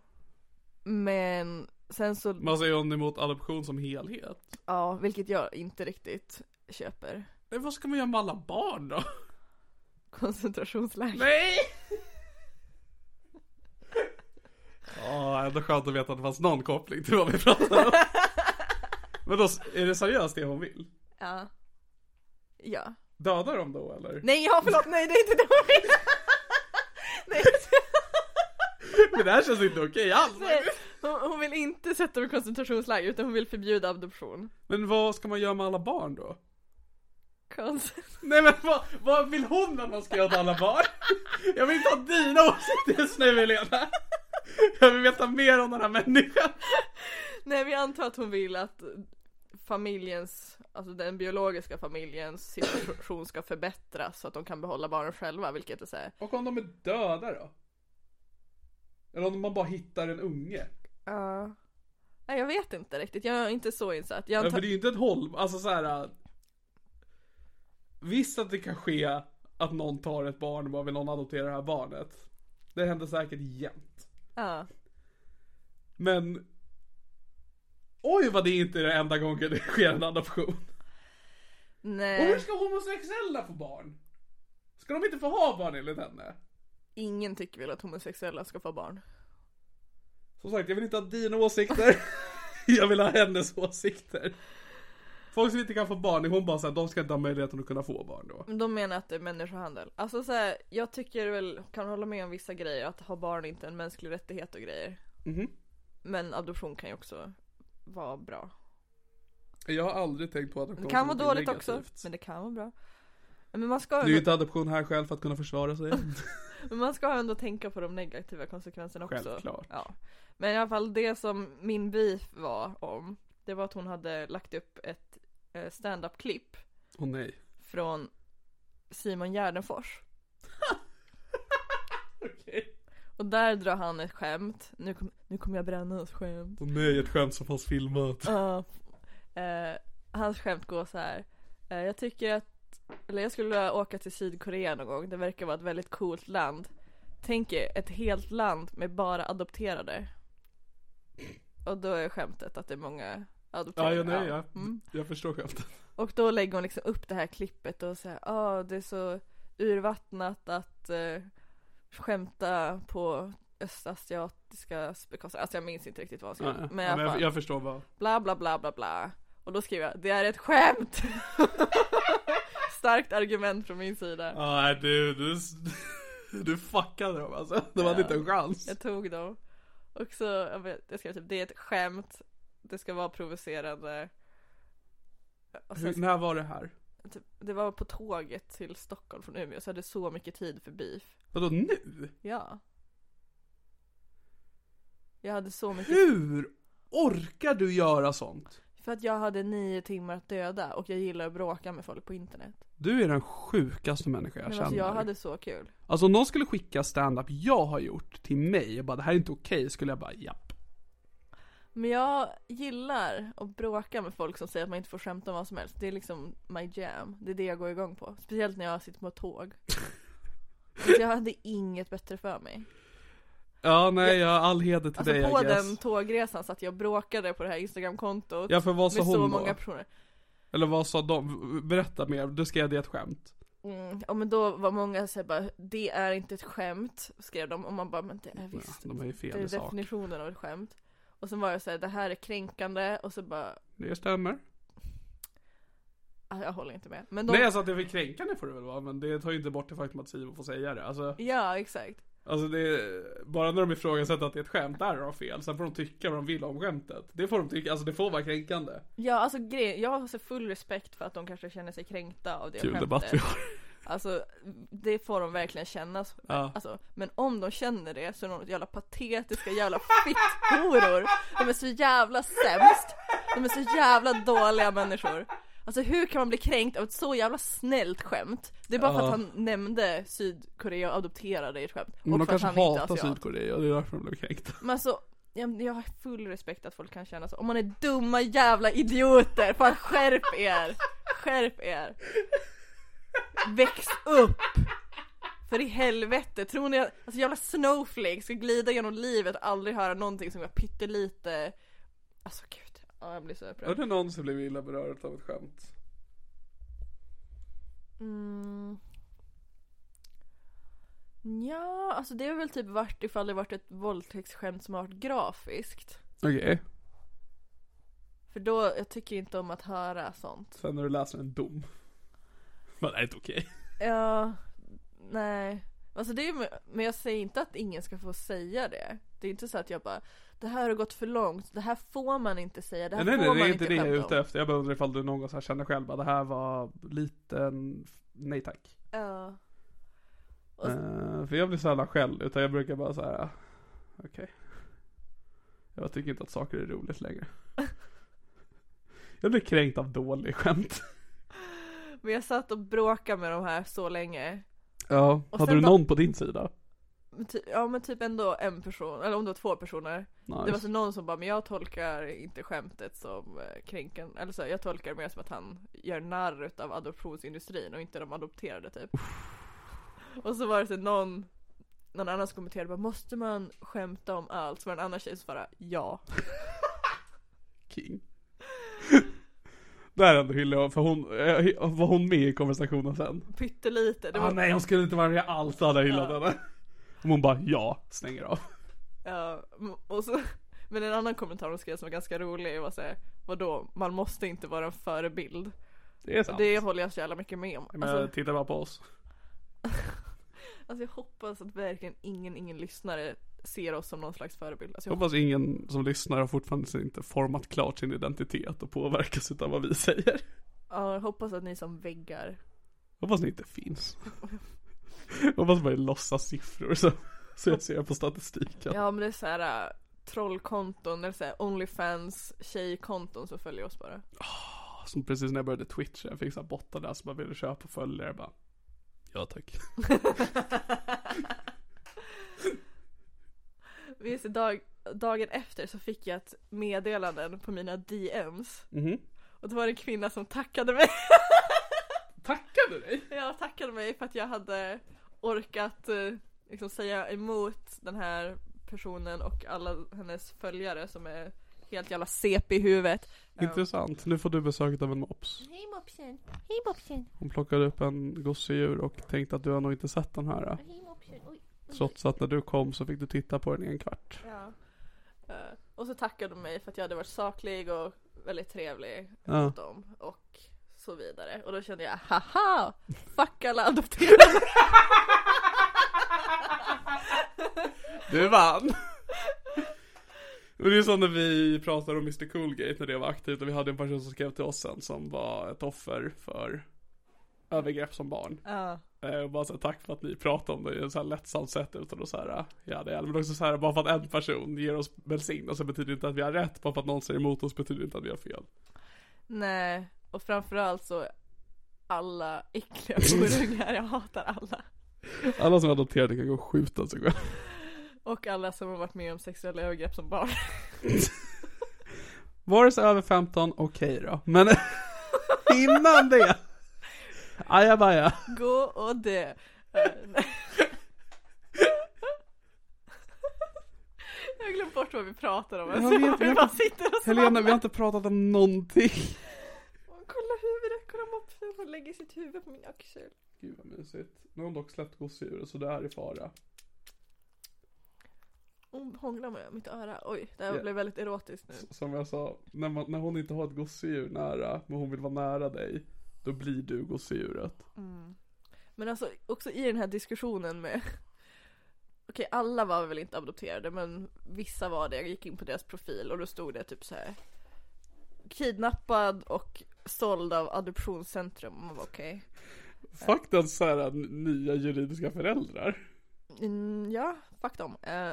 B: Men sen så,
A: Man säger hon emot adoption som helhet.
B: ja, vilket jag inte riktigt köper.
A: Men vad ska man göra med alla barn då?
B: Koncentrationsläger.
A: Nej! Ja, ändå skönt att veta att det fanns någon koppling till vad vi pratade om. Men då, är det seriöst det hon vill?
B: Ja. Ja.
A: Dödar de då eller?
B: Nej, ja förlåt, nej det är inte det hon vill. Nej,
A: Men det här känns inte okej alls.
B: nej. Hon, hon vill inte sätta dem i koncentrationsläger utan hon vill förbjuda adoption.
A: Men vad ska man göra med alla barn då?
B: Konst...
A: Nej men vad, vad vill hon att man ska göra med alla barn? Jag vill inte ha dina åsikter just nu Helena. Jag vill veta mer om den här människan.
B: Nej, vi antar att hon vill att familjens, alltså den biologiska familjens situation ska förbättras så att de kan behålla barnen själva, vilket är så här.
A: Och om de är döda då? Eller om man bara hittar en unge?
B: Ja. Nej, jag vet inte riktigt, jag är inte så insatt. Jag
A: Ja,
B: antar...
A: för det är ju inte ett håll, alltså så här. äh, Visst att det kan ske att någon tar ett barn och bara vill någon adoptera det här barnet. Det händer säkert jämt.
B: ja.
A: Men Oj vad det inte är den enda gången det sker en adoption. Och hur
B: Nej,
A: ska homosexuella få barn? Ska de inte få ha barn enligt henne?
B: ingen tycker väl att homosexuella ska få barn.
A: Som sagt, jag vill inte ha dina åsikter. jag vill ha hennes åsikter. Folk som inte kan få barn, är hon bara såhär, de ska inte ha möjligheten att kunna få barn då.
B: De menar att det är människohandel. Alltså så här, jag tycker väl, kan hålla med om vissa grejer, att ha barn är inte en mänsklig rättighet och grejer.
A: Mhm.
B: Men adoption kan ju också vara bra.
A: Jag har aldrig tänkt på att
B: Det kan vara dåligt också, men det kan vara bra. Men man ska,
A: Du är ju
B: ändå,
A: inte adoption här själv för att kunna försvara sig.
B: men man ska ändå tänka på de negativa konsekvenserna också.
A: Självklart.
B: Ja. Men i alla fall det som min beef var om Det var att hon hade lagt upp ett eh, stand-up-klipp
A: Åh nej.
B: från Simon Gärdenfors.
A: Okej.
B: Och där drar han ett skämt. Nu, kom, nu kommer jag bränna hans skämt.
A: Åh nej, ett skämt som fanns filmat.
B: Ja. eh, hans skämt går så här. Eh, jag tycker att, eller jag skulle vilja åka till Sydkorea någon gång. Det verkar vara ett väldigt coolt land. Tänk er ett helt land med bara adopterade. Och då är skämtet att det är många
A: Ja,
B: adopterade.
A: ja, nej, ja.
B: Mm.
A: jag förstår skämtet.
B: Och då lägger hon liksom upp det här klippet och säger ah, det är så urvattnat att eh, skämta på östasiatiska bekostnad. Alltså jag minns inte riktigt vad hon skrev.
A: Nej,
B: Men, i
A: ja,
B: alla
A: men jag,
B: fall,
A: jag förstår vad.
B: bla bla bla bla bla. Och då skriver jag, det är ett skämt! Starkt argument från min sida.
A: Ja, nej, du, du, du fuckade dem alltså. De hade
B: Ja.
A: inte en chans.
B: Jag tog dem. Och så, jag, vet, jag skrev typ, det är ett skämt. Det ska vara provocerande. Och sen
A: Hur, när var det här?
B: Typ, Det var på tåget till Stockholm från Umeå så jag hade så mycket tid för beef.
A: Vadå nu?
B: Ja. Jag hade så mycket
A: Hur orkar du göra sånt?
B: För att jag hade nio timmar att döda och jag gillar att bråka med folk på internet.
A: Du är den sjukaste människa jag
B: Men
A: känner.
B: alltså jag hade så kul.
A: Alltså om någon skulle skicka stand-up jag har gjort till mig och bara det här är inte okej, skulle jag bara japp.
B: Men jag gillar att bråka med folk som säger att man inte får skämta om vad som helst. Det är liksom my jam. Det är det jag går igång på. Speciellt när jag sitter på ett tåg. Så jag hade inget bättre för mig.
A: Ja nej, jag, all heder till
B: Alltså
A: dig
B: på
A: I guess.
B: den tågresan satt jag och bråkade på det här instagramkontot.
A: Ja för vad sa
B: med
A: hon
B: så
A: då?
B: många personer.
A: Eller vad sa de? Berätta mer, du skrev det ett skämt.
B: Mm, ja men då var många såhär bara, det är inte ett skämt, skrev de och man bara, men det är
A: Ja,
B: visst.
A: de har ju
B: det
A: fel
B: är
A: i sak.
B: definitionen av ett skämt. Och sen var det såhär, det här är kränkande och så bara,
A: Det stämmer.
B: ah, jag håller inte med. Men de,
A: Nej alltså att det är för kränkande får det väl vara, men det tar ju inte bort det faktum att Simon får säga det. Alltså,
B: Ja exakt.
A: alltså det är, bara när de ifrågasätter att det är ett skämt, där har de fel. Sen får de tycka vad de vill om skämtet. Det får de tycka, alltså det får vara kränkande.
B: Ja alltså grejen, jag har så full respekt för att de kanske känner sig kränkta av det skämtet.
A: har.
B: Alltså det får de verkligen känna. så.
A: Ja.
B: Alltså, men om de känner det så är de jävla patetiska jävla fitthoror. De är så jävla sämst. De är så jävla dåliga människor. Alltså hur kan man bli kränkt av ett så jävla snällt skämt? Det är bara för att han nämnde Sydkorea och adopterade i ett skämt.
A: Men
B: och
A: de
B: för att
A: kanske
B: han inte är
A: hatar
B: asiat.
A: Sydkorea och det är därför de blev kränkta.
B: Men alltså, jag, jag har full respekt att folk kan känna så. Om man är dumma jävla idioter, fan skärp er! Skärp er! Väx upp! För i helvete, tror ni att alltså jävla snowflake ska glida genom livet och aldrig höra någonting som är pyttelite... Alltså gud, ja, jag blir så
A: Har
B: upprörd.
A: du någonsin blivit illa berörd av ett skämt?
B: Mm. Ja, alltså det har väl typ varit ifall det varit ett våldtäktsskämt som har varit grafiskt.
A: Okej.
B: För då, jag tycker inte om att höra sånt.
A: Sen när du läser en dom. Men det är inte okej.
B: Ja, nej. Alltså det är, ju- men jag säger inte att ingen ska få säga det. Det är inte så att jag bara, det här har gått för långt, det här får man inte säga, det här
A: Nej nej,
B: får
A: det
B: man
A: är inte det jag är
B: skämta
A: ute
B: om.
A: efter. Jag bara undrar ifall du någon gång så här känner själv att det här var liten, nej tack.
B: Ja. Och-
A: Eh, för jag blir sällan skäll utan jag brukar bara så här. ah, okej. Jag tycker inte att saker är roligt längre. jag blir kränkt av dålig skämt.
B: Men jag satt och bråkade med de här så länge.
A: Ja,
B: Och
A: hade
B: sen
A: du
B: bara-
A: någon på din sida?
B: Men ty- Ja men typ ändå en person, eller om det var två personer.
A: Nice.
B: Det var så någon som bara, men jag tolkar inte skämtet som eh, kränken, eller så här, jag tolkar det mer som att han gör narr utav adoptionsindustrin och inte de adopterade typ. och så var det så någon, någon annan som kommenterade bara, måste man skämta om allt? Så var det en annan tjej som svarade ja.
A: King. Där ändå hyllar jag, för hon, eh, var hon med i konversationen sen?
B: Pyttelite. Det var,
A: ah, nej hon skulle inte vara med alls, hade jag hyllat henne. Om hon bara ja, stänger av.
B: Ja, m- och så, men en annan kommentar hon skrev som var ganska rolig var såhär, vadå, man måste inte vara en förebild.
A: Det är sant.
B: Det håller jag så jävla mycket med om.
A: Men
B: Alltså,
A: titta bara på oss.
B: Alltså jag hoppas att verkligen ingen, ingen lyssnare ser oss som någon slags förebild. Alltså
A: Jag
B: jag
A: hoppas ingen som lyssnar har fortfarande inte format klart sin identitet och påverkas utav vad vi säger.
B: Ja, jag hoppas att ni som väggar.
A: Hoppas ni inte finns. Hoppas bara det är låtsas siffror som, som jag ser på statistiken.
B: Ja men det är så här. äh, trollkonton eller så här Onlyfans tjejkonton som följer oss bara.
A: Som precis när jag började twitcha, jag fick såhär bottar där som bara ville köpa följare bara Ja tack
B: Minns du, dag, dagen efter så fick jag ett meddelanden på mina DMs
A: Mhm
B: och då var det en kvinna som tackade mig.
A: Tackar du dig?
B: jag tackade mig för att jag hade orkat eh, liksom, säga emot den här personen och alla hennes följare som är helt jävla CP i huvudet.
A: Intressant, nu får du besöket av en mops
C: Hej mopsen! Hej mopsen!
A: Hon plockade upp en gosedjur och tänkte att du har nog inte sett den här
C: Hej mopsen! Oj!
A: Trots att när du kom så fick du titta på den i en kvart
B: Ja. Eh, Och så tackade de mig för att jag hade varit saklig och väldigt trevlig
A: Ja.
B: mot dem och så vidare. Och då kände jag haha! Fuck alla adopterade!
A: Du vann! Men det är som när vi pratade om Mr Coolgate när det var aktivt och vi hade en person som skrev till oss sen som var ett offer för övergrepp som barn.
B: Ja.
A: Eh, Och bara så här, tack för att ni pratade om det i ett så här lättsamt sätt utan att så här, ja det är men också så här, bara för att en person ger oss välsignelse betyder inte att vi har rätt, bara för att någon säger emot oss betyder inte att vi har fel.
B: Nej, och framförallt så alla äckliga horungar, jag hatar alla.
A: Alla som är adopterade kan gå och skjuta sig själv.
B: Och alla som har varit med om sexuella övergrepp som barn.
A: Vare sig över 15, okej då. Men innan det. Ajabaja.
B: Gå och dö. Eh, nej. Jag har glömt bort vad vi pratar om. Alltså,
A: vet,
B: vi
A: jag-
B: bara sitter och
A: Helena, vi
B: svamlar.
A: har inte pratat om någonting.
B: Åh, Kolla huvudet, kolla mopsen. Hon lägger sitt huvud på min axel.
A: Gud vad mysigt. Nu har hon dock släppt gosedjuret så det är i fara.
B: Hon hånglar med mitt öra. Oj, det här
A: Ja.
B: blev väldigt erotiskt nu.
A: S- Som jag sa, när, man, när hon inte har ett gosedjur nära, men hon vill vara nära dig, då blir du gosedjuret.
B: Men alltså också i den här diskussionen med Okej alla var väl inte adopterade men vissa var det. Jag gick in på deras profil och då stod det typ så här Kidnappad och såld av adoptionscentrum. Man bara okej.
A: Fuck den så här n- nya juridiska föräldrar.
B: Mm, ja, fuck dem. Eh,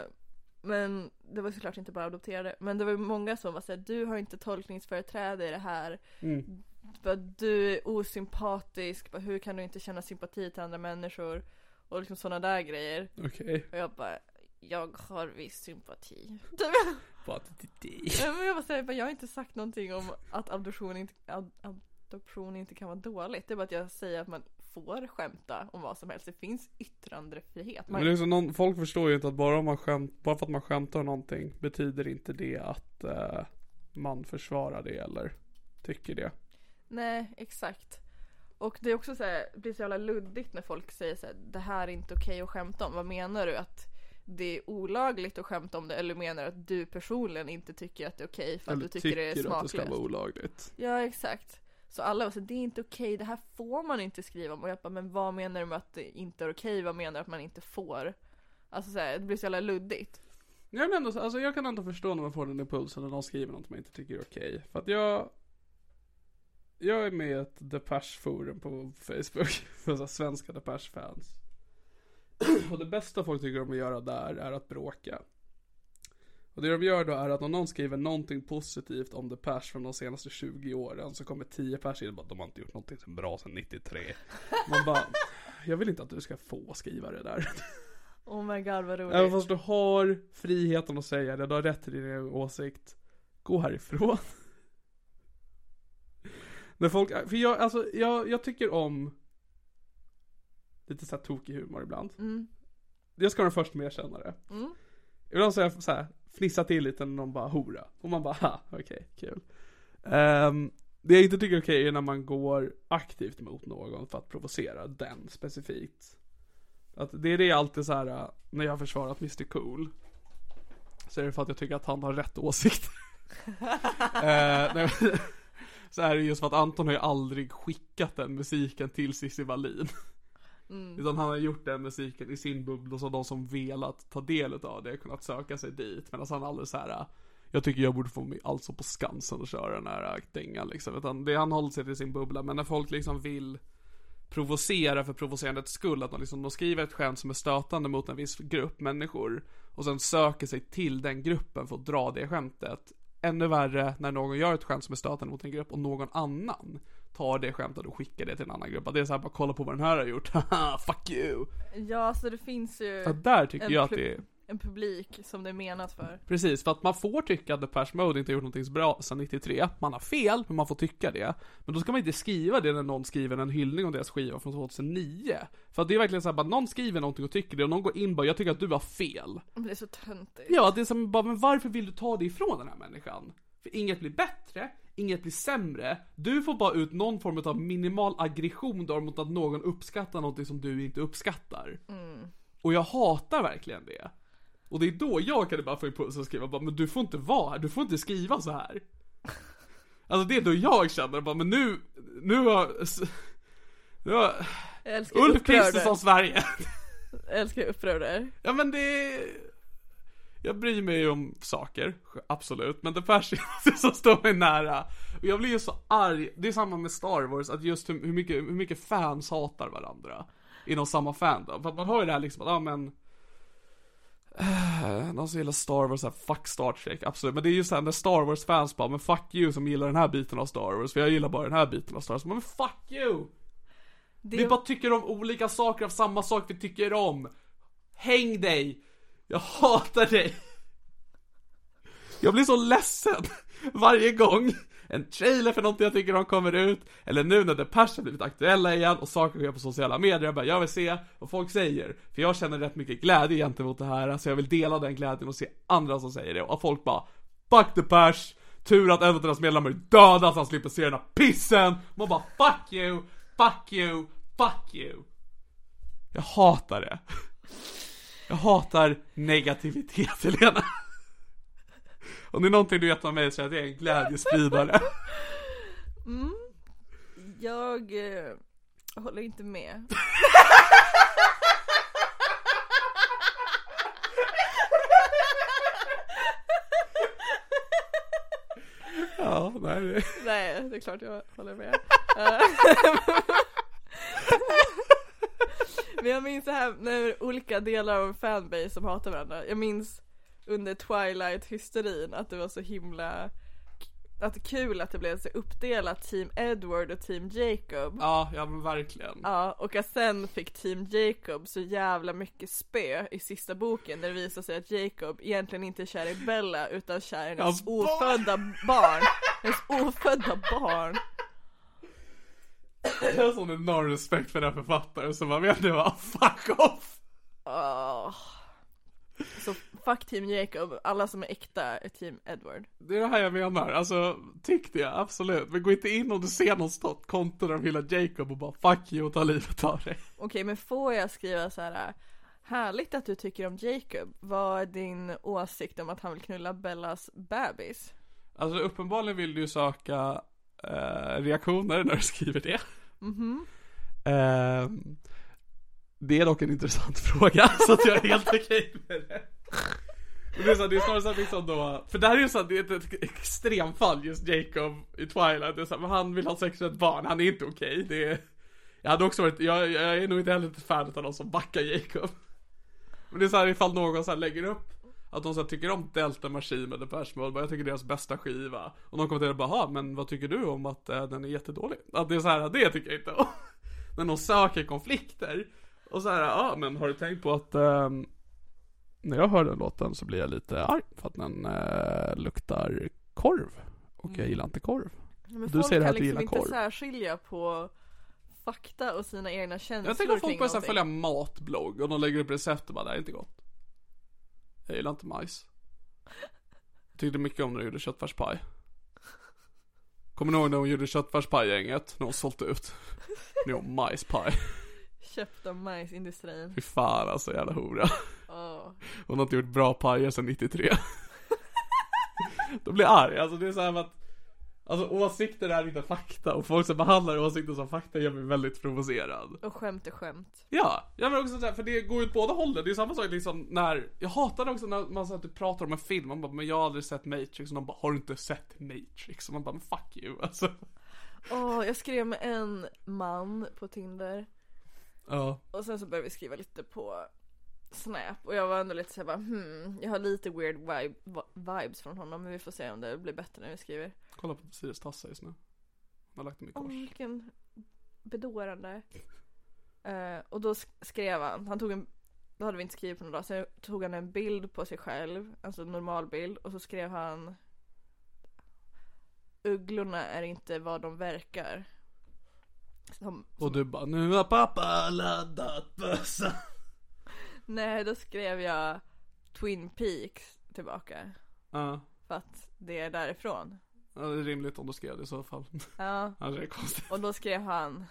B: men det var såklart inte bara adopterade. Men det var ju många som var såhär, du har inte tolkningsföreträde i det här.
A: Mm.
B: Bara, du är osympatisk, bara, hur kan du inte känna sympati till andra människor? Och liksom sådana där grejer.
A: Okej.
B: Och jag bara, jag har viss sympati.
A: Bara
B: Ja, men jag, bara säger, jag har inte sagt någonting om att adoption inte, ad, adoption inte kan vara dåligt. Det är bara att jag säger att man får skämta om vad som helst. Det finns yttrandefrihet. Man,
A: Men liksom, någon, folk förstår ju inte att bara, om man skämt, bara för att man skämtar om någonting betyder inte det att eh, man försvarar det eller tycker det.
B: Nej, exakt. Och det är också så här, det blir så jävla luddigt när folk säger så här, det här är inte okej att skämta om. Vad menar du? Att det är olagligt att skämta om det? Eller menar du att du personligen inte tycker att det är okej för att du tycker, det är
A: att det ska
B: smaklöst?
A: vara olagligt.
B: Ja, exakt. Så alla var så här, det är inte okej, det här får man inte skriva om. Och jag bara, men vad menar du med att det inte är okej? Vad menar du att man inte får? Alltså så här, det blir så jävla luddigt.
A: Jag, men ändå, så- alltså, jag kan ändå förstå när man får den impulsen när någon skriver något man inte tycker är okej. För att jag... Jag är med i ett Depeche-forum på Facebook. För så här, svenska Depeche-fans. Och det bästa folk tycker om att göra där är att bråka. Och det de gör då är att om någon skriver någonting positivt om Depeche från de senaste 20 åren så kommer 10 pers in och bara de har inte gjort någonting så bra sedan 93. Man bara, jag vill inte att du ska få skriva det där.
B: Oh my god vad roligt.
A: Även fast du har friheten att säga det, du har rätt till din egen åsikt. Gå härifrån. När folk, för jag, alltså, jag, jag tycker om lite såhär tokig humor ibland.
B: Mm.
A: Jag ska vara den första med att erkänna det.
B: Mm.
A: Ibland så är jag såhär, fnissar till lite när någon bara hora. Och man bara, ha, okej, kul. Ehm, det jag inte tycker är okej är när man går aktivt mot någon för att provocera den specifikt. Att det är det jag alltid så här äh, när jag har försvarat Mr Cool. Så är det för att jag tycker att han har rätt åsikt. Eh, nej, men- så är det just för att Anton har ju aldrig skickat den musiken till Cissi Wallin. Utan han har gjort den musiken i sin bubbla så de som velat ta del av det har kunnat söka sig dit. Medan han aldrig så här. äh, jag tycker jag borde få mig alltså på Skansen och köra den här äh, dängan liksom. Utan det, han håller sig till sin bubbla. Men när folk liksom vill provocera för provocerandets skull. Att man liksom, de skriver ett skämt som är stötande mot en viss grupp människor. Och sen söker sig till den gruppen för att dra det skämtet. Ännu värre när någon gör ett skämt som är stötande mot en grupp och någon annan tar det skämtet och skickar det till en annan grupp. Att Det är såhär bara kolla på vad den här har gjort, haha, fuck you!
B: Ja, så det finns ju
A: Så där tycker
B: Eh, En
A: jag att
B: pub-
A: det är
B: en publik som det är menat för.
A: Precis, för att man får tycka att Depeche Mode inte har gjort någonting så bra sedan 93. Man har fel, men man får tycka det. Men då ska man inte skriva det när någon skriver en hyllning om deras skiva från 2009. För att det är verkligen så här, bara någon skriver någonting och tycker det och någon går in och bara, jag tycker att du har fel.
B: Men Det är så töntigt.
A: Ja, det är som bara, men varför vill du ta det ifrån den här människan? För inget blir bättre, inget blir sämre. Du får bara ut någon form av minimal aggression då mot att någon uppskattar någonting som du inte uppskattar.
B: Mm.
A: Och jag hatar verkligen det. Och det är då jag kan bara få impuls att skriva bara, men du får inte vara här, du får inte skriva så här. Alltså det är då jag känner bara, men nu, nu har, nu har
B: Jag älskar hur
A: Ulf
B: upprörd du
A: Kristersson
B: är.
A: Sverige.
B: Jag älskar hur upprörd du är.
A: Ja men det... Jag bryr mig ju om saker, absolut. Men det Percy som står mig nära. Och jag blir ju så arg. Det är samma med Star Wars, att just hur, hur, mycket, hur mycket fans hatar varandra. Inom samma fandom. För att man har ju det här liksom att, ja men... eh, Någon som gillar Star Wars, så här, fuck Star Trek, absolut. Men det är ju såhär när Star Wars-fans bara, men fuck you som gillar den här biten av Star Wars, för jag gillar bara den här biten av Star Wars. Men fuck you!
B: Det,
A: Vi bara tycker om olika saker av samma sak vi tycker om. Häng dig! Jag hatar dig! Jag blir så ledsen varje gång en trailer för någonting jag tycker om kommer ut, eller nu när Depeche har blivit aktuella igen och saker sker på sociala medier, jag bara jag vill se vad folk säger. För jag känner rätt mycket glädje gentemot det här, så jag vill dela den glädjen och se andra som säger det. Och folk bara Fuck Depeche! Tur att en av deras medlemmar är döda så han slipper se den här pissen! Man bara Fuck you! Fuck you! Fuck you! Jag hatar det. Jag hatar negativitet, Helena. Om det är någonting du vet om mig så är det att jag är en glädjespridare.
B: mm, jag eh, håller inte med.
A: Ja, nej. det-
B: Nej, det är klart jag håller med. Eh, Men jag minns det här när olika delar av en fanbase som hatar varandra. Jag minns under Twilight-hysterin att det var så himla att det är kul att det blev så uppdelat Team Edward och Team Jacob.
A: Ja, ja men verkligen.
B: Ja, och att sen fick Team Jacob så jävla mycket spö i sista boken där det visar sig att Jacob egentligen inte är kär i Bella utan kär i hennes
A: Hans barn.
B: ofödda barn. Hennes ofödda barn.
A: Jag har sån enorm respekt för den här författaren som man vet det var fuck off.
B: Åh. Så fuck Team Jacob, alla som är äkta är Team Edward.
A: Det är det här jag menar, alltså tyck det, absolut. Men gå inte in om du ser någon stott konto där de hyllar Jacob och bara fuck you och ta livet av dig.
B: Okej, men får jag skriva så här Härligt att du tycker om Jacob. Vad är din åsikt om att han vill knulla Bellas bebis?
A: Alltså uppenbarligen vill du ju söka eh, reaktioner när du skriver det. Ehm, det är dock en intressant fråga, så att jag är helt okej med det. Men Det är, så, här, det är snarare så här liksom då, för det här är ju så här, det är ett, ett extremfall just Jacob i Twilight, det är så här, men han vill ha sex med ett barn, han är inte okej, det är, jag hade också varit, jag, jag är nog inte heller ett fan av någon som backar Jacob. Men det är så här ifall någon så här lägger upp att de så här tycker om Delta Machine med Depeche Mode, bara, jag tycker deras bästa skiva. Och någon kommenterar bara, "Ha, men vad tycker du om att eh, den är jättedålig? Att det är så här, det tycker jag inte om. När de söker konflikter. Och så här, ja men har du tänkt på att ehm, när jag hör den låten så blir jag lite arg för att den eh, luktar korv. Och jag gillar inte korv.
B: Men
A: Du
B: folk
A: säger
B: kan
A: att du
B: liksom
A: gillar
B: inte
A: korv.
B: särskilja på fakta och sina egna känslor
A: Jag tänker att folk
B: kring
A: börjar så här
B: Alltså, någonting.
A: följa matblogg och de lägger upp recept och bara, det här är inte gott. Jag gillar inte majs. Tyckte mycket om när de gjorde köttfärspaj. Kommer ni ihåg när hon gjorde köttfärspaj-gänget? När hon sålde ut. Nu har hon majspaj.
B: Köpt av majsindustrin.
A: Fy fan alltså, jävla hora.
B: Åh.
A: Hon har inte gjort bra pajer sedan 93. Då blir jag arg, alltså det är så här att Alltså åsikter är inte fakta och folk som behandlar åsikter som fakta gör mig väldigt provocerad.
B: Och skämt är skämt.
A: Ja, jag men också såhär, för det går ut båda hållen. Det är samma sak liksom när, jag hatar också när man så här, typ pratar om en film, man bara men jag har aldrig sett Matrix och de bara har du inte sett Matrix? Och man bara men fuck you alltså.
B: Åh, jag skrev med en man på Tinder
A: Ja.
B: och sen så började vi skriva lite på Snap och jag var ändå lite såhär bara hmm, jag har lite weird vibe, va- vibes från honom men vi får se om det blir bättre när vi skriver.
A: Kolla på Sirius tassa just nu. Han har lagt dem i
B: Åh,
A: kors.
B: vilken bedårande. Eh, och då sk- skrev han, han tog en, då hade vi inte skrivit på några dagar, sen tog han en bild på sig själv, alltså en normal bild och så skrev han Ugglorna är inte vad de verkar. Som,
A: Och du bara, nu har pappa laddat bössan.
B: nej, då skrev jag Twin Peaks tillbaka.
A: Ja.
B: För att det är därifrån.
A: ja, det är rimligt om du skrev det i så fall.
B: Ja,
A: Annars är det konstigt.
B: och då skrev han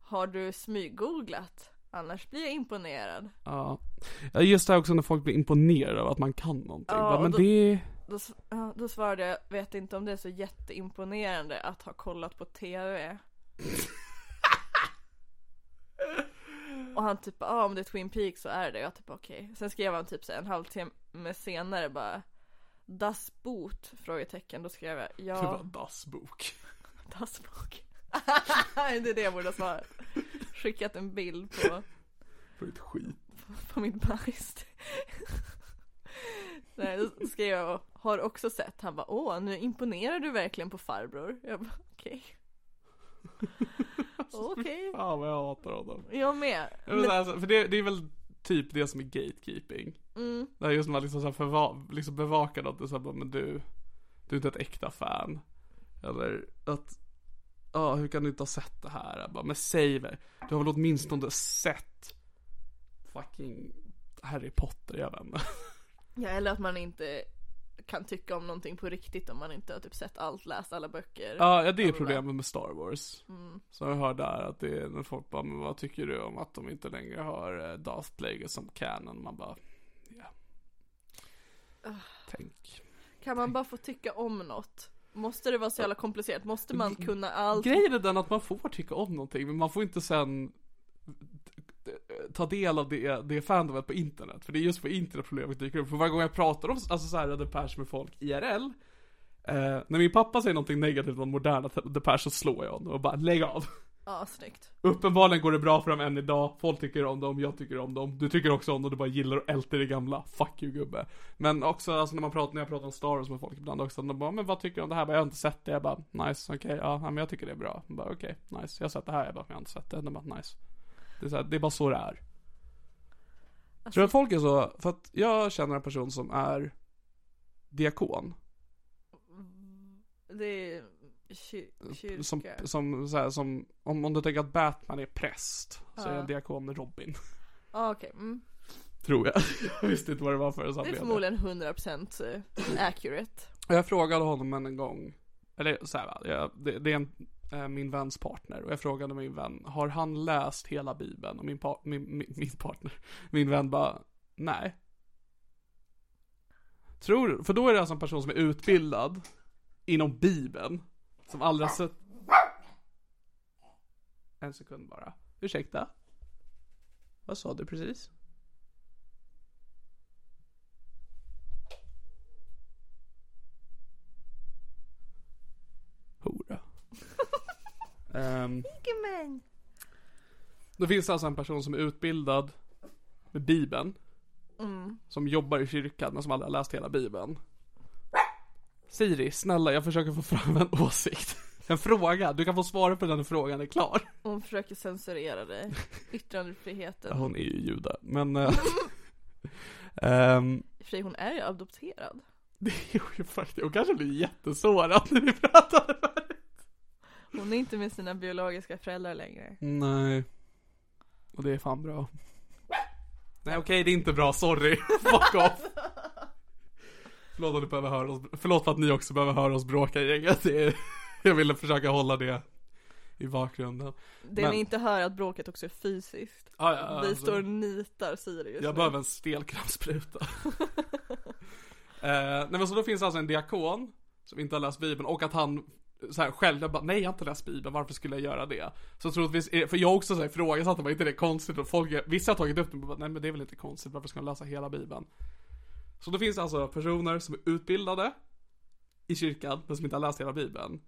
B: Har du smyggooglat? Annars blir jag imponerad.
A: Ja. Ja, Just det här också när folk blir imponerade av att man kan någonting.
B: Ja,
A: Bara,
B: och
A: men
B: då-
A: det...
B: Då, s- ja, då svarade jag, vet inte om det är så jätteimponerande att ha kollat på TV. och han typ, ja ah, om det är Twin Peaks så är det. Jag typ okej. Sen skrev han typ så här en halvtimme senare bara Das Boot? Frågetecken. Då skrev jag
A: Det var
B: ja,
A: dassbok.
B: Das Boot. det är det jag borde ha svarat. Skickat en bild på,
A: För ett skit.
B: på mitt bajs. Nej, då skrev jag har också sett. Han bara åh, nu imponerar du verkligen på farbror. Jag bara okej. Okej.
A: Fan vad jag hatar honom.
B: Jag med.
A: Jag vet, alltså, för det, det är väl typ det som är gatekeeping.
B: Mm,
A: Det här just när man liksom, så här förva- liksom bevakar något och så här, bara, men du, du är inte ett äkta fan. Eller att, ja hur kan du inte ha sett det här? Jag bara, men säg väl, du har väl åtminstone sett fucking Harry Potter, jag vet inte.
B: ja, eller att man inte kan tycka om någonting på riktigt om man inte har typ sett allt, läst alla böcker.
A: Ja, ja, det är problemet med Star Wars.
B: Mm.
A: Så jag hör där att det är när folk bara, men vad tycker du om att de inte längre har eh, Darth Plagueis som canon? Man bara, ja. Tänk.
B: Kan man bara få tycka om något? Måste det vara så jävla komplicerat? Måste man kunna allt?
A: Grejen är den att man får tycka om någonting, men man får inte sen ta del av det, det fandomet på internet. För det är just på internet problemet dyker upp. För varje gång jag pratar om alltså så här, The Pers med folk IRL, eh, när min pappa säger någonting negativt om moderna The Pers så slår jag honom och bara lägg av.
B: Ja, snyggt.
A: Uppenbarligen går det bra för dem än idag, folk tycker om dem, jag tycker om dem, du tycker också om dem, du bara gillar och älter det gamla. Fuck you gubbe. Men också alltså när man pratar, när jag pratar om Star Wars med folk ibland också, de bara men vad tycker du om det här? Jag bara, Jag har inte sett det, jag bara nice, okej, ja, men jag tycker det är bra. Jag bara okej, nice, jag har sett det här, jag bara jag har inte sett det, de bara nice. Det är, så här, det är bara så det är. Tror du att folk är så, för att jag känner en person som är diakon.
B: Alltså, Det är ky- kyrka.
A: Som, som, så här, som om, om du tänker att Batman är präst, så är
B: Ja.
A: en diakon Robin.
B: Ja, okej. Mm.
A: Tror jag. Jag visste inte vad det var för
B: Det är
A: samling.
B: förmodligen 100% accurate.
A: Och jag frågade honom en gång. Eller så här, va, jag, det, det är en, eh, min väns partner. Och jag frågade min vän, har han läst hela bibeln? Och min, par, min, min, min partner, min vän bara, nej. Tror du? För då är det alltså en person som är utbildad inom bibeln. Som aldrig har sett... En sekund bara. Ursäkta? Vad sa du precis? Hora. Ehm,
C: Jajamän.
A: Då finns det alltså en person som är utbildad med Bibeln. Som jobbar i kyrkan men som aldrig har läst hela Bibeln. Siri, snälla jag försöker få fram en åsikt. En fråga, du kan få svara på den när frågan är klar.
B: Hon försöker censurera dig. Yttrandefriheten.
A: Ja, Hon är ju jude, men... eh, ehm,
B: I och för sig, hon är ju adopterad.
A: det är ju faktiskt, hon kanske blir jättesårad när vi pratar om det.
B: Hon är inte med sina biologiska föräldrar längre.
A: Nej. Och det är fan bra. Nej okej, det är inte bra, sorry. Fuck off. Förlåt, om du behöver höra oss, förlåt för att ni också behöver höra oss bråka gänget. Det är- Jag ville försöka hålla det i bakgrunden.
B: Det
A: Men-
B: ni inte hör är att bråket också är fysiskt.
A: Ja, ja, ja,
B: Vi
A: alltså,
B: står och nitar Sirius
A: jag
B: nu.
A: behöver en stelkrampsspruta. eh, nej men så då finns alltså en diakon som inte har läst bibeln och att han så här, själv jag bara, nej jag har inte läst bibeln, varför skulle jag göra det? Så troligtvis, är- eh, för jag också så här, ifrågasatte, var inte det konstigt? Och folk, vissa har tagit upp det, men bara, nej men det är väl inte konstigt, varför ska man läsa hela bibeln? Så då finns det alltså personer som är utbildade i kyrkan, men som inte har läst hela bibeln.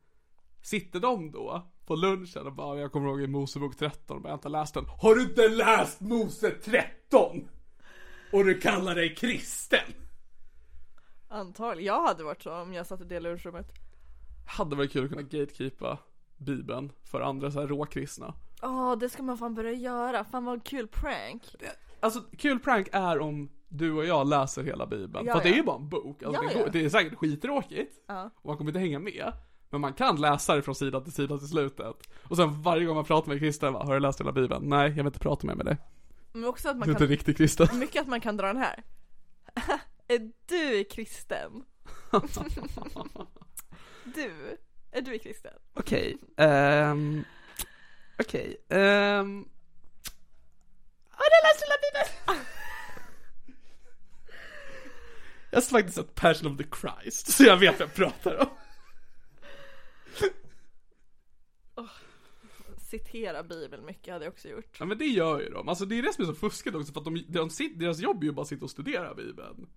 A: Sitter de då på lunchen och bara, jag kommer ihåg i Mosebok 13, men jag har inte läst den. Har du inte läst Mose 13? Och du kallar dig kristen?
B: Antagligen. Jag hade varit så om jag satt i det lunchrummet.
A: Hade varit kul att kunna gatekeepa Bibeln för andra så här råkristna.
B: Ja, det ska man fan börja göra. Fan vad en kul prank.
A: Alltså, kul prank är om du och jag läser hela Bibeln.
B: Ja,
A: för att det är
B: ja.
A: ju bara en bok. Alltså,
B: Ja,
A: det,
B: ja.
A: går, det är säkert skittråkigt.
B: Ja.
A: Och man kommer inte hänga med. Men man kan läsa det från sida till sida till slutet. Och sen varje gång man pratar med kristen, bara, har du läst hela Bibeln? Nej, jag vill inte prata mer med dig.
B: Men också att
A: Du är
B: man
A: inte en
B: kan,
A: riktig kristen.
B: mycket att man kan dra den här. är du kristen? Du, är du kristen?
A: Okej, ehm... Okej, ehm... Har du läst hela Bibeln? Jag har faktiskt sett Passion of the Christ, så jag vet vad jag pratar om.
B: Citera bibeln mycket hade jag också gjort.
A: Ja men det gör ju de. Alltså det är det som är så fuskigt också för att de, de sitter, deras jobb är ju bara att sitta och studera Bibeln.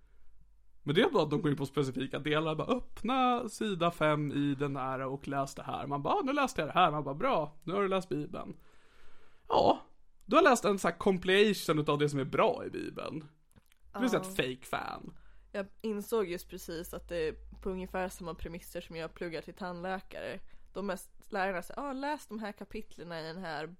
A: Men det är bara att de går in på specifika delar, bara öppna sida 5 i den här och läs det här. Man bara, "Ah, nu läste jag det här, man bara bra, nu har du läst Bibeln. Ja, du har läst en sån här compilation utav det som är bra i Bibeln. Du är så ett fake fan.
B: Jag insåg just precis att det är på ungefär samma premisser som jag pluggar till tandläkare. De mest lärarna säger ah, läs de här kapitlen i den här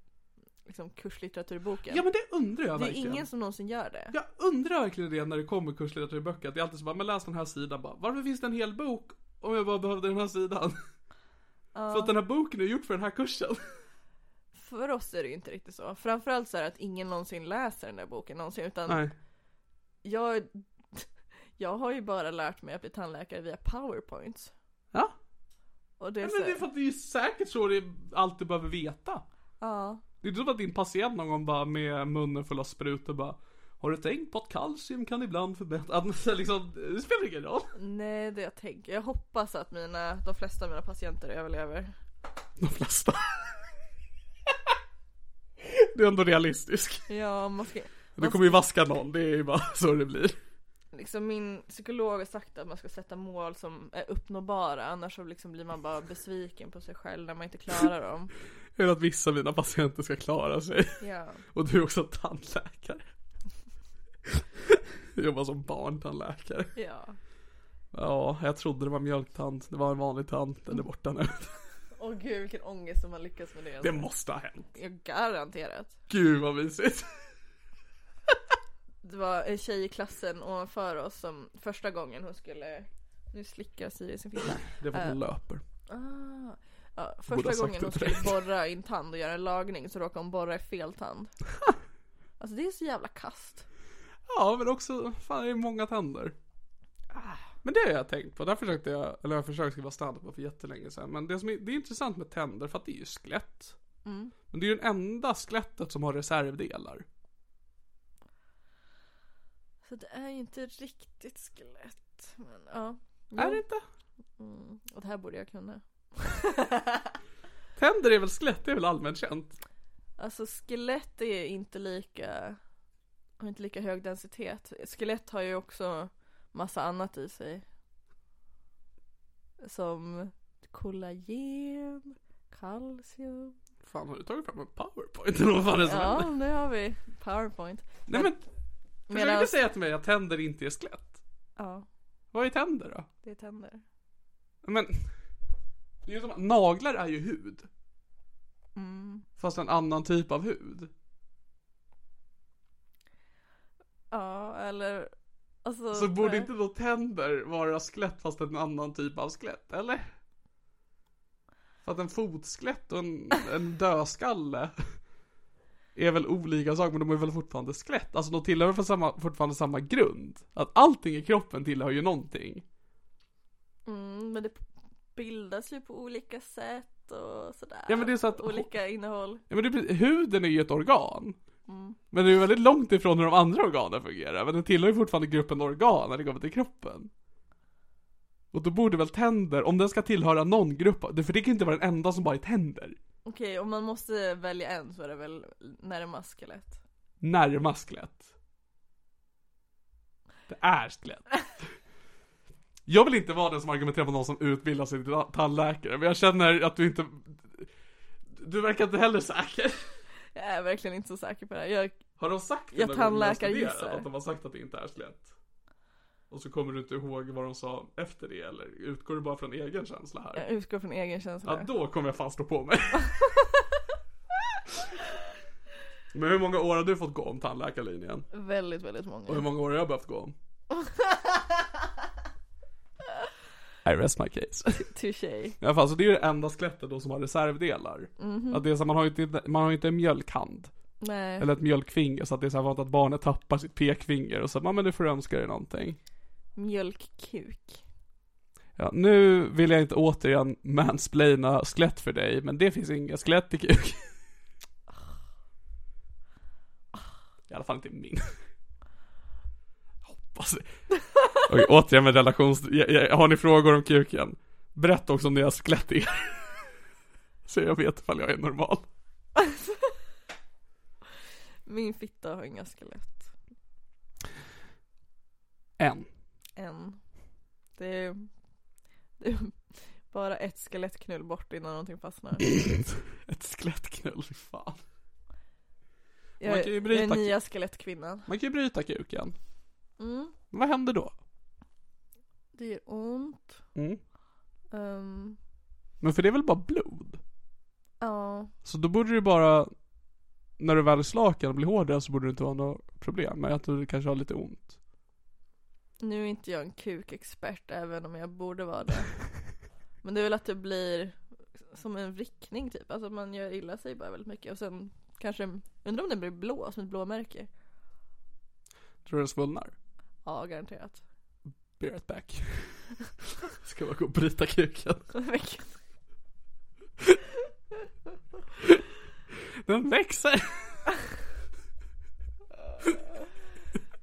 B: liksom, kurslitteraturboken.
A: Ja men det undrar jag
B: det är
A: verkligen.
B: ingen som någonsin gör det.
A: Jag undrar verkligen det när det kommer kurslitteraturböcker. Att Det är alltid så bara, men läs den här sidan bara. Varför finns det en hel bok om jag bara behövde den här sidan? För att den här boken är gjord för den här kursen.
B: För oss är det ju inte riktigt så. Framförallt så är det att ingen någonsin läser den där boken någonsin. Utan
A: Nej.
B: jag, jag har ju bara lärt mig att bli tandläkare via powerpoints.
A: Ja.
B: Och det är
A: Men
B: så
A: det är för
B: här,
A: att det är säkert så det är allt du behöver veta.
B: ja.
A: Det är inte så att din patient någon gång bara med munnen full av sprutor bara Har du tänkt på att kalcium kan ibland förbättra... Att, man så här liksom, det spelar ingen roll.
B: Nej, det jag tänker. Jag hoppas att mina, de flesta av mina patienter överlever.
A: De flesta. Det är ändå realistisk.
B: Ja, man ska,
A: Du kommer ju vaska någon, det är ju bara så det blir.
B: liksom min psykolog har sagt att man ska sätta mål som är uppnåbara annars så liksom blir man bara besviken på sig själv när man inte klarar dem.
A: Eller att vissa av mina patienter ska klara sig.
B: Ja.
A: Och du är också tandläkare. Jag jobbar som barntandläkare.
B: Ja.
A: Ja, jag trodde det var mjölktand. Det var en vanlig tand. Den är borta nu.
B: Åh gud vilken ångest om man lyckas med det.
A: Det
B: Alltså.
A: måste ha hänt.
B: Jag garanterat.
A: Gud vad mysigt.
B: Det var en tjej i klassen ovanför oss som första gången hon skulle Nu slickar Siri sin fitta.
A: Det var hon löper.
B: Ah. Ja,
A: borde ha
B: första
A: sagt
B: gången
A: det
B: hon skulle
A: direkt.
B: borra i en tand och göra en lagning så råkade hon borra i fel tand. Alltså det är så jävla kast.
A: Ja, men också, fan det är många tänder. Men det har jag tänkt på. Där försökte jag, eller jag försökte skriva standup på för jättelänge sedan. Men det som är, det är intressant med tänder för att det är ju skelett.
B: Mm.
A: Men det är ju den enda skelettet som har reservdelar.
B: Så det är ju inte riktigt skelett. Men ja.
A: Är
B: Jo.
A: det inte?
B: Mm. Och det här borde jag kunna.
A: Tänder är väl skelett, det är väl allmänt känt.
B: Alltså skelett är inte lika har inte lika hög densitet. Skelett har ju också massa annat i sig. Som kollagen, kalcium.
A: Fan har du tagit fram en powerpoint eller vad fan är det som händer?
B: Ja, nu har vi powerpoint.
A: Nej men, försök
B: Medan-
A: inte säga till mig att tänder inte är skelett.
B: Ja,
A: Vad är tänder då?
B: det är tänder.
A: Men, det är ju som att naglar är ju hud.
B: Mm.
A: Fast en annan typ av hud.
B: Ja, eller alltså.
A: Så borde inte då tänder vara skelett fast en annan typ av skelett, eller? För att en fotskelett och en, en dödskalle är väl olika saker, men de är väl fortfarande skelett? Alltså de tillhör väl för samma, fortfarande samma grund? Att allting i kroppen tillhör ju någonting.
B: Mm, men det bildas ju på olika sätt och sådär.
A: Ja, men det är så att-
B: Olika innehåll. Mm.
A: Ja, men det, är precis- huden är ju ett organ. Men det är ju väldigt långt ifrån hur de andra organen fungerar. Men den tillhör ju fortfarande gruppen organ när det kommer till kroppen. Och då borde väl tänder, om den ska tillhöra någon grupp, det- för det kan ju inte vara den enda som bara är tänder.
B: Okej, om man måste välja en så är det väl närmast skelett.
A: Närmast skelett. Det är skelett. Jag vill inte vara den som argumenterar mot någon som utbildar sig till ta- tandläkare, men jag känner att du inte... Du verkar inte heller säker.
B: Jag är verkligen inte så säker på det här. Jag,
A: Har de sagt det
B: Jag
A: någon gång när de har
B: tandläkargissar.
A: studerat, Att de har sagt att det inte är så lätt? Och så kommer du inte ihåg vad de sa efter det, eller utgår du bara från egen känsla här?
B: jag utgår från egen känsla.
A: Ja, då kommer jag fan stå på mig. Men hur många år har du fått gå om tandläkarlinjen?
B: Väldigt, väldigt många.
A: Och hur många år har jag behövt gå om? I rest my case.
B: Touché. Mhm.
A: I alla fall, så det är ju det enda skelettet då som har reservdelar.
B: Mm.
A: Att det är så, man har ju inte, man har ju inte en mjölkhand.
B: Nej.
A: Eller ett mjölkfinger, så att det är så här vanligt att barnet tappar sitt pekfinger och så ja men du får önska dig någonting.
B: Mjölkkuk.
A: Ja, nu vill jag inte återigen mansplaina skelett för dig, men det finns inga skelett i kuk. I alla fall inte i min. Hoppas det. Okej, återigen med relations... ja, ja, Har ni frågor om kuken? Berätta också om deras skelett är. Så jag vet ifall jag är normal.
B: Min fitta har inga skelett.
A: En.
B: Än. Det är, det är bara ett skelettknull bort innan någonting fastnar.
A: Ett skelettknull, fy fan.
B: Jag,
A: Man kan ju
B: är- jag är
A: bryta-
B: nya skelettkvinnan.
A: Man kan ju bryta kuken.
B: Mm.
A: Vad händer då?
B: Det gör ont.
A: Mm.
B: Ehm,
A: Men för det är väl bara blod?
B: ja.
A: Så då borde det bara, när du väl är slaken och blir hårdare så borde det inte vara något problem. Men jag tror det kanske har lite ont.
B: Nu är inte jag en kukexpert även om jag borde vara det. Men det är väl att det blir som en vrickning typ. Alltså man gör illa sig bara väldigt mycket. Och sen kanske, undrar om den blir blå som ett blåmärke.
A: Tror du det svullnar?
B: Ja, garanterat.
A: Be right back. Ska bara gå och bryta kuken.
B: Vilken-
A: Den växer!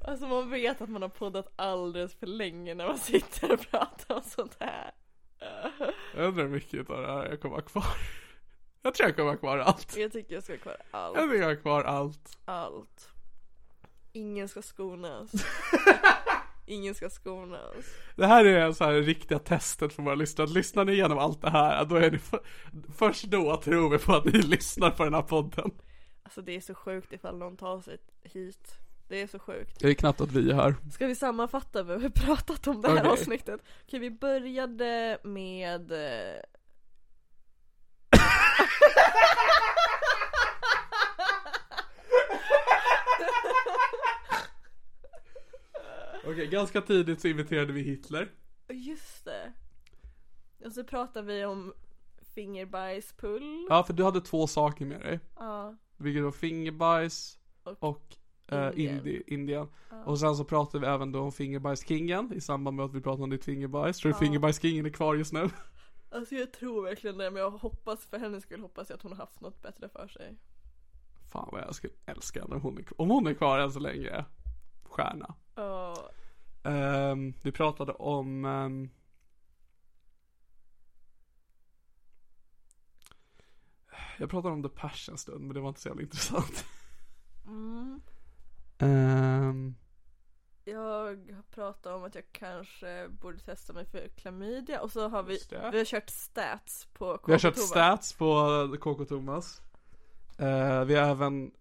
B: alltså man vet att man har poddat alldeles för länge när man sitter och pratar om sånt här.
A: Jag undrar hur mycket av det här jag kommer ha kvar. Jag tror jag kommer ha kvar allt.
B: Jag tycker jag ska ha kvar
A: Jag
B: allt.
A: tror jag har kvar allt.
B: Allt. Ingen ska skonas. Ingen ska skonas.
A: Det här är så här riktiga testet för våra lyssnare. Lyssnar ni igenom allt det här, då är ni för... först då tror vi på att ni lyssnar på den här podden.
B: Alltså det är så sjukt ifall någon tar sig hit. Det är så sjukt.
A: Det är knappt att vi är här.
B: Ska vi sammanfatta vad vi har pratat om det här
A: Okej.
B: avsnittet? Okej, vi började med... eh,
A: Okej, ganska tidigt så inviterade vi Hitler.
B: Just det. Och så pratar vi om fingerbajspull.
A: Ja, för du hade två saker med dig.
B: Ja.
A: Vilket var fingerbajs
B: Och-
A: och eh,
B: Indien.
A: Indi- Indien. Och sen så pratade vi även då om fingerbajskingen i samband med att vi pratade om ditt fingerbajs. Tror du fingerbajskingen är kvar just nu?
B: Alltså jag tror verkligen det men jag hoppas för hennes skull hoppas jag att hon har haft något bättre för sig.
A: Fan vad jag skulle älska henne om hon är kvar. Om hon är kvar än så länge. Stjärna.
B: Ja.
A: Ehm, vi pratade om... ehm, jag pratade om The Passion en stund men det var inte så jävla intressant.
B: Mm.
A: Ehm,
B: Jag har pratat om att jag kanske borde testa mig för klamydia och så har vi,
A: Just det.
B: vi har kört stats på
A: Vi har kört
B: KK-tobak.
A: stats på KK Thomas. Eh, vi har även,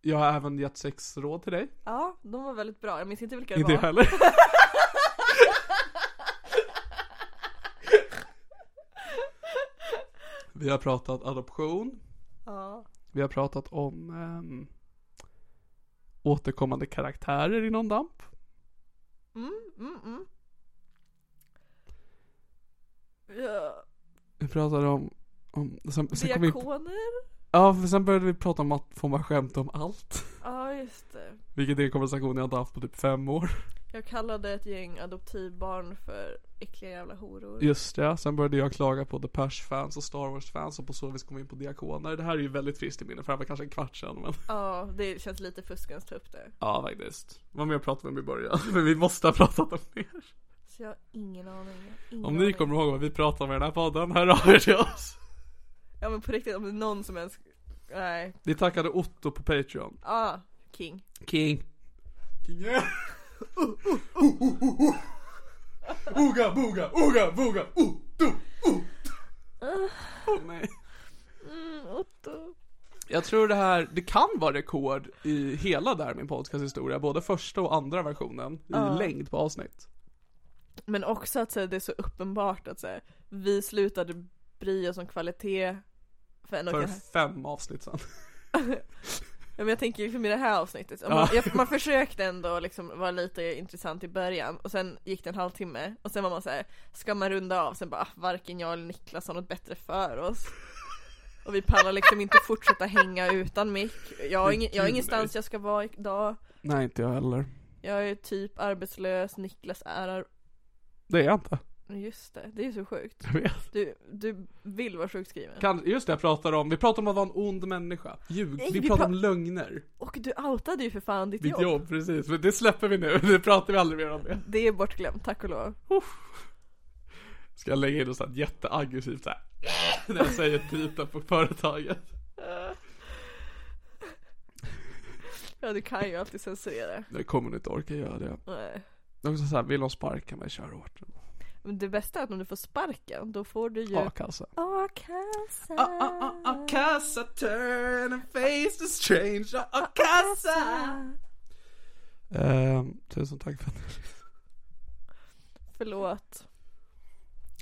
A: jag har även gett sex råd till dig.
B: Ja, de var väldigt bra. Jag minns inte vilka det
A: Inte jag
B: var.
A: heller. vi har pratat adoption.
B: Ja.
A: Vi har pratat om ehm, återkommande karaktärer i någon damp.
B: Mm, mm, mm. Ja,
A: Vi pratade om, om sen, sen kom vi,
B: diakoner?
A: ja, för sen började vi prata om att får man skämta om allt.
B: Ja, just det.
A: Vilket är en konversation jag inte haft på typ fem år.
B: Jag kallade ett gäng adoptivbarn för äckliga jävla horor.
A: Just det, sen började jag klaga på The Pers-fans och Star Wars-fans och på så vis kom vi in på diakoner. Det här är ju väldigt friskt i minne för det här var kanske en kvart sedan men
B: Ja, det känns lite fuskens ta upp det.
A: Ja faktiskt. Vad mer pratade vi om i början? Men vi måste ha pratat om mer.
B: Så jag har ingen aning. jag har Ingen
A: Om ni
B: aning.
A: kommer ihåg vad vi pratade om i den här podden, hör av er till oss.
B: Ja men på riktigt, om det är någon som ens... Nej.
A: Vi tackade Otto på Patreon.
B: Ah, king.
A: King. King yeah. Oga, boga, oga, boga, o, do, o. Åh, nej.
B: Ah, Mm, Otto.
A: Jag tror det här, det kan vara rekord i hela där min podcast historia, både första och andra versionen, i
B: Ja.
A: längd på avsnitt.
B: Men också att så här, det är så uppenbart att så här, vi slutade bry oss om kvalitet för en och
A: För
B: en
A: fem avsnitt sen.
B: Ja, men jag tänker liksom i det här avsnittet, Om
A: Ja.
B: man, jag, man försökte ändå liksom vara lite intressant i början och sen gick det en halvtimme och sen var man så här, ska man runda av? Sen bara, "Ah, varken jag eller Niklas har något bättre för oss. Och vi pallar liksom inte fortsätta hänga utan mick. Jag har, ingen, jag har
A: Gud,
B: ingenstans
A: nej.
B: jag ska vara idag.
A: Nej, inte jag heller.
B: Jag är typ arbetslös, Niklas är ar-
A: Det är jag inte.
B: Just det, det är ju så sjukt.
A: Jag vet.
B: Du, du vill vara sjukskriven.
A: Kan, just det, jag pratar om, vi pratar om att vara en ond människa. Ljug,
B: Nej,
A: vi,
B: vi
A: pratar
B: pra-
A: om lögner.
B: Och du outade ju för fan ditt
A: Ditt
B: jobb.
A: jobb. precis. Men det släpper vi nu, det pratar vi aldrig mer om det.
B: Det är bortglömt, tack och lov.
A: Ska jag lägga in något sånt jätteaggressivt såhär, när jag säger titeln på företaget.
B: Ja, du kan ju alltid censurera.
A: Jag kommer inte orka göra det.
B: Nej.
A: Det är också såhär, vill de sparka mig, kör hårt.
B: Men det bästa är att om du får sparken, då får du ju
A: A-kassa.
B: a-kassa.
A: A-kassa, turn and face the strange, a-kassa. Ehm, tusen tack för att
B: Förlåt.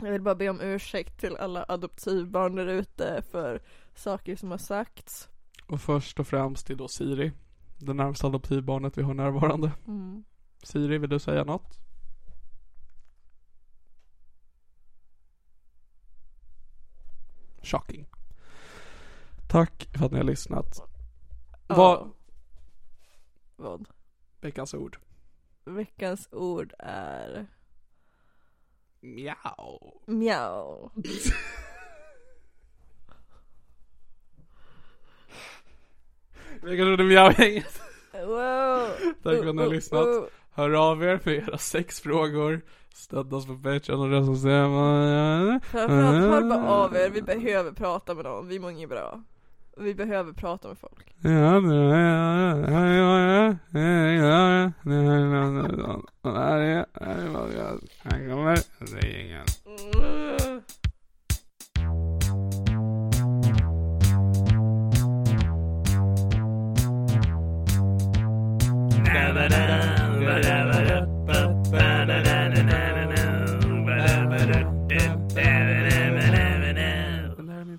B: Jag vill bara be om ursäkt till alla adoptivbarn där ute för saker som har sagts.
A: Och först och främst till då Siri. Det närmsta adoptivbarnet vi har närvarande.
B: Mm.
A: Siri, vill du säga något? Shocking. Tack för att ni har lyssnat.
B: Ja.
A: Vad,
B: Vad?
A: veckans ord?
B: Veckans ord är
A: Mjau.
B: mjau.
A: Veckans ord är mjau-gänget.
B: Wow. Oh,
A: Tack för att ni har lyssnat. Hör av er med era sexfrågor. Stötta oss på Patreon och recensera.
B: Framförallt hör bara
A: Ah.
B: av er, vi behöver prata med dem, vi mår inget bra. Vi behöver prata med folk.
A: Han kommer ringen.
B: Mm.
A: Det här är min